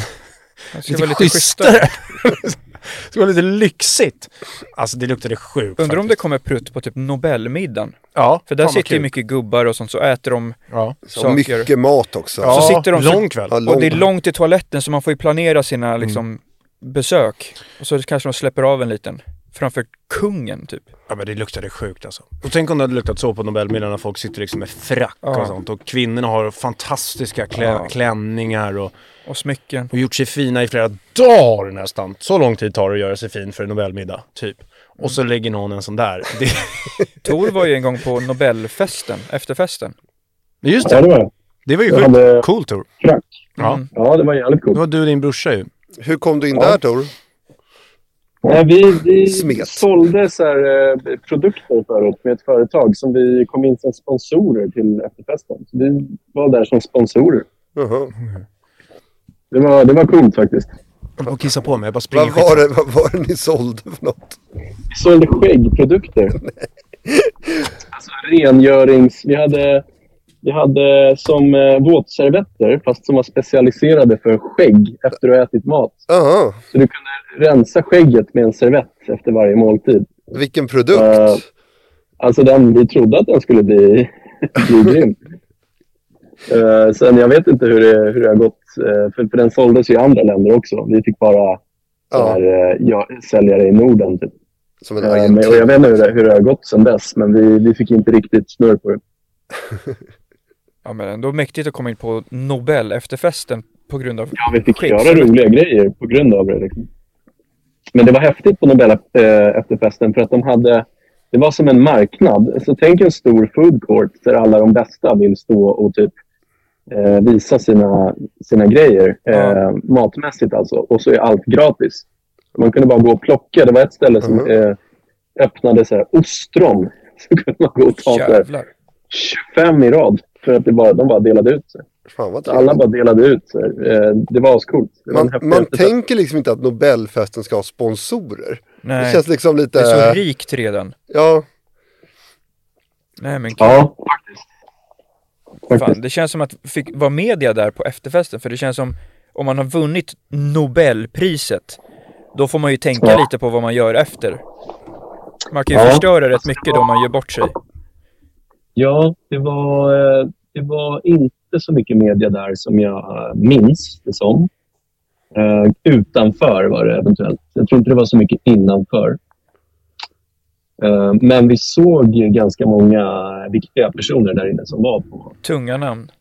[SPEAKER 2] Det ska
[SPEAKER 1] Lite,
[SPEAKER 2] vara Alltså, lite schysstare.
[SPEAKER 1] schysstare. [LAUGHS] det ska vara lite lyxigt. Alltså det luktade sjukt
[SPEAKER 2] Undrar om det
[SPEAKER 1] faktiskt.
[SPEAKER 2] kommer prutt på typ Nobelmiddagen.
[SPEAKER 1] Ja,
[SPEAKER 2] För där
[SPEAKER 1] fan vad
[SPEAKER 2] sitter ju
[SPEAKER 1] kul.
[SPEAKER 2] mycket gubbar och sånt, så äter de
[SPEAKER 1] Ja.
[SPEAKER 5] Och
[SPEAKER 2] saker.
[SPEAKER 5] mycket mat också.
[SPEAKER 1] Ja,
[SPEAKER 2] sitter de så-
[SPEAKER 1] lång kväll.
[SPEAKER 5] Ja,
[SPEAKER 2] Och det är
[SPEAKER 5] lång-
[SPEAKER 2] långt till toaletten så man får ju planera sina
[SPEAKER 1] Mm.
[SPEAKER 2] liksom, besök. Och så kanske de släpper av en liten. Framför kungen typ.
[SPEAKER 1] Ja men det luktade sjukt alltså. Och tänk om det hade luktat så på Nobelmiddagen när folk sitter liksom med frack
[SPEAKER 2] Ja.
[SPEAKER 1] och sånt. Och kvinnorna har fantastiska klä-
[SPEAKER 2] Ja.
[SPEAKER 1] klänningar och,
[SPEAKER 2] Och smycken.
[SPEAKER 1] och gjort sig fina i flera dagar nästan. Så lång tid tar det att göra sig fin för en Nobelmiddag, typ. Och så lägger någon en sån där. Det, [LAUGHS]
[SPEAKER 2] Tor var ju en gång på Nobelfesten, efterfesten.
[SPEAKER 1] Men just
[SPEAKER 4] Ja,
[SPEAKER 1] det,
[SPEAKER 4] det var det.
[SPEAKER 1] det var ju
[SPEAKER 4] Jag
[SPEAKER 1] sjukt.
[SPEAKER 4] hade
[SPEAKER 1] Cool Tor.
[SPEAKER 4] frack.
[SPEAKER 1] Ja.
[SPEAKER 2] Mm.
[SPEAKER 4] Ja, det var jävligt
[SPEAKER 1] Det
[SPEAKER 4] coolt.
[SPEAKER 1] var du och din brorsa ju.
[SPEAKER 5] Hur kom du in där Tor?
[SPEAKER 4] Nej, vi vi
[SPEAKER 5] Smet.
[SPEAKER 4] sålde så här, eh, produkter förut med ett företag som vi kom in som sponsorer till efterfesten. Så vi var där som sponsorer.
[SPEAKER 5] Jaha.
[SPEAKER 4] Det var, det var coolt faktiskt.
[SPEAKER 1] Jag bara kissa på mig, jag bara springer
[SPEAKER 5] Vad var, det, vad var det ni sålde för något?
[SPEAKER 4] Vi sålde skäggprodukter. alltså, rengörings... Vi hade, vi hade som eh, våtservetter, fast som var specialiserade för skägg efter att ha ätit mat.
[SPEAKER 5] Aha,
[SPEAKER 4] Så du kunde rensa skägget med en servett efter varje måltid.
[SPEAKER 5] vilken produkt.
[SPEAKER 4] Eh, Alltså den, vi trodde att den skulle bli, bli grym. Eh, sen jag vet inte hur det, hur det har gått, eh, för, för den såldes ju i andra länder också. Vi fick bara så här,
[SPEAKER 5] ja,
[SPEAKER 4] eh, ja, sälja det i Norden. Typ.
[SPEAKER 5] som en
[SPEAKER 4] Eh, men, och jag
[SPEAKER 5] argentin.
[SPEAKER 4] vet inte hur det, hur det har gått sen dess, men vi, vi fick inte riktigt snurr på det.
[SPEAKER 2] Ja men ändå mäktigt att komma in på Nobel efterfesten på grund av
[SPEAKER 4] Ja, vi fick
[SPEAKER 2] Skit.
[SPEAKER 4] göra roliga grejer på grund av det. Liksom. Men det var häftigt på Nobel eh, efterfesten för att de hade... Det var som en marknad. Så tänk en stor food court där alla de bästa vill stå och typ eh, visa sina, sina grejer. Eh, matmässigt alltså. Och så är allt gratis. Man kunde bara gå och plocka. Det var ett ställe som
[SPEAKER 2] Mm.
[SPEAKER 5] Mhm.
[SPEAKER 4] eh, öppnade så här, ostron. [LAUGHS] Så kunde man gå och ta så här,
[SPEAKER 2] jävlar.
[SPEAKER 4] 25 i rad. För att det bara, de bara delade ut sig.
[SPEAKER 5] Fan vad
[SPEAKER 4] Så alla
[SPEAKER 5] trevligt.
[SPEAKER 4] bara delade ut. Så här. Eh, Det var ascoolt. Det var en
[SPEAKER 5] Man,
[SPEAKER 4] häftig
[SPEAKER 5] man
[SPEAKER 4] efterfest.
[SPEAKER 5] tänker liksom inte att Nobelfesten ska ha sponsorer. Det
[SPEAKER 2] Nej,
[SPEAKER 5] känns liksom lite...
[SPEAKER 2] det är så rikt redan.
[SPEAKER 5] ja,
[SPEAKER 2] Nej men
[SPEAKER 4] Ja, faktiskt.
[SPEAKER 2] fan,
[SPEAKER 4] faktiskt.
[SPEAKER 2] det känns som att fick vara media där på efterfesten för det känns som om man har vunnit Nobelpriset då får man ju tänka
[SPEAKER 4] Ja.
[SPEAKER 2] lite på vad man gör efter. Man kan ju
[SPEAKER 4] Ja.
[SPEAKER 2] förstöra rätt mycket då man gör bort sig.
[SPEAKER 4] Ja, det var, eh, det var inte så mycket media där som jag eh, minns det som. Eh, utanför var det eventuellt. Jag tror inte det var så mycket innanför. Eh, men vi såg ju ganska många viktiga personer där inne som var på
[SPEAKER 2] Tunga namn.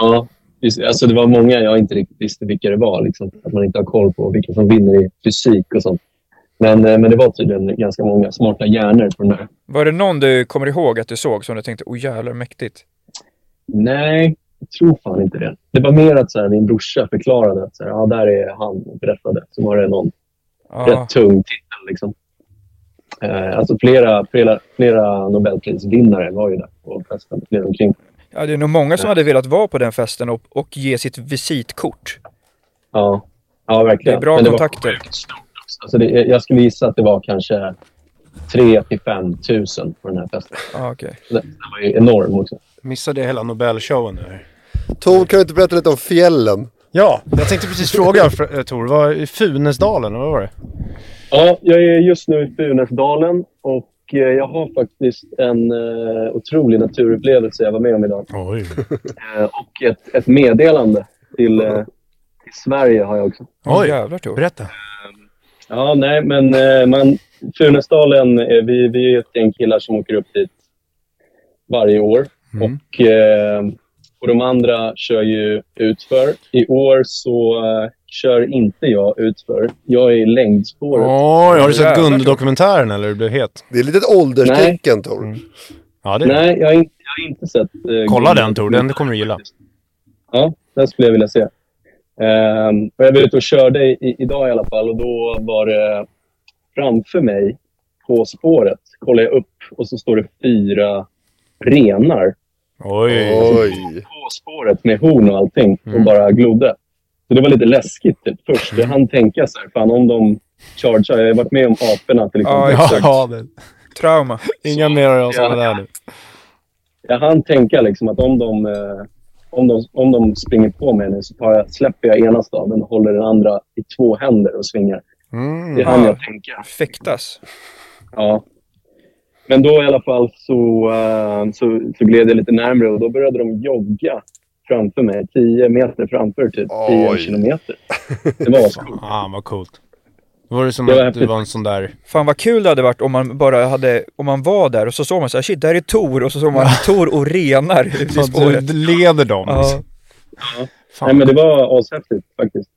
[SPEAKER 4] Ja, just, alltså det var många jag inte riktigt visste vilka det var. Liksom, att man inte har koll på vilka som vinner i fysik och sånt. Men, eh, men det var tydligen ganska många smarta hjärnor på den där.
[SPEAKER 2] Var det någon du kommer ihåg att du såg som du tänkte oh jävlar mäktigt?
[SPEAKER 4] Nej, jag tror fan inte det. Det var mer att så här, min brorsa förklarade att så här, ah, där är han och berättade. Så var det någon
[SPEAKER 2] Ja,
[SPEAKER 4] rätt tung titel. Liksom. Eh, alltså flera, flera, flera Nobelprisvinnare var ju där på festen. flera omkring.
[SPEAKER 2] ja det är nog många som hade velat vara på den festen och, och ge sitt visitkort.
[SPEAKER 4] Ja, ja
[SPEAKER 2] Det
[SPEAKER 4] verkligen.
[SPEAKER 2] är bra typ.
[SPEAKER 4] Men det var-
[SPEAKER 2] kontakter.
[SPEAKER 4] Alltså det, jag skulle gissa att det var kanske 3 till 5 tusen på den här festen.
[SPEAKER 2] Ja, okej.
[SPEAKER 4] Den den var ju enorm också.
[SPEAKER 1] Missade jag hela Nobelshowen nu?
[SPEAKER 5] Tor kan du inte berätta lite om fjällen?
[SPEAKER 1] Ja, jag tänkte precis
[SPEAKER 5] [LAUGHS]
[SPEAKER 1] fråga fr- eh, Tor. Vad, i Funäsdalen, vad var det?
[SPEAKER 4] Ja, jag är just nu i Funäsdalen och eh, jag har faktiskt en eh, otrolig naturupplevelse jag var med om idag.
[SPEAKER 1] Oj.
[SPEAKER 4] Eh, och ett, ett meddelande till, eh, till Sverige har jag också.
[SPEAKER 2] Oh,
[SPEAKER 1] Oj.
[SPEAKER 2] jävlar Tor.
[SPEAKER 1] Berätta.
[SPEAKER 4] Ja, nej, men eh, man, Funäsdalen, eh, vi, vi är ett gäng killar som åker upp dit varje år.
[SPEAKER 1] Mm.
[SPEAKER 4] Och, eh, och de andra kör ju utför. I år så eh, kör inte jag utför. Jag är i längdspåret.
[SPEAKER 1] Oj, har du sett
[SPEAKER 2] Jävlar,
[SPEAKER 1] Gunde-dokumentären eller? Du blev het.
[SPEAKER 5] Det är lite ett ålderstecken Tor.
[SPEAKER 1] Mm. Ja, det är det.
[SPEAKER 4] Nej, jag har inte, jag har inte sett... eh,
[SPEAKER 1] Kolla
[SPEAKER 4] Gunde.
[SPEAKER 1] den Tor, den kommer du gilla.
[SPEAKER 4] Ja, den skulle jag vilja se. Ehm, och jag var ute och körde i, idag i alla fall och då var det framför mig på spåret. Kollar jag upp och så står det fyra renar
[SPEAKER 1] Oj. Mm.
[SPEAKER 5] Oj.
[SPEAKER 4] på spåret med horn och allting
[SPEAKER 2] Mm.
[SPEAKER 4] och bara glodde. Så det var lite läskigt typ, först. Jag hann tänka så här, fan om de chargear. Jag har varit med om aporna till
[SPEAKER 2] Ja,
[SPEAKER 4] exempel.
[SPEAKER 2] exakt.
[SPEAKER 1] Ja, det.
[SPEAKER 2] Trauma.
[SPEAKER 1] Inga mer av sådana där nu.
[SPEAKER 4] jag hann tänka liksom att om de, eh, om, de, om de springer på mig nu så tar jag, släpper jag ena staven och håller den andra i två händer och svingar. Det hann
[SPEAKER 2] Ja.
[SPEAKER 4] jag tänka.
[SPEAKER 2] Fäktas.
[SPEAKER 4] Ja. Men då i alla fall så, eh, så, så gled jag lite närmare och då började de jogga framför mig. 10 meter framför, typ.
[SPEAKER 5] Oj.
[SPEAKER 4] 10 kilometer. Det var ascoolt.
[SPEAKER 1] Fan vad coolt. Då var det som
[SPEAKER 4] Det var
[SPEAKER 1] att du
[SPEAKER 4] häftigt.
[SPEAKER 1] var en sån där...
[SPEAKER 2] Fan vad kul det hade varit om man bara hade, om man var där och så såg man så här, shit där är Tor och så såg man Tor och renar ute i
[SPEAKER 1] Du
[SPEAKER 2] spåret.
[SPEAKER 1] leder dem.
[SPEAKER 2] Ja,
[SPEAKER 4] Nej, men det var ashäftigt faktiskt.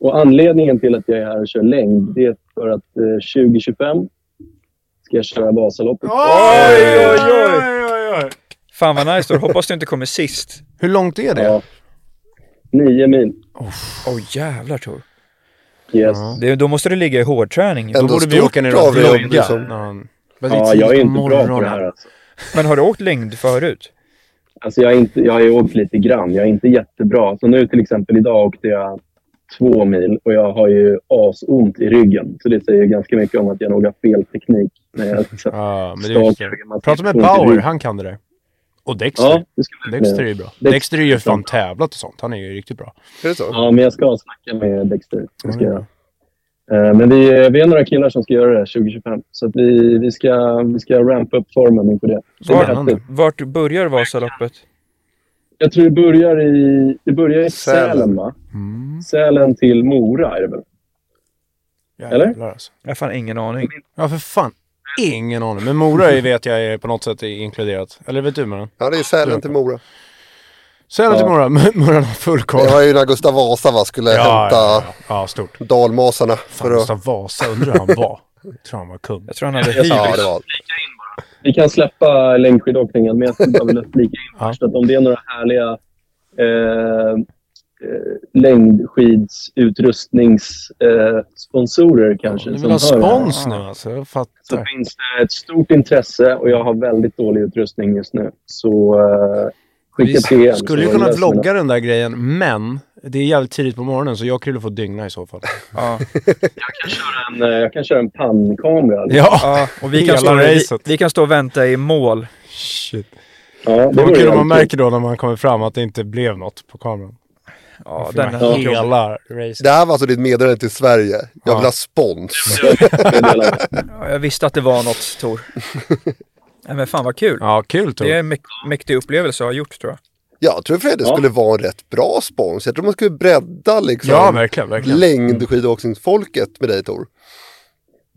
[SPEAKER 4] Och anledningen till att jag är här och kör längd, det är för att eh, 2025 ska jag köra Vasaloppet.
[SPEAKER 1] Oj,
[SPEAKER 2] oj, oj.
[SPEAKER 1] oj, oj.
[SPEAKER 2] fan vad nice Tor, hoppas du inte kommer sist.
[SPEAKER 1] Hur långt är det?
[SPEAKER 4] Ja. Nio mil.
[SPEAKER 2] Åh oh, jävlar Tor.
[SPEAKER 4] Yes.
[SPEAKER 2] Det, då måste du ligga i hårdträning.
[SPEAKER 1] Då
[SPEAKER 5] Ändå
[SPEAKER 1] borde vi
[SPEAKER 5] stort
[SPEAKER 1] åka ner
[SPEAKER 5] av
[SPEAKER 1] och
[SPEAKER 5] er,
[SPEAKER 1] vlogga.
[SPEAKER 5] liksom.
[SPEAKER 1] Ja.
[SPEAKER 4] Ja, jag är inte bra på det här. Alltså.
[SPEAKER 2] Men har du åkt längd förut?
[SPEAKER 4] Alltså jag, är inte, jag har ju åkt lite grann. Jag är inte jättebra. Så nu till exempel idag åkte jag två mil och jag har ju asont i ryggen. Så det säger ju ganska mycket om att jag nog har fel teknik. När jag liksom
[SPEAKER 1] [LAUGHS] Ja, men det är
[SPEAKER 4] stakar
[SPEAKER 1] viktigt.
[SPEAKER 4] gamla
[SPEAKER 1] Prata med
[SPEAKER 4] texter runt i
[SPEAKER 1] Bauer,
[SPEAKER 4] huvudet.
[SPEAKER 1] han kan det där. Och Dexter.
[SPEAKER 4] Ja, det ska jag
[SPEAKER 1] Dexter är
[SPEAKER 4] göra.
[SPEAKER 1] ju bra.
[SPEAKER 4] Dex-
[SPEAKER 1] Dexter är ju fan tävlat och sånt. Han är ju riktigt bra.
[SPEAKER 5] Är det så?
[SPEAKER 4] Ja, men jag ska snacka med Dexter. Det ska jag. göra. Eh, Men vi, vi är några killar som ska göra det här 2025. Så att vi, vi, ska, vi ska rampa upp formen inför det. det är
[SPEAKER 1] Spännande.
[SPEAKER 4] häftigt.
[SPEAKER 2] Vart börjar Vasaloppet?
[SPEAKER 4] Jag tror det börjar i, det börjar i Sälen.
[SPEAKER 5] Sälen,
[SPEAKER 4] va?
[SPEAKER 1] Mm.
[SPEAKER 4] Sälen till Mora är det väl? Eller?
[SPEAKER 1] Jävlar, alltså.
[SPEAKER 2] Jag har fan ingen aning.
[SPEAKER 1] Ja, för fan. Ingen aning. Men Mora är- vet jag är på något sätt inkluderat. Eller vet du Muran?
[SPEAKER 5] Ja, det är Sälen till Mora.
[SPEAKER 1] Säg det till Mora.
[SPEAKER 4] Ja.
[SPEAKER 1] [LAUGHS] Muran har full koll.
[SPEAKER 5] Det var ju när Gustav Vasa va, skulle
[SPEAKER 1] ja,
[SPEAKER 5] hämta
[SPEAKER 1] ja, ja. ja, stort.
[SPEAKER 5] dalmasarna.
[SPEAKER 1] Fan,
[SPEAKER 5] För att...
[SPEAKER 1] Gustav Vasa, undrar hur han var. Jag tror han var kung.
[SPEAKER 2] Jag tror han hade
[SPEAKER 5] Ja, det
[SPEAKER 2] hybris.
[SPEAKER 5] var
[SPEAKER 4] Vi kan släppa längdskidåkningen, men jag skulle bara vilja flika in
[SPEAKER 1] Ja.
[SPEAKER 4] först att om det är några härliga eh, eh, längdskidsutrustningssponsorer eh, sponsorer kanske.
[SPEAKER 1] Du
[SPEAKER 4] som
[SPEAKER 1] vill ha
[SPEAKER 4] hör det här.
[SPEAKER 1] spons nu alltså? Jag
[SPEAKER 4] så
[SPEAKER 1] fattar.
[SPEAKER 4] finns det ett stort intresse och jag har väldigt dålig utrustning just nu. Så eh, skicka till
[SPEAKER 1] Vi
[SPEAKER 4] igen.
[SPEAKER 1] skulle ju
[SPEAKER 4] så
[SPEAKER 1] kunna
[SPEAKER 4] löser vi det.
[SPEAKER 1] vlogga den där grejen, men det är jävligt tidigt på morgonen så jag och Krille får dygna i så
[SPEAKER 5] [LAUGHS]
[SPEAKER 1] fall.
[SPEAKER 2] Ja.
[SPEAKER 4] Jag kan köra en, eh, jag kan köra en pannkamera. liksom.
[SPEAKER 1] Ja!
[SPEAKER 2] ja, och vi kan,
[SPEAKER 1] Hela
[SPEAKER 2] stå, vi,
[SPEAKER 1] racet.
[SPEAKER 2] vi kan stå och vänta i mål.
[SPEAKER 1] Shit.
[SPEAKER 4] Ja, det
[SPEAKER 1] Det var
[SPEAKER 4] vore
[SPEAKER 1] kul om man
[SPEAKER 4] jävligt
[SPEAKER 1] märker då när man kommer fram att det inte blev något på kameran.
[SPEAKER 2] Ja,
[SPEAKER 1] För
[SPEAKER 2] den
[SPEAKER 1] man-
[SPEAKER 2] här ja.
[SPEAKER 1] Hela racet.
[SPEAKER 5] Det här var alltså ditt meddelande till Sverige. Jag
[SPEAKER 1] Ja.
[SPEAKER 5] vill ha spons.
[SPEAKER 4] kul att dela med.
[SPEAKER 2] Jag visste att det var något, Tor. Nej, men fan vad kul.
[SPEAKER 1] Ja, kul Tor.
[SPEAKER 2] Det är en mäk- mäktig upplevelse att ha gjort, tror jag.
[SPEAKER 5] Jag tror för att det
[SPEAKER 4] Ja.
[SPEAKER 5] skulle vara en rätt bra spons. Jag tror man skulle bredda liksom
[SPEAKER 1] Ja, verkligen, verkligen.
[SPEAKER 5] längdskidåkningsfolket med dig Tor.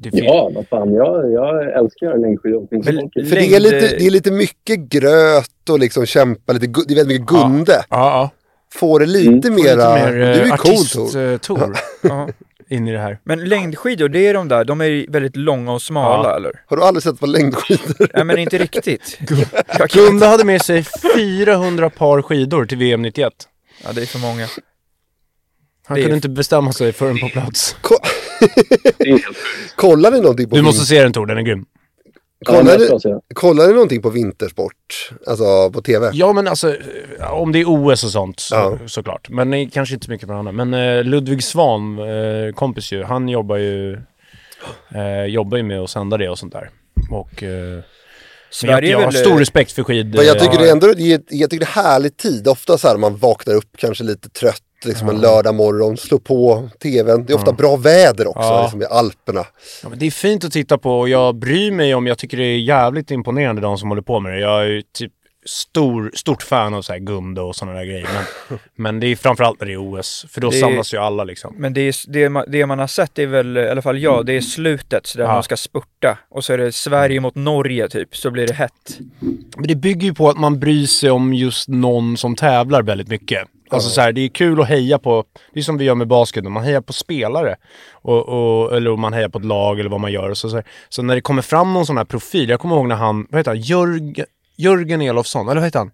[SPEAKER 1] Det finns-
[SPEAKER 4] Ja, vad fan. Jag, jag älskar längdskidåkning.
[SPEAKER 1] Men-
[SPEAKER 5] För det,
[SPEAKER 2] Längd-
[SPEAKER 5] är lite, det är lite mycket gröt och liksom kämpa lite. gu- Det är väldigt mycket Gunde.
[SPEAKER 1] Ja,
[SPEAKER 5] Får det
[SPEAKER 4] Mm.
[SPEAKER 5] lite
[SPEAKER 1] ja. Får
[SPEAKER 5] mera...
[SPEAKER 1] Lite mer
[SPEAKER 5] du är ju
[SPEAKER 1] eh,
[SPEAKER 5] cool Tor.
[SPEAKER 1] artist-Tor
[SPEAKER 2] Ja.
[SPEAKER 1] in i det här.
[SPEAKER 2] Men längdskidor, det är de där, de är väldigt långa och smala,
[SPEAKER 1] Ja.
[SPEAKER 2] eller?
[SPEAKER 5] Har du aldrig sett vad längdskidor? [LAUGHS]
[SPEAKER 2] Nej, men
[SPEAKER 1] [LAUGHS]
[SPEAKER 2] inte riktigt. Jag kan-
[SPEAKER 1] Gunde hade med [LAUGHS] sig 400 par skidor till VM 91.
[SPEAKER 2] Ja, det är för många.
[SPEAKER 1] Han
[SPEAKER 2] Det är-
[SPEAKER 1] kunde inte bestämma sig förrän på plats.
[SPEAKER 5] Ko- Kollar ni någonting på
[SPEAKER 1] Du måste
[SPEAKER 5] vin-
[SPEAKER 1] se den Tor, den är grym.
[SPEAKER 4] Ja,
[SPEAKER 5] kollar,
[SPEAKER 4] men alltså, jag
[SPEAKER 5] ni,
[SPEAKER 4] ska se.
[SPEAKER 5] kollar ni någonting på vintersport? Alltså på tv?
[SPEAKER 1] Ja men alltså, eh, om det är OS och sånt så,
[SPEAKER 5] Ja.
[SPEAKER 1] såklart. Men eh, kanske inte så mycket på annat. Men eh, Ludvig Svan, eh, kompis ju, han jobbar ju, eh, jobbar ju med att sända det och sånt där. Och eh, men jag, eh,
[SPEAKER 2] Sverige
[SPEAKER 1] jag
[SPEAKER 2] är
[SPEAKER 1] har
[SPEAKER 2] väl...
[SPEAKER 1] stor respekt för skid.
[SPEAKER 5] Men jag
[SPEAKER 1] eh,
[SPEAKER 5] tycker det är ändå det är- jag tycker det är härlig tid. Ofta så här man vaknar upp kanske lite trött liksom en lördag morgon, slår på tvn. Det är ofta bra väder också,
[SPEAKER 1] Ja.
[SPEAKER 5] liksom i Alperna.
[SPEAKER 1] Ja, men det är fint att titta på och jag bryr mig om, jag tycker det är jävligt imponerande de som håller på med det. Jag är ju typ stor, stort fan av så här Gumde och sådana där grejer. Men,
[SPEAKER 2] [LAUGHS]
[SPEAKER 1] men det är framförallt när det är OS, för då
[SPEAKER 2] Det är-
[SPEAKER 1] samlas ju alla liksom.
[SPEAKER 2] Men det, är, det, ma- det man har sett är väl, i alla fall jag, det är slutet så där
[SPEAKER 1] Mm. Ja.
[SPEAKER 2] man ska spurta. Och så är det Sverige mot Norge typ, så blir det hett.
[SPEAKER 1] Men det bygger ju på att man bryr sig om just någon som tävlar väldigt mycket. Alltså så här, det är kul att heja på, det är som vi gör med basketen, man hejar på spelare. Och, och, eller om man hejar på ett lag eller vad man gör. Så, så, här. så när det kommer fram någon sån här profil, jag kommer ihåg när han, vad heter han, Jörg, Jörgen Elofsson, eller vad heter han?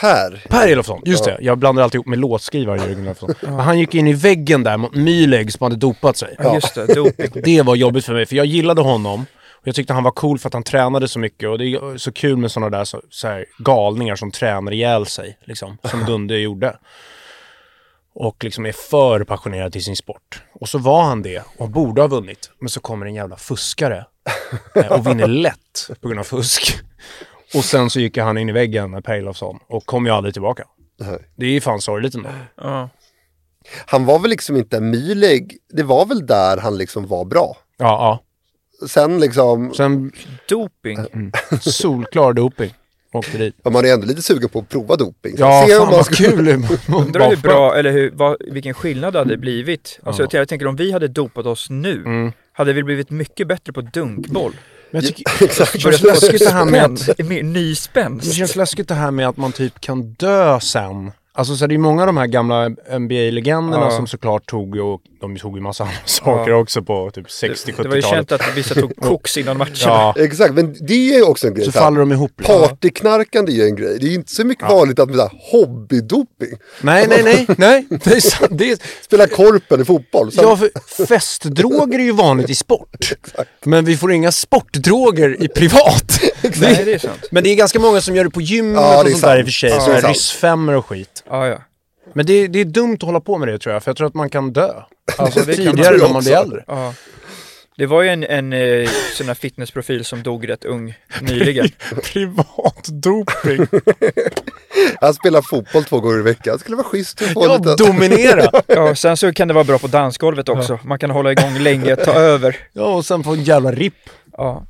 [SPEAKER 5] Per,
[SPEAKER 1] Per Elofsson, just det. Jag blandar alltid ihop med låtskrivaren Jörgen Elofsson. Men han gick in i väggen där mot Mühlegg som hade dopat sig.
[SPEAKER 2] Ja. Just det, doping.
[SPEAKER 1] [LAUGHS] Det var jobbigt för mig, för jag gillade honom. Och jag tyckte han var cool för att han tränade så mycket. Och det är så kul med sådana där så, så här, galningar som tränar ihjäl sig, liksom. Som Gunde gjorde. Och liksom är för passionerad till sin sport. Och så var han det och borde ha vunnit. Men så kommer en jävla fuskare eh, och vinner lätt på grund av fusk. Och sen så gick han in i väggen med Per Elofsson och kom ju aldrig tillbaka.
[SPEAKER 5] Nej.
[SPEAKER 1] Det är ju fan sorgligt ändå.
[SPEAKER 2] Ja.
[SPEAKER 5] han var väl liksom inte Mühlegg. Det var väl där han liksom var bra.
[SPEAKER 1] Ja, ja.
[SPEAKER 5] Sen liksom,
[SPEAKER 1] Sen
[SPEAKER 2] Doping.
[SPEAKER 1] Mm. solklar doping. Åkte dit.
[SPEAKER 5] ja, man är ändå lite sugen på att prova doping. Så
[SPEAKER 1] Ja,
[SPEAKER 5] se om
[SPEAKER 1] fan
[SPEAKER 5] man
[SPEAKER 1] vad
[SPEAKER 5] ska- [LAUGHS]
[SPEAKER 1] kul det var.
[SPEAKER 2] Undrar hur bra, eller hur, vad, vilken skillnad det hade blivit. Alltså,
[SPEAKER 1] Ja. Mm.
[SPEAKER 2] jag tänker om vi hade dopat oss nu, hade vi blivit mycket bättre på dunkboll.
[SPEAKER 1] Men jag tycker,
[SPEAKER 5] Exakt.
[SPEAKER 1] det
[SPEAKER 5] [LAUGHS]
[SPEAKER 1] känns läskigt det här med att,
[SPEAKER 2] Spänd, mer- ny
[SPEAKER 1] det
[SPEAKER 2] spänst.
[SPEAKER 1] känns läskigt det här med att man typ kan dö sen. Alltså så det är ju många av de här gamla NBA-legenderna
[SPEAKER 2] Ja.
[SPEAKER 1] som såklart tog ju, och de tog ju massa [LAUGHS] andra saker också på typ
[SPEAKER 2] Det, det var ju
[SPEAKER 1] 60-70-talet.
[SPEAKER 2] känt att vissa tog koks innan matcherna.
[SPEAKER 1] Ja,
[SPEAKER 5] Exakt, men det är ju också en grej.
[SPEAKER 1] så
[SPEAKER 5] så här.
[SPEAKER 1] faller de ihop. liksom.
[SPEAKER 5] Partyknarkande är ju en grej. Det är ju inte så mycket vanligt att man så här, hobbydoping.
[SPEAKER 1] Nej, nej,
[SPEAKER 5] [LAUGHS]
[SPEAKER 1] nej, nej. Det är, sant. det är,
[SPEAKER 5] Spela korpen i fotboll. Sen,
[SPEAKER 1] ja, för festdroger är ju vanligt i
[SPEAKER 5] [LAUGHS]
[SPEAKER 1] sport. Men vi får inga sportdroger i
[SPEAKER 5] [LAUGHS]
[SPEAKER 1] privat.
[SPEAKER 2] Nej, det är sant.
[SPEAKER 1] Men det är ganska många som gör det på gymmet
[SPEAKER 5] Ja,
[SPEAKER 1] och
[SPEAKER 5] det är
[SPEAKER 1] sånt där i och för
[SPEAKER 5] sant.
[SPEAKER 1] sig.
[SPEAKER 5] Ja,
[SPEAKER 1] så
[SPEAKER 5] det är
[SPEAKER 1] här
[SPEAKER 5] sant.
[SPEAKER 1] ryssfemmor och skit.
[SPEAKER 2] Ja, ja.
[SPEAKER 1] Men det, är- det är dumt att hålla på med det tror jag, för jag tror att man kan dö. Alltså
[SPEAKER 2] det kan
[SPEAKER 1] tidigare
[SPEAKER 5] man
[SPEAKER 1] när man
[SPEAKER 5] också.
[SPEAKER 1] blir äldre.
[SPEAKER 2] ja. Det var ju en, en eh, sån här fitnessprofil som dog rätt ung
[SPEAKER 1] [LAUGHS]
[SPEAKER 2] nyligen.
[SPEAKER 1] Privat doping. [LAUGHS]
[SPEAKER 5] Han spelar fotboll två gånger i veckan. Det skulle vara schysst att få
[SPEAKER 1] Ja,
[SPEAKER 5] lite...
[SPEAKER 1] [LAUGHS] dominera.
[SPEAKER 2] Ja, sen så kan det vara bra på dansgolvet också. Man kan hålla igång
[SPEAKER 1] [LAUGHS]
[SPEAKER 2] länge, ta över.
[SPEAKER 1] Ja, och sen få en jävla ripp.
[SPEAKER 2] Ja.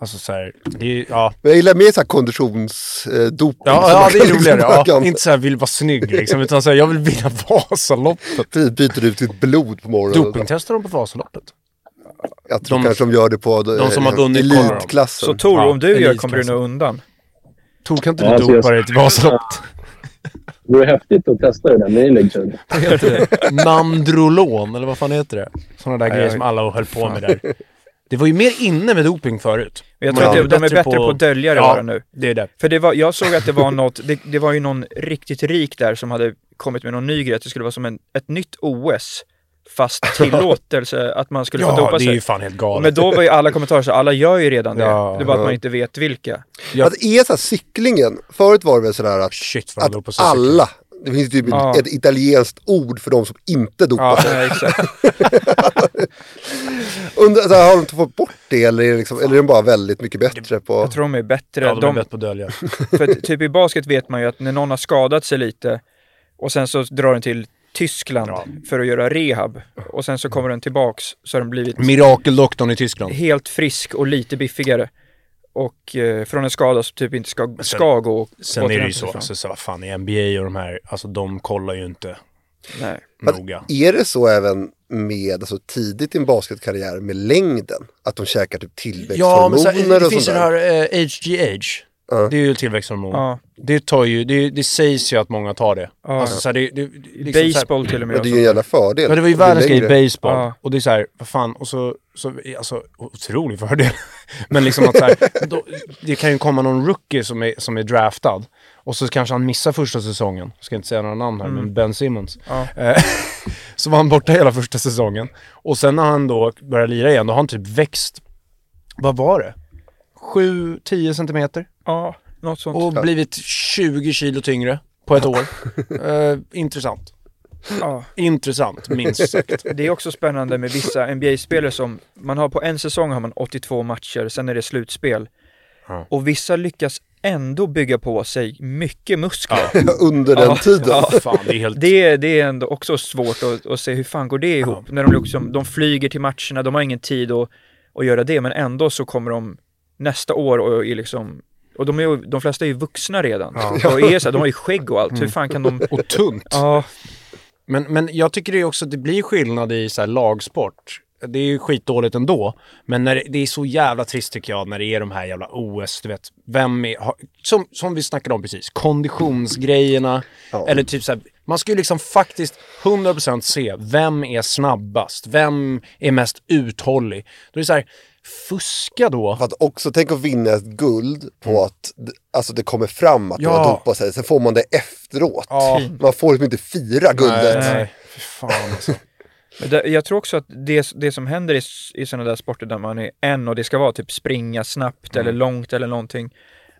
[SPEAKER 1] Alltså så här, det är, ja.
[SPEAKER 5] Men jag gillar mer så här eh, konditionsdoping.
[SPEAKER 1] Ja, ja, det är [LAUGHS]
[SPEAKER 5] liksom
[SPEAKER 1] roligare. Ja. Inte så här, vill vara snygg liksom, utan så här, jag vill vinna Vasaloppet.
[SPEAKER 5] Byter ut sitt blod på morgonen.
[SPEAKER 1] Dopingtestar de på Vasaloppet?
[SPEAKER 5] Jag tror
[SPEAKER 1] De-
[SPEAKER 5] kanske de gör det på
[SPEAKER 1] de som har
[SPEAKER 5] eh,
[SPEAKER 1] vunnit kollar dem.
[SPEAKER 5] elitklassen.
[SPEAKER 2] Så Tor,
[SPEAKER 1] Ja,
[SPEAKER 2] om du gör
[SPEAKER 1] elitklassen.
[SPEAKER 2] kommer du nog
[SPEAKER 1] [LAUGHS]
[SPEAKER 2] undan.
[SPEAKER 1] Tor, kan inte
[SPEAKER 4] Ja,
[SPEAKER 1] du
[SPEAKER 4] alltså, jag-
[SPEAKER 1] dopa dig till
[SPEAKER 4] [LAUGHS]
[SPEAKER 1] Vasaloppet?
[SPEAKER 4] Det vore häftigt att testa det där med Electrode.
[SPEAKER 1] Vad heter det? Nandrolon, eller vad fan heter det? Sådana där grejer
[SPEAKER 2] jag-
[SPEAKER 1] som alla höll på med där. Det var ju mer inne med doping förut.
[SPEAKER 2] Men jag
[SPEAKER 1] Man
[SPEAKER 2] tror att
[SPEAKER 1] var
[SPEAKER 2] de- de är bättre på att dölja det
[SPEAKER 1] ja,
[SPEAKER 2] bara nu.
[SPEAKER 1] det är det.
[SPEAKER 2] För det var, jag såg att det var något, det, det var ju någon riktigt rik där som hade kommit med någon ny grej, att det skulle vara som en, ett nytt OS,
[SPEAKER 1] [LAUGHS]
[SPEAKER 2] fast tillåtelse att man skulle få
[SPEAKER 1] Ja,
[SPEAKER 2] dopa
[SPEAKER 1] det är
[SPEAKER 2] sig.
[SPEAKER 1] ju fan helt
[SPEAKER 2] Men
[SPEAKER 1] galet.
[SPEAKER 2] då var ju alla kommentarer så, alla gör ju redan det.
[SPEAKER 1] Ja.
[SPEAKER 2] det är bara att man inte vet vilka.
[SPEAKER 1] Ja.
[SPEAKER 5] Att det är så här, cyklingen, förut var det väl sådär att,
[SPEAKER 1] Shit, vad jag låg på
[SPEAKER 5] att
[SPEAKER 1] cykel.
[SPEAKER 5] alla, det finns typ
[SPEAKER 2] Ja.
[SPEAKER 5] ett italienskt ord för de som inte dopar
[SPEAKER 2] Ja,
[SPEAKER 5] sig.
[SPEAKER 2] nej, exakt.
[SPEAKER 5] Undrar, så här, har de inte fått bort det eller är, det liksom, eller är de bara väldigt mycket bättre på...
[SPEAKER 2] Jag tror de är bättre.
[SPEAKER 1] Ja, de är
[SPEAKER 2] de,
[SPEAKER 1] bättre på att
[SPEAKER 5] [LAUGHS]
[SPEAKER 1] dölja.
[SPEAKER 2] för att typ i basket vet man ju att när någon har skadat sig lite och sen så drar den till Tyskland
[SPEAKER 1] Ja.
[SPEAKER 2] för att göra rehab och sen så kommer den tillbaks så har den blivit
[SPEAKER 1] Mirakeldoktorn i Tyskland.
[SPEAKER 2] helt frisk och lite biffigare. Och eh, från en skada som typ inte ska,
[SPEAKER 1] sen-
[SPEAKER 2] ska gå och
[SPEAKER 1] Sen är det ju
[SPEAKER 2] återhämta sig
[SPEAKER 1] så,
[SPEAKER 2] från.
[SPEAKER 1] alltså, så vad fan i NBA och de här, alltså de kollar ju inte
[SPEAKER 2] Nej.
[SPEAKER 5] Fast
[SPEAKER 1] noga.
[SPEAKER 5] Är det så även med, alltså tidigt i en basketkarriär med längden? Att de käkar typ
[SPEAKER 1] Ja, men så,
[SPEAKER 5] tillväxthormoner
[SPEAKER 1] här, det
[SPEAKER 5] och
[SPEAKER 1] finns
[SPEAKER 5] sånt
[SPEAKER 1] ju det
[SPEAKER 5] där?
[SPEAKER 1] här eh, HGH.
[SPEAKER 5] Ja.
[SPEAKER 1] Det är ju tillväxthormon.
[SPEAKER 2] Ja.
[SPEAKER 1] Det, tar ju, det, det sägs ju att många tar det.
[SPEAKER 2] Ja.
[SPEAKER 1] Alltså, så här, det, det, liksom, så här-
[SPEAKER 2] Baseball till och med. alltså.
[SPEAKER 5] Men det är ju en jävla fördel.
[SPEAKER 1] Ja, det var ju
[SPEAKER 5] Om du är
[SPEAKER 1] världens grej i
[SPEAKER 5] längre.
[SPEAKER 1] baseball.
[SPEAKER 2] Ja.
[SPEAKER 1] Och det är så här, vad fan, och så, så alltså, otrolig fördel. [LAUGHS] Men liksom att så här, då, det kan ju komma någon rookie som är, som är draftad. Och så kanske han missar första säsongen. Jag ska inte säga några namn här, men Ben Simmons.
[SPEAKER 2] Mm. Ja.
[SPEAKER 1] Eh, [LAUGHS] så var han borta hela första säsongen. Och sen när han då börjar lira igen, då har han typ växt, vad var det? 7-10 centimeter.
[SPEAKER 2] Ja, något sånt.
[SPEAKER 1] Och blivit 20 kilo tyngre på ett år. Eh, intressant.
[SPEAKER 2] Ja.
[SPEAKER 1] Intressant, minst sagt.
[SPEAKER 2] Det är också spännande med vissa NBA-spelare som, man har på en säsong har man 82 matcher, sen är det slutspel.
[SPEAKER 1] Ja.
[SPEAKER 2] Och vissa lyckas ändå bygga på sig mycket muskler.
[SPEAKER 5] Under den
[SPEAKER 2] Ja.
[SPEAKER 5] tiden.
[SPEAKER 2] Ja.
[SPEAKER 1] Fan, det är helt
[SPEAKER 2] Det, det är ändå också svårt att, att se hur fan går det ihop? När de, liksom, de flyger till matcherna, de har ingen tid att, att göra det, men ändå så kommer de nästa år och är liksom och de, är, ju- de flesta är ju vuxna redan. Och är så här, de har ju skägg och allt. Hur fan kan de...
[SPEAKER 1] Och tungt.
[SPEAKER 2] Ja,
[SPEAKER 1] Men, men jag tycker det är också att det blir skillnad i så här lagsport. Det är ju skitdåligt ändå, men när det, det är så jävla trist tycker jag när det är de här jävla OS, du vet, vem är, har, som, som vi snackade om precis, konditionsgrejerna, eller typ så här, man ska ju liksom faktiskt 100% se, vem är snabbast, vem är mest uthållig? Då är det så här, fuska då.
[SPEAKER 5] För att också, tänk att vinna ett guld på att d- alltså, det kommer fram att
[SPEAKER 1] Mm. Ja.
[SPEAKER 5] man har dopat sig. Sen får man det efteråt.
[SPEAKER 1] Ja.
[SPEAKER 5] Man får liksom inte fira guldet.
[SPEAKER 1] Nej, fy fan alltså.
[SPEAKER 2] men det, jag tror också att det, det som händer i, s- i sådana där sporter där man är en och det ska vara typ springa snabbt
[SPEAKER 1] Mm.
[SPEAKER 2] eller långt eller någonting.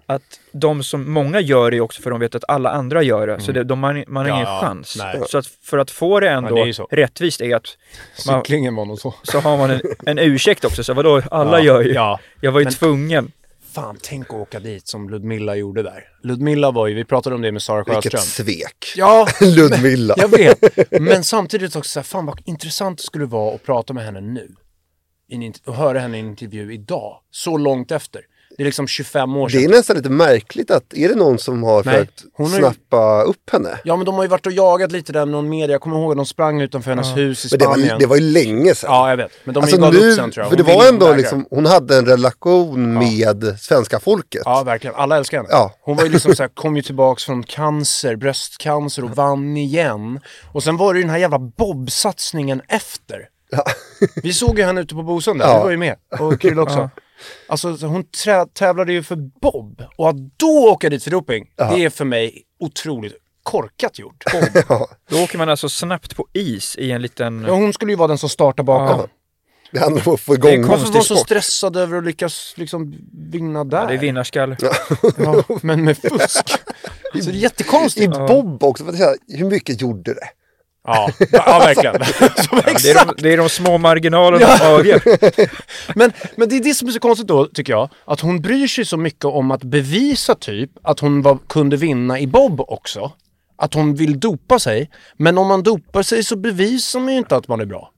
[SPEAKER 2] Att de som, många gör det ju också för de vet att alla andra gör det. Så det, de, man, man har
[SPEAKER 1] Ja,
[SPEAKER 2] ingen
[SPEAKER 1] Mm. ja.
[SPEAKER 2] chans.
[SPEAKER 1] Nej.
[SPEAKER 2] Så att för att få det
[SPEAKER 1] Ja, det
[SPEAKER 2] ändå
[SPEAKER 1] är ju så.
[SPEAKER 2] rättvist är att man,
[SPEAKER 1] Cyklingen var nog så.
[SPEAKER 2] så har man en, en ursäkt också. Så vadå, alla gör ju.
[SPEAKER 1] Ja.
[SPEAKER 2] Jag var ju
[SPEAKER 1] Men-
[SPEAKER 2] tvungen.
[SPEAKER 1] Fan, tänk att åka dit som Ludmilla gjorde där. Ludmilla var ju, vi pratade om det med Sara
[SPEAKER 5] Vilket
[SPEAKER 1] Sjöström.
[SPEAKER 5] svek.
[SPEAKER 1] Ja,
[SPEAKER 5] [LAUGHS] Ludmilla.
[SPEAKER 1] jag vet. Men samtidigt också så här, fan vad intressant det skulle vara att prata med henne nu. I en int- och höra henne i en intervju idag, så långt efter. Det är liksom 25 år sedan.
[SPEAKER 5] Det är nästan lite märkligt att, är det någon som har
[SPEAKER 1] Nej,
[SPEAKER 5] försökt
[SPEAKER 1] hon har ju-
[SPEAKER 5] snappa upp henne?
[SPEAKER 1] Ja, men de har ju varit och jagat lite där med någon media. Jag kommer ihåg att de sprang utanför hennes hus i
[SPEAKER 5] Men det
[SPEAKER 1] Spanien.
[SPEAKER 5] var, det var ju länge sedan.
[SPEAKER 1] Ja, jag vet. Men de
[SPEAKER 5] alltså
[SPEAKER 1] gav
[SPEAKER 5] nu,
[SPEAKER 1] upp sen tror jag.
[SPEAKER 5] för det
[SPEAKER 1] Hon
[SPEAKER 5] var
[SPEAKER 1] ville- hon
[SPEAKER 5] ändå
[SPEAKER 1] vägrade.
[SPEAKER 5] liksom, hon hade en relation med svenska folket.
[SPEAKER 1] Ja, verkligen. Alla älskar henne.
[SPEAKER 5] Ja.
[SPEAKER 1] Hon var ju liksom så här, kom ju tillbaks från cancer, bröstcancer och vann igen. Och sen var det ju den här jävla bobsatsningen efter. Vi såg ju henne ute på Bosunda,
[SPEAKER 5] Ja.
[SPEAKER 1] du var ju med. Och kul också.
[SPEAKER 2] Ja.
[SPEAKER 1] Alltså så hon trä- tävlade ju för bob. Och att då åka dit för doping, det är för mig otroligt korkat gjort. Bob.
[SPEAKER 2] Då åker man alltså snabbt på is i en liten...
[SPEAKER 1] Ja, hon skulle ju vara den som startar bakom.
[SPEAKER 2] Ja.
[SPEAKER 5] Det handlar om att få
[SPEAKER 2] Det
[SPEAKER 5] igång
[SPEAKER 2] är
[SPEAKER 1] Varför var hon så
[SPEAKER 2] Konstig sport.
[SPEAKER 1] stressad över att lyckas liksom vinna där?
[SPEAKER 2] Ja, det är vinnarskall.
[SPEAKER 1] Ja, [LAUGHS] men med fusk. Så det är jättekonstigt.
[SPEAKER 5] I Bob också, för att säga, hur mycket gjorde det?
[SPEAKER 1] [LAUGHS] Ja, ja verkligen. Alltså, Som
[SPEAKER 2] Det är,
[SPEAKER 1] exakt.
[SPEAKER 2] de, det är de små marginalerna som avgör.
[SPEAKER 1] Men, men det är det som är så konstigt då, tycker jag. Att hon bryr sig så mycket om att bevisa typ att hon var, kunde vinna i Bob också. Att hon vill dopa sig. Men om man dopar sig så bevisar man ju inte att man är [LAUGHS] bra.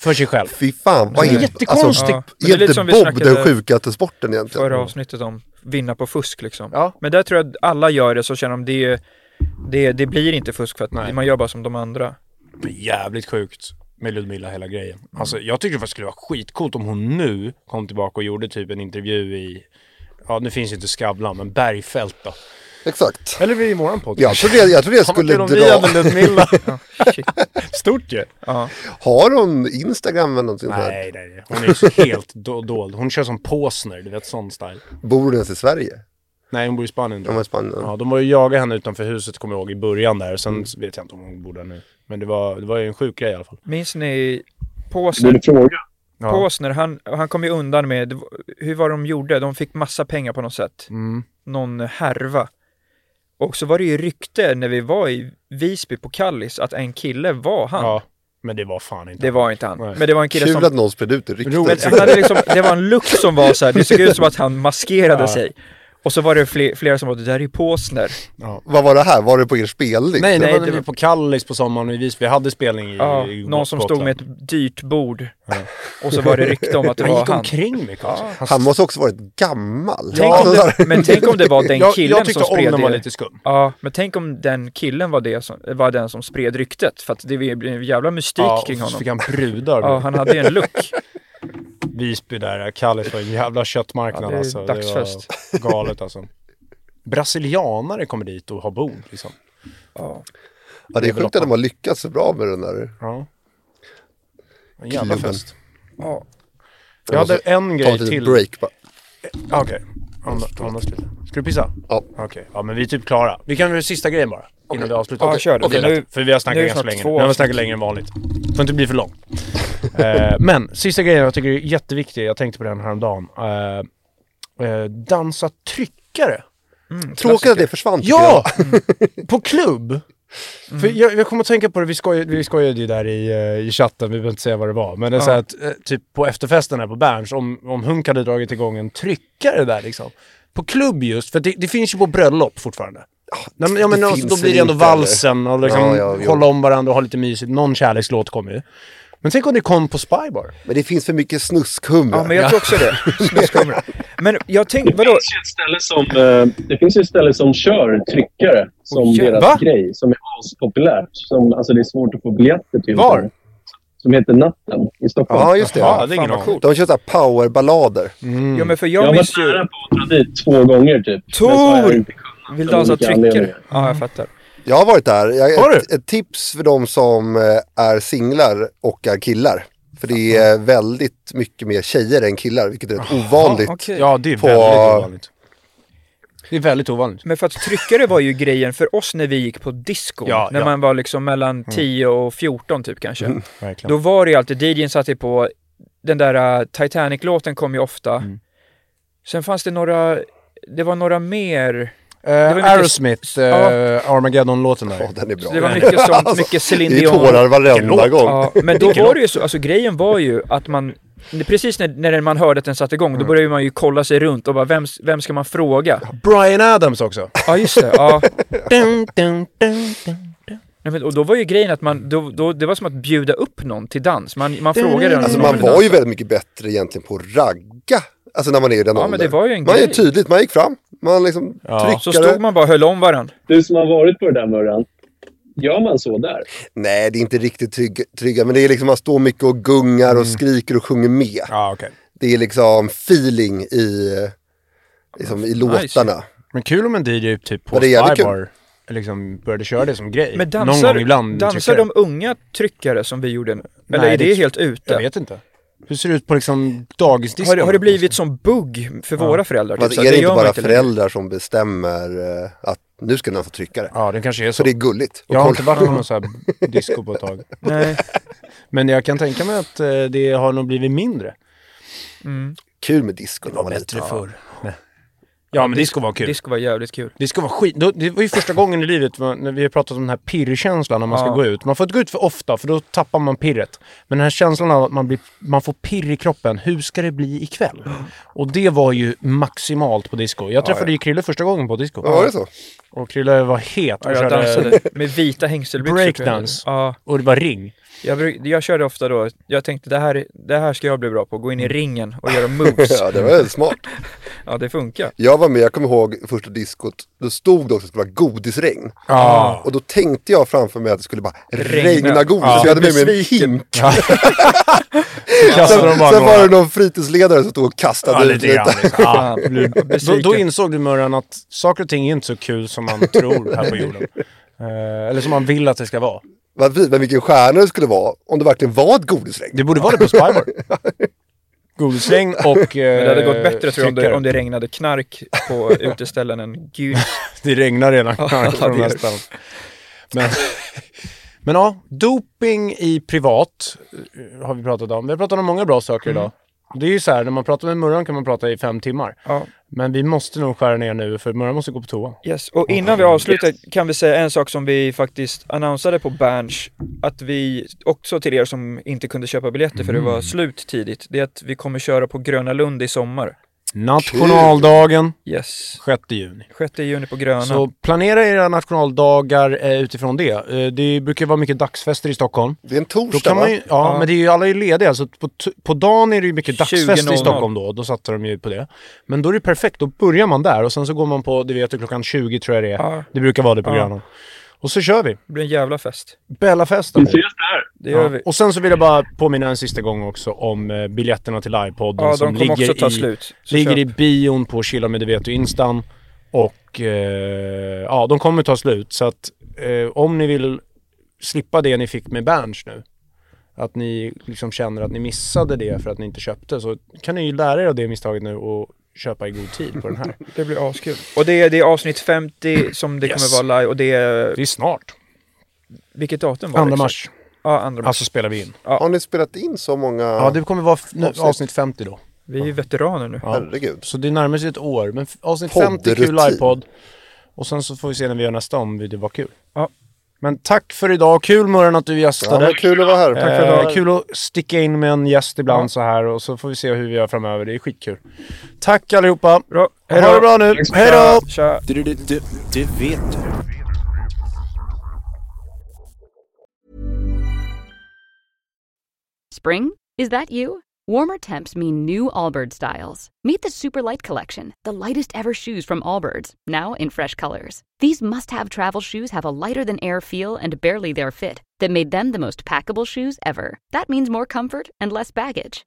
[SPEAKER 1] För sig själv.
[SPEAKER 5] Fy fan, vad
[SPEAKER 1] Det är
[SPEAKER 5] är
[SPEAKER 1] jättekonstigt.
[SPEAKER 2] Ja, men det är
[SPEAKER 5] är
[SPEAKER 2] lite
[SPEAKER 5] inte
[SPEAKER 2] som vi
[SPEAKER 5] Bob
[SPEAKER 2] snackade
[SPEAKER 5] den sjukaste sporten egentligen?
[SPEAKER 2] förra avsnittet om vinna på fusk liksom.
[SPEAKER 1] Mm. Ja.
[SPEAKER 2] Men där tror jag att alla gör det så känner de det, är- det, det blir inte fusk för att man gör bara som de andra.
[SPEAKER 1] Jävligt sjukt med Ludmilla hela grejen. Alltså jag tycker det faktiskt skulle vara skitcoolt om hon nu kom tillbaka och gjorde typ en intervju i, ja nu finns ju inte Skavlan, men Bergfält då.
[SPEAKER 5] Exakt.
[SPEAKER 1] Eller i våran podd.
[SPEAKER 5] Jag trodde jag, jag, trodde jag
[SPEAKER 1] Fan, vad
[SPEAKER 5] skulle
[SPEAKER 1] kul om vi
[SPEAKER 5] dra...
[SPEAKER 1] hade
[SPEAKER 2] [LAUGHS]
[SPEAKER 1] Ludmilla.
[SPEAKER 2] Shit.
[SPEAKER 1] Stort ju.
[SPEAKER 2] Ja.
[SPEAKER 5] Har hon Instagram eller någonting sånt här?
[SPEAKER 1] Nej, nej, nej. Hon är så helt do- dold. Hon kör som Posner, du vet sån style.
[SPEAKER 5] Bor hon ens i Sverige?
[SPEAKER 1] Nej, hon bor i Spanien.
[SPEAKER 5] Om
[SPEAKER 1] tror
[SPEAKER 5] man är i
[SPEAKER 1] jag.
[SPEAKER 5] Spanien?
[SPEAKER 1] Ja, de var ju jaga henne utanför huset, kommer jag ihåg, i början där. Sen vet jag inte om hon bor där nu. Men det var, det var ju en sjuk grej i alla fall.
[SPEAKER 2] Minns ni Påsner?
[SPEAKER 4] Vill du fråga?
[SPEAKER 1] Ja.
[SPEAKER 2] Påsner, han, han kom ju undan med, det var- hur var de gjorde? De fick massa pengar på något sätt.
[SPEAKER 1] Mm.
[SPEAKER 2] Någon härva. Och så var det ju rykte när vi var i Visby på Kallis att en kille var han.
[SPEAKER 1] ja, men det var fan inte.
[SPEAKER 2] Det var inte han.
[SPEAKER 1] Nej.
[SPEAKER 2] Men det var en kille
[SPEAKER 5] Kul
[SPEAKER 2] som
[SPEAKER 5] att någon spred ut det
[SPEAKER 1] Roligt.
[SPEAKER 5] ryktet.
[SPEAKER 2] Han hade liksom, det var en look som var så här, det såg ut som att han maskerade
[SPEAKER 1] Ja.
[SPEAKER 2] sig. Och så var det fler, flera som var, det där är ju Påsner.
[SPEAKER 5] Vad var det här? Var det på er liksom? spelning?
[SPEAKER 1] Nej,
[SPEAKER 2] nej,
[SPEAKER 1] nej, det var,
[SPEAKER 2] det var-
[SPEAKER 1] på Kallis på sommaren i Visby. Vi hade spelning i...
[SPEAKER 2] Ja,
[SPEAKER 1] i
[SPEAKER 2] någon som stod
[SPEAKER 1] Gotland.
[SPEAKER 2] med ett dyrt bord. Och så var det rykte om
[SPEAKER 1] [LAUGHS]
[SPEAKER 2] att det
[SPEAKER 1] Han
[SPEAKER 2] var
[SPEAKER 1] gick
[SPEAKER 2] han.
[SPEAKER 1] omkring mycket också.
[SPEAKER 5] Han måste också varit gammal. alltså,
[SPEAKER 2] Tänk om det, men tänk om det
[SPEAKER 5] [LAUGHS]
[SPEAKER 2] var den
[SPEAKER 1] jag,
[SPEAKER 2] killen
[SPEAKER 1] jag
[SPEAKER 2] som
[SPEAKER 1] tyckte om
[SPEAKER 2] spred
[SPEAKER 1] när
[SPEAKER 2] det.
[SPEAKER 1] man var lite skum.
[SPEAKER 2] Ja, men tänk om den killen var, det som, var den som spred ryktet. För att det blev en jävla mystik
[SPEAKER 1] Ja,
[SPEAKER 2] kring
[SPEAKER 1] och så
[SPEAKER 2] honom.
[SPEAKER 1] fick han brudar.
[SPEAKER 2] Ja, han hade ju en
[SPEAKER 1] [LAUGHS]
[SPEAKER 2] look.
[SPEAKER 1] Visby där, Kallis var en jävla köttmarknad
[SPEAKER 2] Ja, det är
[SPEAKER 1] alltså.
[SPEAKER 2] dagsfest.
[SPEAKER 1] Det var [LAUGHS] galet alltså. Brasilianare kommer dit och har bord liksom.
[SPEAKER 2] Ja.
[SPEAKER 5] Ja, det är
[SPEAKER 1] väl
[SPEAKER 5] sjukt att de har lyckats så bra med den där.
[SPEAKER 1] Ja. En jävla
[SPEAKER 5] Klubben.
[SPEAKER 1] fest.
[SPEAKER 2] Ja.
[SPEAKER 1] Jag hade en
[SPEAKER 5] Alltså, Ta
[SPEAKER 1] grej
[SPEAKER 5] ett litet
[SPEAKER 1] till.
[SPEAKER 5] break bara.
[SPEAKER 1] Ah, Okej. Andra- andra slut. Ska du pissa?
[SPEAKER 5] Ja.
[SPEAKER 1] Okej. Ja, men vi är typ klara. Vi kan väl sista grejen bara. Innan vi avslutar.
[SPEAKER 2] Ja,
[SPEAKER 1] Okej.
[SPEAKER 2] kör det.
[SPEAKER 1] Okej,
[SPEAKER 2] Nu-
[SPEAKER 1] lätt. För vi har
[SPEAKER 2] nu
[SPEAKER 1] snackat
[SPEAKER 2] är det
[SPEAKER 1] ganska
[SPEAKER 2] snart
[SPEAKER 1] länge
[SPEAKER 2] två
[SPEAKER 1] nu. Vi har
[SPEAKER 2] avsnitt.
[SPEAKER 1] snackat längre än vanligt. Får inte bli för
[SPEAKER 2] [LAUGHS]
[SPEAKER 1] långt. eh, men sista grejen jag tycker är jätteviktig. Jag tänkte på den häromdagen. Eh, eh, dansa tryckare.
[SPEAKER 5] Tråkigt att det försvann. tycker
[SPEAKER 1] Ja! [LAUGHS] På klubb! För jag, jag kommer att tänka på det, vi skojade, vi skojade ju där i, eh, i chatten, vi behöver inte säga vad det var. Men det är så här att, eh, typ på efterfesten här på Berns, om, om Hunk hade dragit igång en tryckare där liksom. På klubb just, för det, det finns ju på bröllop fortfarande. Nej, men, ja, men
[SPEAKER 5] Ah, det
[SPEAKER 1] alltså, då
[SPEAKER 5] finns
[SPEAKER 1] blir det
[SPEAKER 5] väl
[SPEAKER 1] ändå
[SPEAKER 5] inte, eller?
[SPEAKER 1] valsen och liksom
[SPEAKER 5] Ja, ja, jo.
[SPEAKER 1] hålla om varandra och ha lite mysigt. Någon kärlekslåt kommer ju. Men tänk om det kom på Spybar.
[SPEAKER 5] Men det finns för mycket snuskhumra.
[SPEAKER 2] ja, men jag tror också det. Snuskhumra. Men jag tänkte, vadå?
[SPEAKER 4] finns ju ett ställe som, eh, det finns ju ett ställe som kör tryckare som
[SPEAKER 2] Oj,
[SPEAKER 4] deras
[SPEAKER 1] va?
[SPEAKER 4] grej, som är aspopulärt. Som, alltså det är svårt att få biljetter till.
[SPEAKER 1] Var?
[SPEAKER 4] Som heter Natten i Stockholm.
[SPEAKER 5] Ja, just det.
[SPEAKER 1] Ja, det är ingen
[SPEAKER 2] vad
[SPEAKER 1] aning.
[SPEAKER 2] coolt.
[SPEAKER 5] De kör såhär powerballader.
[SPEAKER 1] Mm.
[SPEAKER 2] Ja, men för
[SPEAKER 4] jag
[SPEAKER 2] jag,
[SPEAKER 4] har varit
[SPEAKER 2] minns ju...
[SPEAKER 4] nära på att dra dit två gånger typ. Men så har jag
[SPEAKER 2] Tor!
[SPEAKER 4] inte kunnat.
[SPEAKER 2] Vill
[SPEAKER 4] av
[SPEAKER 2] dansa
[SPEAKER 4] olika
[SPEAKER 2] tryckare.
[SPEAKER 4] anledningar.
[SPEAKER 2] Ja, jag fattar.
[SPEAKER 5] Jag har varit där. Jag,
[SPEAKER 1] Har
[SPEAKER 5] ett, ett tips för de som eh, är singlar och är killar. För det är väldigt mycket mer tjejer än killar, vilket är rätt ovanligt.
[SPEAKER 2] okej.
[SPEAKER 1] Ja, det är
[SPEAKER 5] På-
[SPEAKER 1] väldigt ovanligt. Det är väldigt ovanligt.
[SPEAKER 2] Men för att tryckare var ju grejen för oss när vi gick på disco.
[SPEAKER 1] Ja,
[SPEAKER 2] när
[SPEAKER 1] ja.
[SPEAKER 2] man var liksom mellan 10 och 14 typ kanske.
[SPEAKER 1] Verkligen.
[SPEAKER 2] Då var det ju alltid, DJn satte på, den där äh, Titanic-låten kom ju ofta. Sen fanns det några, det var några mer,
[SPEAKER 1] Eh,
[SPEAKER 2] mycket-
[SPEAKER 1] Aerosmith, eh,
[SPEAKER 2] Ja.
[SPEAKER 1] Armageddon-låten där.
[SPEAKER 5] Ja, den är bra.
[SPEAKER 2] så det var mycket sånt,
[SPEAKER 5] Alltså,
[SPEAKER 2] mycket Céline
[SPEAKER 5] det är
[SPEAKER 2] Dion.
[SPEAKER 5] tårar varenda
[SPEAKER 1] Vilken
[SPEAKER 5] gång.
[SPEAKER 2] Ja, men då var det ju så, alltså grejen var ju att man, precis när, när man hörde att den satte igång, då började man ju kolla sig runt och bara, vem, vem ska man fråga?
[SPEAKER 1] Brian Adams
[SPEAKER 2] [LAUGHS]
[SPEAKER 1] också.
[SPEAKER 2] Ja, just det. Ja.
[SPEAKER 1] dun, dun, dun, dun.
[SPEAKER 2] Nej, men, och då var ju grejen att man, då, då, det var som att bjuda upp någon till dans. Man, man frågade den.
[SPEAKER 5] Alltså
[SPEAKER 2] om
[SPEAKER 5] man
[SPEAKER 2] ville
[SPEAKER 5] var ju
[SPEAKER 2] dansa.
[SPEAKER 5] väldigt mycket bättre egentligen på att ragga. Alltså när man är i den
[SPEAKER 2] men
[SPEAKER 5] åldern.
[SPEAKER 2] det var ju en
[SPEAKER 5] man är
[SPEAKER 2] grej.
[SPEAKER 5] tydligt, man gick fram, man liksom tryckade.
[SPEAKER 2] Så stod man bara och höll om varandra.
[SPEAKER 4] Du som har varit på det där Murran, gör man så där?
[SPEAKER 5] Nej, det är inte riktigt trygg, trygga, men det är liksom man står mycket och gungar och skriker och sjunger med.
[SPEAKER 1] Ja, okej.
[SPEAKER 5] Det är liksom feeling i, liksom, i låtarna.
[SPEAKER 1] Men kul om en DJ typ på
[SPEAKER 5] Ja, det är jävligt
[SPEAKER 1] Spybar liksom började köra det som grej.
[SPEAKER 2] Men
[SPEAKER 1] Någon
[SPEAKER 2] dansar,
[SPEAKER 1] gång ibland.
[SPEAKER 2] dansar
[SPEAKER 1] tycker
[SPEAKER 2] de unga tryckare som vi gjorde? nu? Eller
[SPEAKER 1] Nej,
[SPEAKER 2] är det,
[SPEAKER 1] det-
[SPEAKER 2] helt
[SPEAKER 1] Jag Jag
[SPEAKER 2] ute?
[SPEAKER 1] vet inte. Hur ser det ut på liksom dagisdisco?
[SPEAKER 2] Har, det- har det blivit som bugg för våra föräldrar? Typ
[SPEAKER 5] Men
[SPEAKER 2] så
[SPEAKER 5] alltså, är
[SPEAKER 2] här,
[SPEAKER 5] det inte
[SPEAKER 2] gör man
[SPEAKER 5] bara
[SPEAKER 2] längre.
[SPEAKER 5] föräldrar som bestämmer eh, att nu ska den få trycka det?
[SPEAKER 1] Ja, det kanske är så.
[SPEAKER 5] Så det är gulligt. Och
[SPEAKER 1] Jag har
[SPEAKER 5] kolla-
[SPEAKER 1] inte varit på någon
[SPEAKER 5] [LAUGHS]
[SPEAKER 1] så här disco på ett tag.
[SPEAKER 2] Nej.
[SPEAKER 1] [LAUGHS] Men jag kan tänka mig att eh, det har nog blivit mindre.
[SPEAKER 5] Kul med disco när man är liten.
[SPEAKER 1] förr. Ja, men disco var kul.
[SPEAKER 2] Disco var jävligt kul.
[SPEAKER 1] Det ska vara skit. då- Det var ju första gången i livet va, när vi har pratat om den här pirrkänslan när man ska
[SPEAKER 2] Ja.
[SPEAKER 1] gå ut. Man får inte gå ut för ofta för då tappar man pirret. Men den här känslan av att man, blir, man får pirr i kroppen. Hur ska det bli ikväll? Och det var ju maximalt på disco. Jag träffade ju Krille första gången på disco.
[SPEAKER 5] Var det så?
[SPEAKER 1] Och Krille var het och
[SPEAKER 2] Ja, jag
[SPEAKER 1] körde...
[SPEAKER 2] dansade med vita hängselbyxor. tror jag.
[SPEAKER 1] Breakdance.
[SPEAKER 2] Ja,
[SPEAKER 1] Och det var ring.
[SPEAKER 2] jag, bruk- jag körde ofta då, jag tänkte det här, det här ska jag bli bra på, gå in
[SPEAKER 1] Mm.
[SPEAKER 2] i ringen och göra moves.
[SPEAKER 5] [LAUGHS] Ja, det var ju smart.
[SPEAKER 2] Ja, det funkar.
[SPEAKER 5] Jag var med, jag kommer ihåg första diskot, då stod det också att det skulle vara godisregn.
[SPEAKER 1] Ja.
[SPEAKER 5] Och då tänkte jag framför mig att det skulle bara regna,
[SPEAKER 2] Regna.
[SPEAKER 5] godis.
[SPEAKER 1] Ja.
[SPEAKER 5] Så jag hade med mig en hink. Sen,
[SPEAKER 1] Kastade Alltså, de
[SPEAKER 5] sen
[SPEAKER 1] bara
[SPEAKER 5] var det
[SPEAKER 1] några-
[SPEAKER 5] någon fritidsledare som stod och kastade
[SPEAKER 1] Ja,
[SPEAKER 5] ut
[SPEAKER 1] lite
[SPEAKER 5] lite.
[SPEAKER 1] grann.
[SPEAKER 5] [LAUGHS]
[SPEAKER 1] liksom. Ja. Då,
[SPEAKER 2] Besviken.
[SPEAKER 1] då insåg du Murran att saker och ting är inte så kul som man tror här på
[SPEAKER 5] [LAUGHS]
[SPEAKER 1] jorden. Eh, eller som man vill att det ska vara.
[SPEAKER 5] Vad fint, men vilken stjärna det skulle vara om det verkligen var ett godisregn.
[SPEAKER 1] Det borde vara det på
[SPEAKER 2] [LAUGHS]
[SPEAKER 1] Spybar. Godisregn och... eh,
[SPEAKER 2] Men det hade gått bättre tror jag om det, om det regnade knark [LAUGHS] på uteställen än gud.
[SPEAKER 1] Det regnar redan knark
[SPEAKER 2] [LAUGHS] Ja, det
[SPEAKER 1] från
[SPEAKER 2] gör det.
[SPEAKER 1] nästan.
[SPEAKER 2] [LAUGHS]
[SPEAKER 1] Men, men ja, doping i privat eh, har vi pratat om. Vi har pratat om många bra saker idag.
[SPEAKER 2] Mm.
[SPEAKER 1] Det är ju så här, när man pratar med Murran kan man prata i fem timmar.
[SPEAKER 2] Ja.
[SPEAKER 1] Men vi måste nog skära ner nu för Murran måste gå på toa.
[SPEAKER 2] Yes. Och innan vi avslutar kan vi säga en sak som vi faktiskt annonsade på Berns, att vi också till er som inte kunde köpa biljetter för det var slut tidigt, det är att vi kommer köra på Gröna Lund i sommar.
[SPEAKER 1] Nationaldagen
[SPEAKER 2] Yes.
[SPEAKER 1] 6 juni.
[SPEAKER 2] 6 juni på Gröna.
[SPEAKER 1] Så planera era nationaldagar eh, utifrån det. Eh, det brukar vara mycket dagsfester i Stockholm.
[SPEAKER 5] Det är en
[SPEAKER 1] Då
[SPEAKER 5] torsdag
[SPEAKER 1] kan man ju,
[SPEAKER 5] va?
[SPEAKER 1] ja, men det är ju alla är ju lediga. Så på, t- på dagen är det ju mycket dagsfest
[SPEAKER 2] 20.00.
[SPEAKER 1] i Stockholm då. Då satte de ju på det. Men då är det perfekt. Då börjar man där och sen så går man på, det vet du, klockan 20 tror jag det är.
[SPEAKER 2] Ja.
[SPEAKER 1] Det brukar vara det på
[SPEAKER 2] Ja.
[SPEAKER 1] Grönan. Och så kör vi.
[SPEAKER 2] Det blir en jävla fest.
[SPEAKER 1] Bellafesten.
[SPEAKER 4] där.
[SPEAKER 2] Det gör
[SPEAKER 1] Ja.
[SPEAKER 2] vi.
[SPEAKER 1] Och sen så vill jag bara påminna en sista gång också om eh, biljetterna till livepodden
[SPEAKER 2] Ja,
[SPEAKER 1] som
[SPEAKER 2] de kommer
[SPEAKER 1] ligger,
[SPEAKER 2] också ta
[SPEAKER 1] i,
[SPEAKER 2] slut. Så
[SPEAKER 1] ligger i
[SPEAKER 2] köp.
[SPEAKER 1] bion på Chilla med det vet du instan. Och eh, ja, de kommer ta slut. Så att eh, om ni vill slippa det ni fick med Berns nu, att ni liksom känner att ni missade det för att ni inte köpte, så kan ni ju lära er av det misstaget nu och köpa i god tid på den här.
[SPEAKER 2] Det blir askul. Och det är, det är avsnitt 50 som det
[SPEAKER 1] Yes.
[SPEAKER 2] kommer vara live och det är,
[SPEAKER 1] Det är snart,
[SPEAKER 2] vilket datum var det?
[SPEAKER 1] 2
[SPEAKER 2] exakt?
[SPEAKER 1] mars.
[SPEAKER 2] Ja, andra mars.
[SPEAKER 1] Alltså spelar vi in.
[SPEAKER 5] Har ni spelat in så många?
[SPEAKER 1] Ja, det kommer vara f- nu,
[SPEAKER 5] Avsnitt.
[SPEAKER 1] avsnitt 50 då.
[SPEAKER 2] Vi är ju veteraner nu.
[SPEAKER 5] Herregud.
[SPEAKER 1] Så det närmar sig ett år. Men f- avsnitt
[SPEAKER 5] Poddrutin.
[SPEAKER 1] 50 kul iPod. Och sen så får vi se när vi gör nästa om det var kul.
[SPEAKER 2] Ja.
[SPEAKER 1] Men tack för idag. Kul Murran att du
[SPEAKER 5] Ja,
[SPEAKER 1] gästade.
[SPEAKER 5] men kul att vara här.
[SPEAKER 1] Eh, kul att sticka in med en gäst ibland så här och så får vi se hur vi gör framöver. Det är skitkul. Tack allihopa.
[SPEAKER 2] Bra. Hej
[SPEAKER 1] Ha
[SPEAKER 2] då.
[SPEAKER 1] det bra nu. Hej då!
[SPEAKER 2] Tja, Tja.
[SPEAKER 3] Det, det, det, det vet du.
[SPEAKER 6] Spring? Is that you? Warmer temps mean new Allbirds styles. Meet the Superlight Collection, the lightest ever shoes from Allbirds, now in fresh colors. These must have travel shoes have a lighter than air feel and barely their fit that made them the most packable shoes ever. That means more comfort and less baggage.